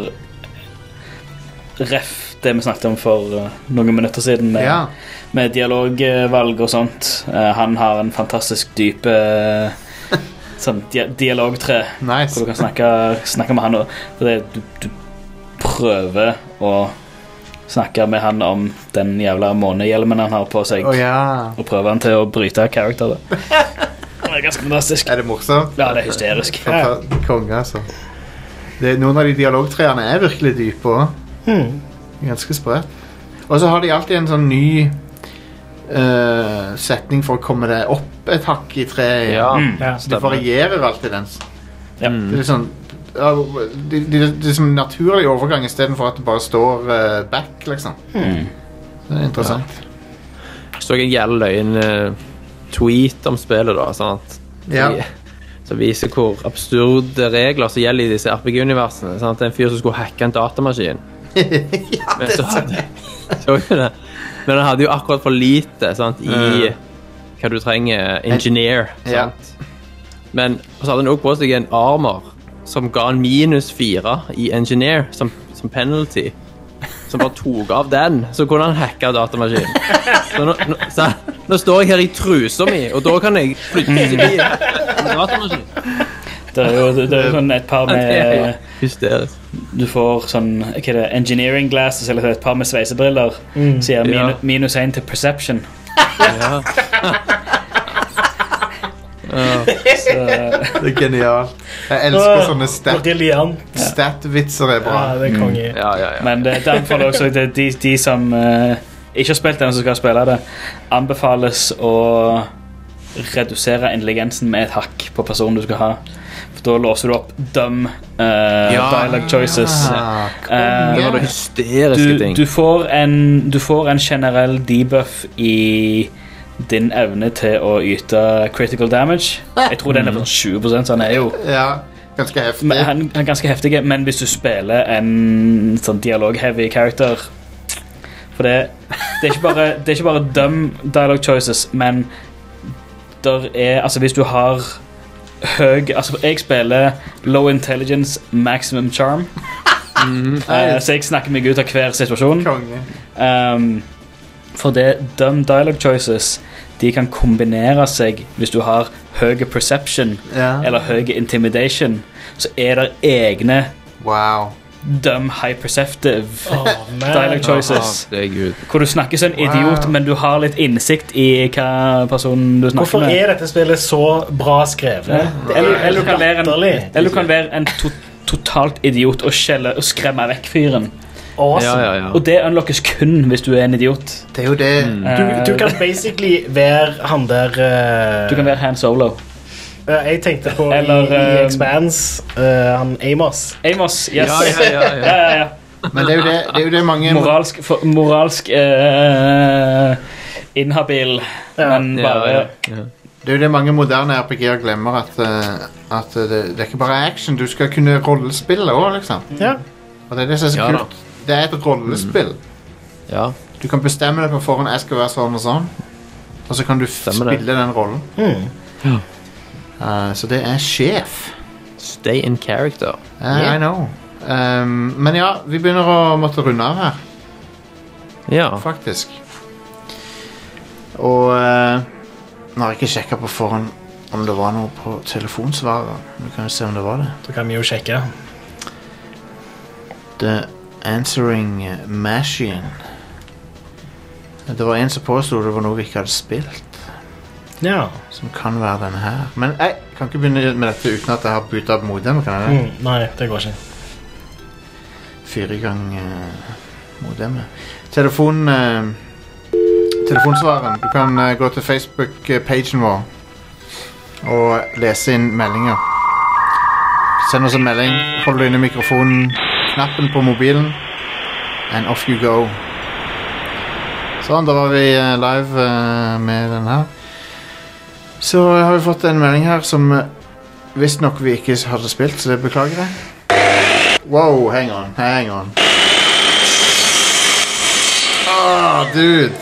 ref det vi snakket om for eh, noen minutter siden, med, Ja. med dialogvalg og sånt. Eh, han har en fantastisk dype eh, [laughs] sånn dia dialogtre nice. hvor du kan snakke, snakke med han. og- For det, du, du prøver å snakke med han om den jævla månehjelmen han har på seg, Å, ja. og prøver han til å bryte character. Da. Det er ganske fantastisk. Er det morsomt? Ja, det er hysterisk. Fanta- Konge, altså. Det, noen av de dialogtrærne er virkelig dype òg. Hmm. Ganske sprøtt. Og så har de alltid en sånn ny eh, setning for å komme deg opp et hakk i treet. Ja, Hmm. Mm. ja, Så det stemmer. varierer alltid den. Det er Mm. litt sånn ja, det, det, det er som en naturlig overgang istedenfor at det bare står eh, back, liksom. Mm. Det er interessant. Jeg så en jævla løgn eh, tweet om spillet, da. Sant? Ja. [laughs] I- Som viser hvor absurde regler som gjelder i disse RPG-universene. Sant? sånn Det er en fyr som skulle hacke en datamaskin. Men så hadde [laughs] så jo det. Men han hadde jo akkurat for lite sant, i Mm. hva du trenger. Engineer. Ja. Sant? Men så hadde han også på seg en armor som ga han minus fire i engineer som, som penalty. Som bare tok av den, så kunne han hacke datamaskinen. Så nå, nå, så, nå står jeg her i trusa mi, og da kan jeg flytte forbi en datamaskin. Det er jo, det er jo sånn et par med Hysterisk. Du får sånn hva er det, engineering glasses eller et par med sveisebriller Mm. som gir minu, Ja. minus én til perception. [laughs] Så, Det er genialt. Jeg Eh, elsker Åh, sånne stat- stat-vitser. er bra. Ja, det er konge. Mm. Men eh, det, det anbefaler også at de, de som eh, ikke har spilt den, som skal spille det, anbefales å redusere intelligensen med et hakk på personen du skal ha. For da låser du opp dumb eh, Ja. dialogue choices. Ja, Eh, konge. Det er hysteriske du, ting. Du får, en, du får en generell debuff i din evne til å yte critical damage. Jeg tror den er på 20 så han er jo Ja, ganske heftig. Men, han, han er ganske heftig, men hvis du spiller en sånn dialog-heavy character For det, det, er ikke bare, det er ikke bare dumb dialogue choices, men der er Altså, hvis du har høy Altså, jeg spiller low intelligence, maximum charm. Eh, så jeg snakker meg ut av hver situasjon. Um, for det dumb dialogue choices De kan kombinere seg hvis du har høy perception Ja. eller høy intimidation. Så er det egne wow. dumb high perceptive man. dialogue choices. Herregud. Hvor du snakker som en idiot, men du har litt innsikt i hva personen du snakker Hvorfor med. er dette spillet så bra skrevet? Det er Eller, jo eller, du kan være latterlig. en, eller du kan være en to totalt idiot og, skjelle, og skremme vekk fyren. Awesome. Ja, ja, ja. Og det unlockes kun hvis du er en idiot. Eh, Det er jo det. Mm. Du, du kan basically være han der eh, Du kan være Han Solo. eh, Jeg tenkte på Eller, i, i eh, Expanse, eh, han Amos. Amos, yes. Ja, ja, ja, [laughs] ja. ja, ja. Men det er jo det, det, er jo det mange Moralsk, for, moralsk eh, inhabil, men bare Det er jo det mange moderne RPG-er glemmer, at, eh, at det, det er ikke bare action. Du skal kunne rollespille òg, liksom. Ja. Og det er det som er så Ja da. Mm. kult. Det er et rollespill. Ja. Du kan bestemme deg på forhånd jeg skal være sånn og sånn, og så kan du f Stemmer det. spille den rollen. Mm. Eh, så det er sjef. Stay in character. Eh, I know. Um, men ja, vi begynner å måtte runde av her. Ja. Faktisk. Og eh, Nå har jeg ikke sjekka på forhånd om det var noe på telefonsvareren. Vi kan jo se om det var det. Da kan vi jo sjekke. The Answering Machine. Det var en som påsto det var noe vi ikke hadde spilt. Ja. Som kan være denne her. Men jeg kan ikke begynne med dette uten at jeg har bytta modem. kan jeg det? Mm, nei, det går ikke. Fire gang eh, modemet. Telefonen eh, telefonsvareren. Du kan eh, gå til Facebook-pagen vår og lese inn meldinger. Send oss en melding. Hold inne mikrofonen, knappen på mobilen, and off you go. Sånn, da var vi eh, live eh, med den her. Så har vi fått en melding her som eh, visstnok vi ikke hadde spilt, så det beklager jeg. Wow, hang on, hang on. Ah, dude.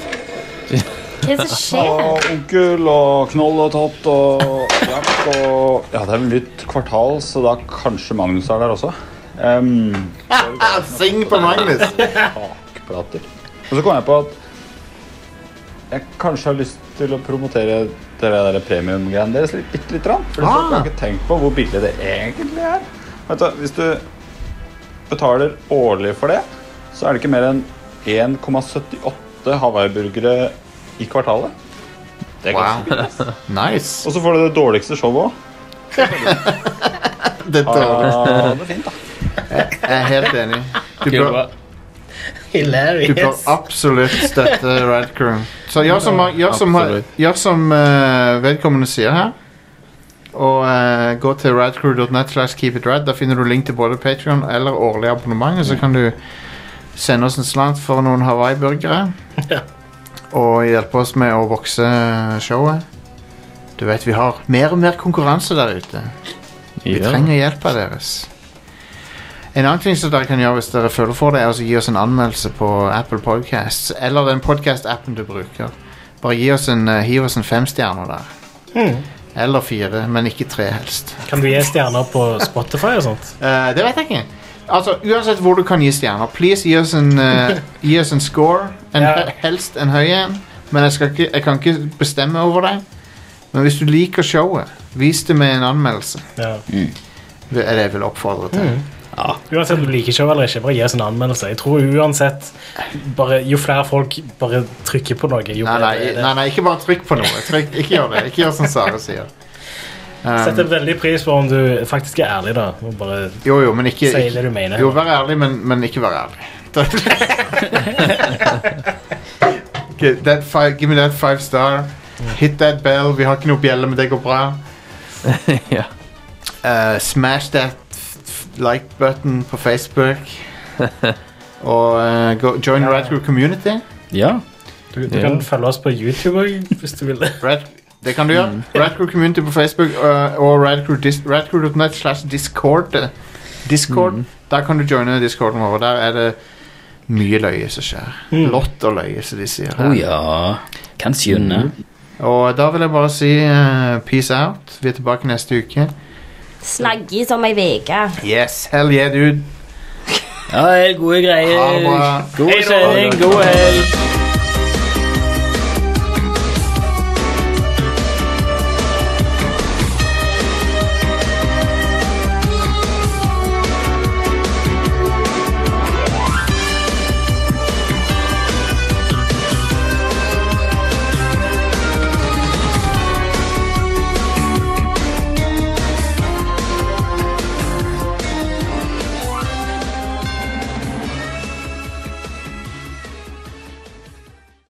Hva er det som skjer? onkel og knoll og tott og japp og Ja, det er vel litt kvartal, så da kanskje Magnus er der også. Ehm, Sing på Magnus. plater. Og så kom jeg på at jeg kanskje har lyst til å promotere det der premiumgreiene deres litt, bitte lite grann. For folk Ah! har ikke tenkt på hvor billig det egentlig er. Vet du, hvis du betaler årlig for det, så er det ikke mer enn 1,78 Hawaii-burgere i kvartalet. Det er ganske billig. ass. [laughs] Nice. Og så får du det dårligste showet òg. Det er dårlig. Ha det fint, da. Jeg er helt enig. Du Kul, bør, hva? du Ah. bør Hilarious. absolutt støtte Red Crew. Så gjør som, gjør som, Absolutt. gjør som eh, vedkommende sier her. Og eh, gå til radcrew.net slash keepitrad. Der finner du link til både Patreon eller årlig abonnement. Og så kan du sende oss en slant for noen Hawaii-burgere. Og hjelpe oss med å vokse showet. Du vet vi har mer og mer konkurranse der ute. Vi Ja. trenger hjelpa deres. En annen ting som dere kan gjøre hvis dere føler for det, er å gi oss en anmeldelse på Apple Podcasts eller den podcast-appen du bruker. Bare gi oss en, eh, hiv oss en femstjerner der. Mm. Eller fire, men ikke tre helst. Kan du gi stjerner på Spotify og sånt? Eh, det vet jeg ikke. Altså, Uansett hvor du kan gi stjerner, please gi oss en, [laughs] eh, gi oss en score. En, he- Helst en høy en, men jeg, skal ikke, jeg kan ikke bestemme over det. Men hvis du liker showet, vis det med en anmeldelse. Ja. Det er det jeg vil oppfordre til. Mm. Uansett om du liker showet eller ikke, bare gi oss en anmeldelse. Jeg tror uansett bare, Jo flere folk bare trykker på noe, jo Nei, bedre nei, er det. nei, nei, ikke bare trykk på noe. Trykk, ikke gjør det. Ikke gjør som Sara sier. Um, Setter veldig pris på om du faktisk er ærlig, da. Og bare jo, jo, men ikke, sier det du mener. Jo, vær ærlig, men, men ikke vær ærlig. Gi- that five, give me that five star. Hit that bell. Vi har ikke noe bjelle, men det går bra. Eh, smash that f- f- like button på Facebook. Og eh, gå- join Red Crew Community. Ja. Du, du kan følge oss på YouTube også, hvis du vil det. Red, det kan du gjøre. Red Crew Community på Facebook eh, og Red Crew dis- redcrew.net slash discord. eh, Discord. Der kan du joine discorden vår. og Der er det mye løye som skjer. Lott og løye, som de sier. Oh Å ja. Kan skjønne. ne? Og da vil jeg bare si eh, peace out. Vi er tilbake neste uke. Snaggi som ei uke. Yes, hell yeah, dude. Ja, helt gode greier. Ha det bra. God sending, god helg.